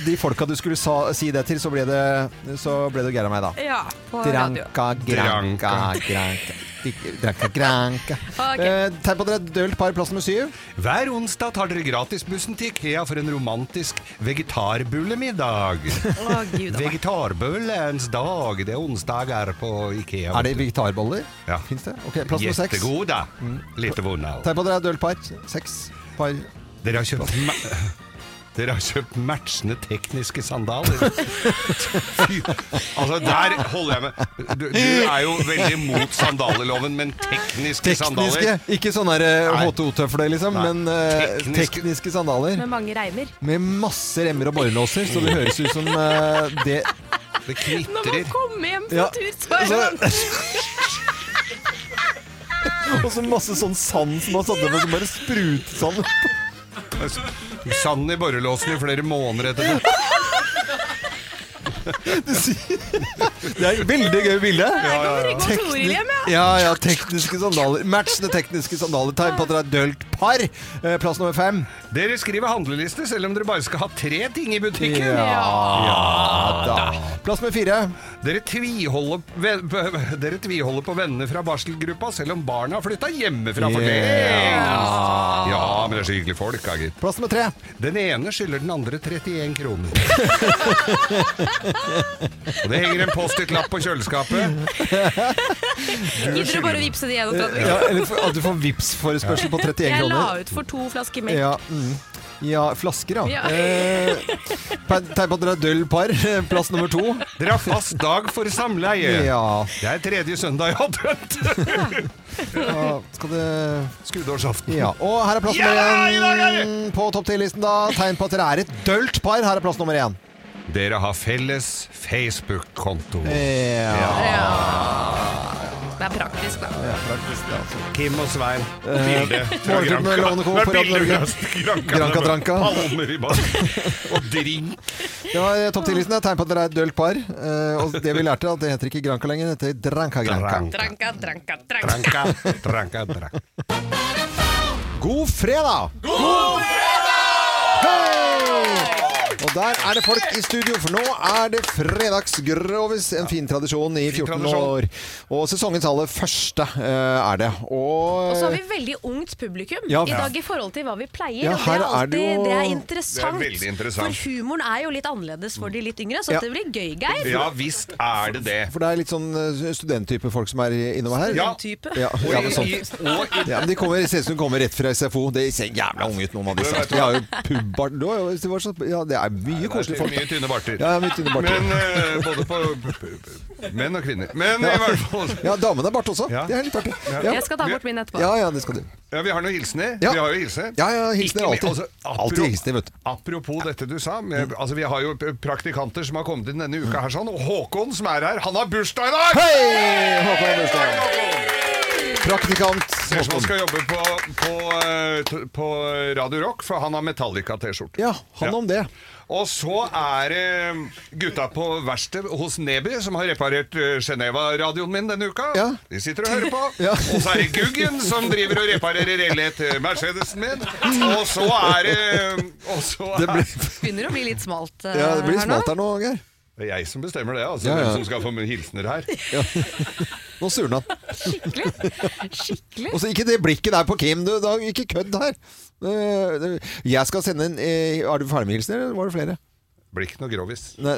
[SPEAKER 1] de folka du skulle sa, si det til, så ble det, så ble det gæra meg, da.
[SPEAKER 10] Ja, på radio.
[SPEAKER 1] Dranka, granka, granka. Dranka, granka.
[SPEAKER 10] Ok.
[SPEAKER 1] Eh, Tegn på at dere er et dølt par, plass nummer syv.
[SPEAKER 2] Hver onsdag tar dere gratisbussen til Ikea for en romantisk vegetarbulemiddag. Vegetarbullens dag. Det er onsdager på Ikea.
[SPEAKER 1] Er det vegetarboller?
[SPEAKER 2] Ja.
[SPEAKER 1] Fins det? Ok, plass Mm. nummer seks.
[SPEAKER 2] Jettegod, da. Litt vond av.
[SPEAKER 1] Tegn på at dere er et dølt par. Seks par.
[SPEAKER 2] Dere har kjøpt ma Dere har kjøpt matchende tekniske sandaler. Fy. Altså, der holder jeg med. Du, du er jo veldig mot sandaleloven, men tekniske,
[SPEAKER 1] Tekniske,
[SPEAKER 2] sandaler
[SPEAKER 1] ikke sånne der, eh, HTO-tøfler, liksom,
[SPEAKER 2] Nei.
[SPEAKER 1] men eh, tekniske sandaler.
[SPEAKER 4] Med mange reimer.
[SPEAKER 1] Med masse remmer og borrelåser, så det høres ut som eh, det
[SPEAKER 2] Det
[SPEAKER 4] Når man kommer hjem fra
[SPEAKER 1] Ja.
[SPEAKER 4] tur, så er det
[SPEAKER 1] Så- Og så masse sånn sand som har satt over, som bare spruter sand.
[SPEAKER 2] Sand i borrelåsen i flere måneder etter det.
[SPEAKER 1] Det er et veldig gøy bilde.
[SPEAKER 2] Ja, ja, ja.
[SPEAKER 1] Tekni- ja, ja, tekniske sandaler. Matchende tekniske sandaler. Tegn på at dere er dølt par. Eh, Plass nummer fem.
[SPEAKER 2] Dere skriver handleliste selv om dere bare skal ha tre ting i butikken.
[SPEAKER 1] Ja,
[SPEAKER 2] Ja
[SPEAKER 1] da. Plass med fire.
[SPEAKER 2] Dere tviholder, ve- ve- dere tviholder på vennene fra barselgruppa selv om barna har flytta hjemmefra for det.
[SPEAKER 1] Ja.
[SPEAKER 2] Ja, men det er så hyggelige folk, da, gitt.
[SPEAKER 1] Plass nummer tre.
[SPEAKER 2] Den ene skylder den andre 31 kroner. Og det henger en Post-It-lapp på kjøleskapet.
[SPEAKER 4] Gidder du bare å vippse det igjennom?
[SPEAKER 1] Eh, Ja, eller for, at du får Vipps-forespørsel på 31
[SPEAKER 4] Jeg la
[SPEAKER 1] kroner.
[SPEAKER 4] ut for to flasker melk.
[SPEAKER 1] Ja, mm. ja flasker, ja.
[SPEAKER 4] Ja.
[SPEAKER 1] Eh, pe- Tegn på at dere er døll par. Plass nummer to.
[SPEAKER 2] Dere har fast dag for samleie.
[SPEAKER 1] Ja.
[SPEAKER 2] Det er tredje søndag jeg har dømt.
[SPEAKER 1] Ja, skal det
[SPEAKER 2] Skuddårsaften.
[SPEAKER 1] Ja, og her er plass nummer én på topp 10-listen. da Tegn på at dere er et dølt par. Her er plass nummer én.
[SPEAKER 2] Dere har felles Facebook-konto.
[SPEAKER 1] Eh, Ja.
[SPEAKER 4] Det er praktisk, da.
[SPEAKER 2] Kim og Svein.
[SPEAKER 1] Eh,
[SPEAKER 2] Bilde fra
[SPEAKER 1] Morgenklubben med Lovende Co. på Radio
[SPEAKER 2] Granca. Det er bilder
[SPEAKER 1] Norge.
[SPEAKER 2] fra Granca.
[SPEAKER 1] Granca Dranca.
[SPEAKER 2] Palmer i bak. Og drink.
[SPEAKER 1] Det var eh, topp 10-listen. Tegn på at dere er et dølt par. Eh, og det vi lærte, er at det heter ikke Granca lenger, det heter Dranca Granca.
[SPEAKER 4] Dranka, dranka,
[SPEAKER 2] Dranka, dranka, dranka.
[SPEAKER 1] God fredag!
[SPEAKER 10] God
[SPEAKER 1] Hei! Og der er det folk i studio, for nå er det fredagsgrovis. En fin tradisjon i 14
[SPEAKER 2] tradisjon.
[SPEAKER 1] år. Og sesongens aller første eh, er det.
[SPEAKER 4] Og så har vi veldig ungt publikum
[SPEAKER 1] Ja.
[SPEAKER 4] i dag i forhold til hva vi pleier.
[SPEAKER 1] Ja,
[SPEAKER 4] og
[SPEAKER 1] her
[SPEAKER 4] det, er
[SPEAKER 1] er
[SPEAKER 4] alltid,
[SPEAKER 1] det jo-
[SPEAKER 4] det er interessant.
[SPEAKER 2] Det er veldig interessant.
[SPEAKER 4] For humoren er jo litt annerledes for de litt yngre, så
[SPEAKER 1] Ja.
[SPEAKER 4] det blir gøy, Geir.
[SPEAKER 2] Ja visst er det det.
[SPEAKER 1] For det er litt sånn eh, studenttype folk som er innover her.
[SPEAKER 2] Ja.
[SPEAKER 4] Studenttype?
[SPEAKER 1] Ja, ja, men sånn.
[SPEAKER 2] Og i- og i-
[SPEAKER 1] ja, men de kommer, ser ut som de kommer rett fra SFO. De ser jævla unge ut, noen av disse. De har jo pubbar Du har jo- det var så- Ja, det er mye koselige folk.
[SPEAKER 2] Mye tynne barter.
[SPEAKER 1] Ja, mye tynne barter.
[SPEAKER 2] Men eh, både på p- p- menn og kvinner. Men i hvert fall
[SPEAKER 1] Ja, damene har bart også. Det er litt artig. Ja.
[SPEAKER 4] Jeg skal ta bort min etterpå.
[SPEAKER 1] Ja, ja, det skal du.
[SPEAKER 2] Ja, vi har noen hilsener.
[SPEAKER 1] Ja.
[SPEAKER 2] Vi har jo hilsener.
[SPEAKER 1] Ja, ja, hilsener
[SPEAKER 2] Ikke- altså,
[SPEAKER 1] alltid. Alltid
[SPEAKER 2] apro-
[SPEAKER 1] hilsener, vet du.
[SPEAKER 2] Apropos dette du sa, med, altså vi har jo p- praktikanter som har kommet inn denne uka her sånn, og Håkon som er her, han har bursdag i dag!
[SPEAKER 1] Hei! Håkon har bursdag. Praktikant
[SPEAKER 2] Ser ut som han
[SPEAKER 1] Håkon.
[SPEAKER 2] skal jobbe på, på, eh, t- på Radio Rock, for han har Metallica-T-skjorte.
[SPEAKER 1] Ja, han om det.
[SPEAKER 2] Og så er det gutta på verkstedet hos Neby, som har reparert eh, Geneva-radioen min denne uka. De sitter og hører på. Og så er det Guggen, som driver og reparerer reelhet Mercedesen min. Og så er det Og så
[SPEAKER 1] Det
[SPEAKER 2] er
[SPEAKER 4] Begynner å bli litt smalt eh,
[SPEAKER 1] Ja, det blir
[SPEAKER 4] her nå.
[SPEAKER 1] smalt her nå, Geir.
[SPEAKER 2] det er jeg som bestemmer det, altså.
[SPEAKER 1] Ja, ja.
[SPEAKER 2] Hvem som skal få hilsener her.
[SPEAKER 1] Nå surna han.
[SPEAKER 4] Skikkelig.
[SPEAKER 1] Og så ikke det blikket der på Kim, du. Da, ikke kødd her. Eh, det- Jeg skal sende en eh, Er du ferdig med hilsener, eller var det flere?
[SPEAKER 2] Blir ikke noe grovis.
[SPEAKER 1] Nei.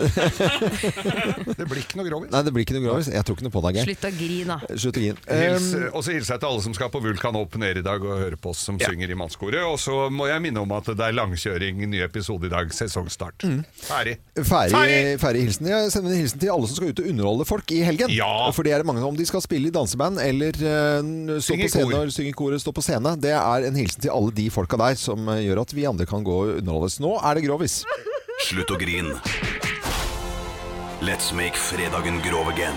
[SPEAKER 2] det blir ikke noe grovis.
[SPEAKER 1] Nei, det blir ikke noe gravis. Jeg tror ikke noe på deg, Geir.
[SPEAKER 4] Slutt å grine. da.
[SPEAKER 1] Slutt å grine.
[SPEAKER 2] Hils,
[SPEAKER 1] Eh,
[SPEAKER 2] og så hilser jeg til alle som skal på Vulkan opp nede i dag og høre på oss som synger i mannskoret. Og så må jeg minne om at det er langkjøring, ny episode i dag, sesongstart.
[SPEAKER 1] Mm.
[SPEAKER 2] Ferdig.
[SPEAKER 1] Ferdig, ferdig hilsen. Jeg sender en hilsen til alle som skal ut og underholde folk i helgen. For det er det mange som om de skal spille i danseband eller eh, stå
[SPEAKER 2] Synge
[SPEAKER 1] på
[SPEAKER 2] i
[SPEAKER 1] scene,
[SPEAKER 2] kor.
[SPEAKER 1] og synge i kor eller stå på scene. Det er en hilsen til alle de folka der som eh, gjør at vi andre kan gå og underholdes. Nå er det grovis.
[SPEAKER 16] Slutt å grin. Let's make fredagen grov again.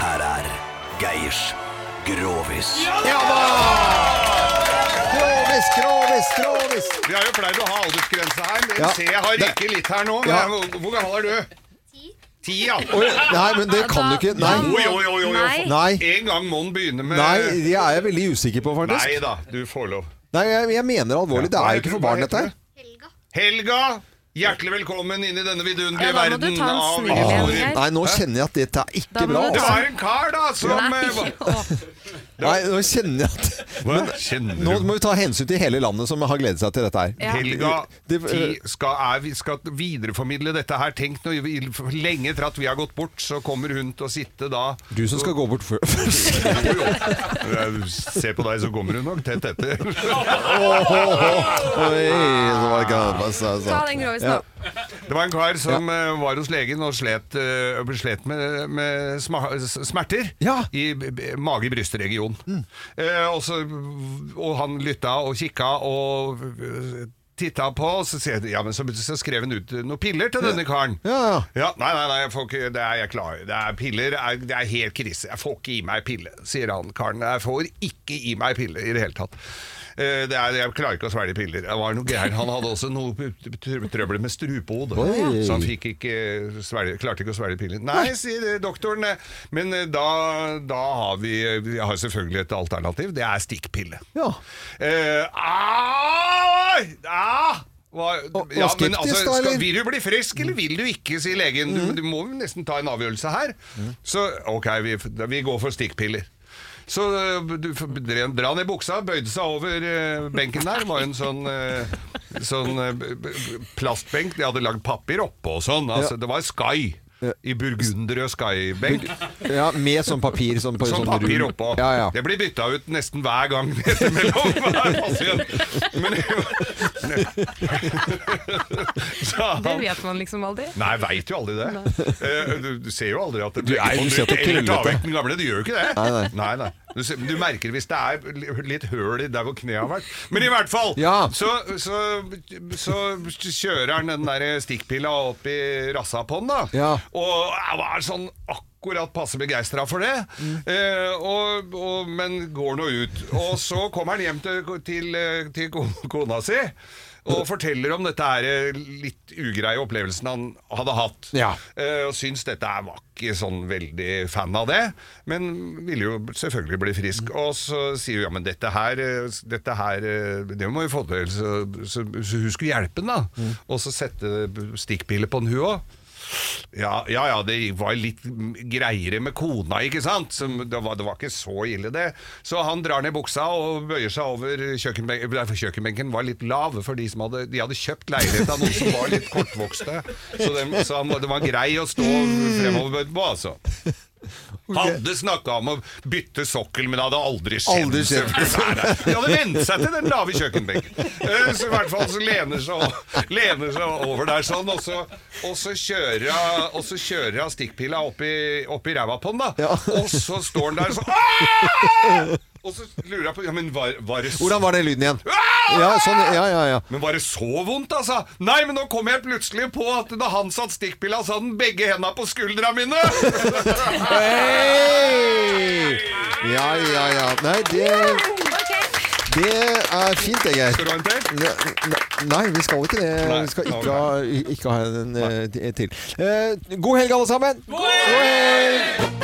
[SPEAKER 16] Her er Geirs Grovis.
[SPEAKER 1] Ja da! Grovis, grovis, grovis!
[SPEAKER 2] Vi har jo pleid å ha aldersgrense her, men
[SPEAKER 1] Ja.
[SPEAKER 2] se, jeg har
[SPEAKER 1] Det-
[SPEAKER 2] ryket litt her nå.
[SPEAKER 1] Ja.
[SPEAKER 2] Hvor- Hvor gammel er du? Ti, ja.
[SPEAKER 1] Oi, nei, men det kan du ikke. Nei.
[SPEAKER 2] Jo, jo, jo, jo, jo.
[SPEAKER 1] Nei.
[SPEAKER 2] En gang må den begynne med
[SPEAKER 1] Nei, det er jeg veldig usikker på, faktisk.
[SPEAKER 2] Nei da, du får lov.
[SPEAKER 1] Nei, jeg, jeg mener alvorlig. Det
[SPEAKER 2] Hva
[SPEAKER 1] er jo
[SPEAKER 2] heter
[SPEAKER 1] ikke
[SPEAKER 2] du?
[SPEAKER 1] for
[SPEAKER 2] Hva
[SPEAKER 1] barn, dette
[SPEAKER 2] heter
[SPEAKER 1] her.
[SPEAKER 2] Helga! Hjertelig velkommen inn i denne
[SPEAKER 1] Ja,
[SPEAKER 2] vidunderlige
[SPEAKER 1] da må du
[SPEAKER 2] verden
[SPEAKER 1] ta en
[SPEAKER 2] av
[SPEAKER 1] snurr igjen,
[SPEAKER 2] historier.
[SPEAKER 1] Geir. Ah. Nei, nå kjenner jeg at dette er ikke Da må bra, du ta-
[SPEAKER 2] Det var en kar, da, som
[SPEAKER 1] Nei.
[SPEAKER 2] eh, var-
[SPEAKER 1] Nei, nå kjenner jeg at men, Nå må vi ta hensyn til hele landet som har gledet seg til dette her.
[SPEAKER 2] Helga,
[SPEAKER 1] Det- eh,
[SPEAKER 2] ti, skal, er, vi skal videreformidle dette her. Tenk når vi, lenge etter at vi har gått bort, så kommer hun til å sitte da
[SPEAKER 1] Du som skal gå bort før
[SPEAKER 2] Jeg ser på deg, så kommer hun nok tett etter.
[SPEAKER 1] Ta
[SPEAKER 2] Ta den grovisen, da. Det var en kar som eh, var hos legen og slet, eh, slet med, med sma s- smerter i b- b- mage-brystregionen. Eh, og så- og han lytta og kikka og eh, titta på, og så, sier jeg, ja, men så, så skrev han ut eh, noen piller til denne karen. Ja, nei, nei, nei jeg får ikke, det er jeg klar Det er piller, er, det er helt krise. Jeg får ikke i meg pille, sier han karen. Jeg får ikke i meg pille i det hele tatt. Eh, Det er, jeg klarer ikke å svelge piller. Det var noe gæren. Han hadde også noe p- p- tr- trøbbel med strupehodet.
[SPEAKER 1] Oi.
[SPEAKER 2] Så han fikk ikke svelge, klarte ikke å svelge piller. Nei, sier eh, doktoren. eh, Men eh, da, da har vi Vi har selvfølgelig et alternativ. Det er stikkpille.
[SPEAKER 1] Ja.
[SPEAKER 2] Eh, au! Au! Hva- ja,
[SPEAKER 1] skeptisk,
[SPEAKER 2] men altså,
[SPEAKER 1] da, eller? Mm.
[SPEAKER 2] skal, vil du bli frisk, eller vil du ikke, sier legen. Du, du må jo nesten ta en avgjørelse her. Så ok, vi, vi går for stikkpiller. Så øh, du f- dre- dra ned buksa, bøyde seg over øh, benken der. Det var jo en sånn, øh, sånn øh, b- b- plastbenk de hadde lagd papir oppå og sånn. Altså,
[SPEAKER 1] Ja.
[SPEAKER 2] Det var Sky. I burgunderrød Sky-benk.
[SPEAKER 1] Ja, med sånn papir. Sånn, på-
[SPEAKER 2] Sånn
[SPEAKER 1] sånn
[SPEAKER 2] papir
[SPEAKER 1] rull.
[SPEAKER 2] oppå.
[SPEAKER 1] Ja, ja.
[SPEAKER 2] Det blir bytta ut nesten hver gang ettermellom. hver pasient. Men Så han-
[SPEAKER 3] Det vet man liksom aldri.
[SPEAKER 2] Nei, jeg veit jo aldri det. Eh, Du, du ser jo aldri at det
[SPEAKER 1] Du er jo
[SPEAKER 2] Om
[SPEAKER 1] søt og
[SPEAKER 2] Eller ta
[SPEAKER 1] krøllete.
[SPEAKER 2] vekk den gamle, du gjør jo ikke det.
[SPEAKER 1] Nei, nei.
[SPEAKER 2] Du, ser, du merker hvis det er li- litt høl i der hvor kneet har vært. Men i hvert fall! Så, så, så kjører han den der stikkpilla opp i rassa på den, da. Og jeg var sånn akkurat passe begeistra for det. Eh, og, og, men går nå ut. Og så kommer han hjem til, til, eh, til ko- kona si. Og forteller om dette her eh, litt ugreie opplevelsen han hadde hatt.
[SPEAKER 1] Ja.
[SPEAKER 2] Eh, Og syns dette her var ikke sånn veldig fan av det, men ville jo selvfølgelig bli frisk. Og så sier hun ja, men dette her, eh, dette her eh, det må vi få til, så, så, så hun skulle hjelpe den, da. Og så sette stikkpiller på den, hun òg. Ja, ja, ja, det var litt greiere med kona, ikke sant? Som, det, var, det var ikke så ille, det. Så han drar ned buksa og bøyer seg over kjøkkenbenken. Nei, for Kjøkkenbenken var litt lav for de som hadde De hadde kjøpt leilighet av noen som var litt kortvokste. Så, dem, så han, var- det var grei å stå fremover på, altså. Hadde snakka om å bytte sokkel, men det hadde aldri skjedd.
[SPEAKER 1] Aldri skjedd.
[SPEAKER 2] selvfølgelig. Nei, nei. De hadde vent seg til den lave kjøkkenbenken. Eh, Så i hvert fall så lener seg, lener seg over der sånn, og så, og så kjører hun- og så kjører hun stikkpila opp i, opp i ræva på den, da. Og så står den der sånn «Aah!» Og så lurer jeg på Ja, men var, var det
[SPEAKER 1] Hvordan var den lyden igjen?
[SPEAKER 2] Ah!
[SPEAKER 1] Ja, sånn, ja, ja, ja.
[SPEAKER 2] men var det så vondt, altså? Nei, men nå kom jeg plutselig på at da han satt stikkpilla, så hadde han begge henda på skuldra mine!
[SPEAKER 1] Hei! Ja, ja, ja. Nei, det Det er fint, det, Geir.
[SPEAKER 2] Skal du ha en til?
[SPEAKER 1] Ne- Nei, vi skal ikke det.
[SPEAKER 2] Nei,
[SPEAKER 1] Vi skal
[SPEAKER 2] ok.
[SPEAKER 1] ikke ha, ikke ha en eh, til. Eh, god helg, alle sammen! God helg!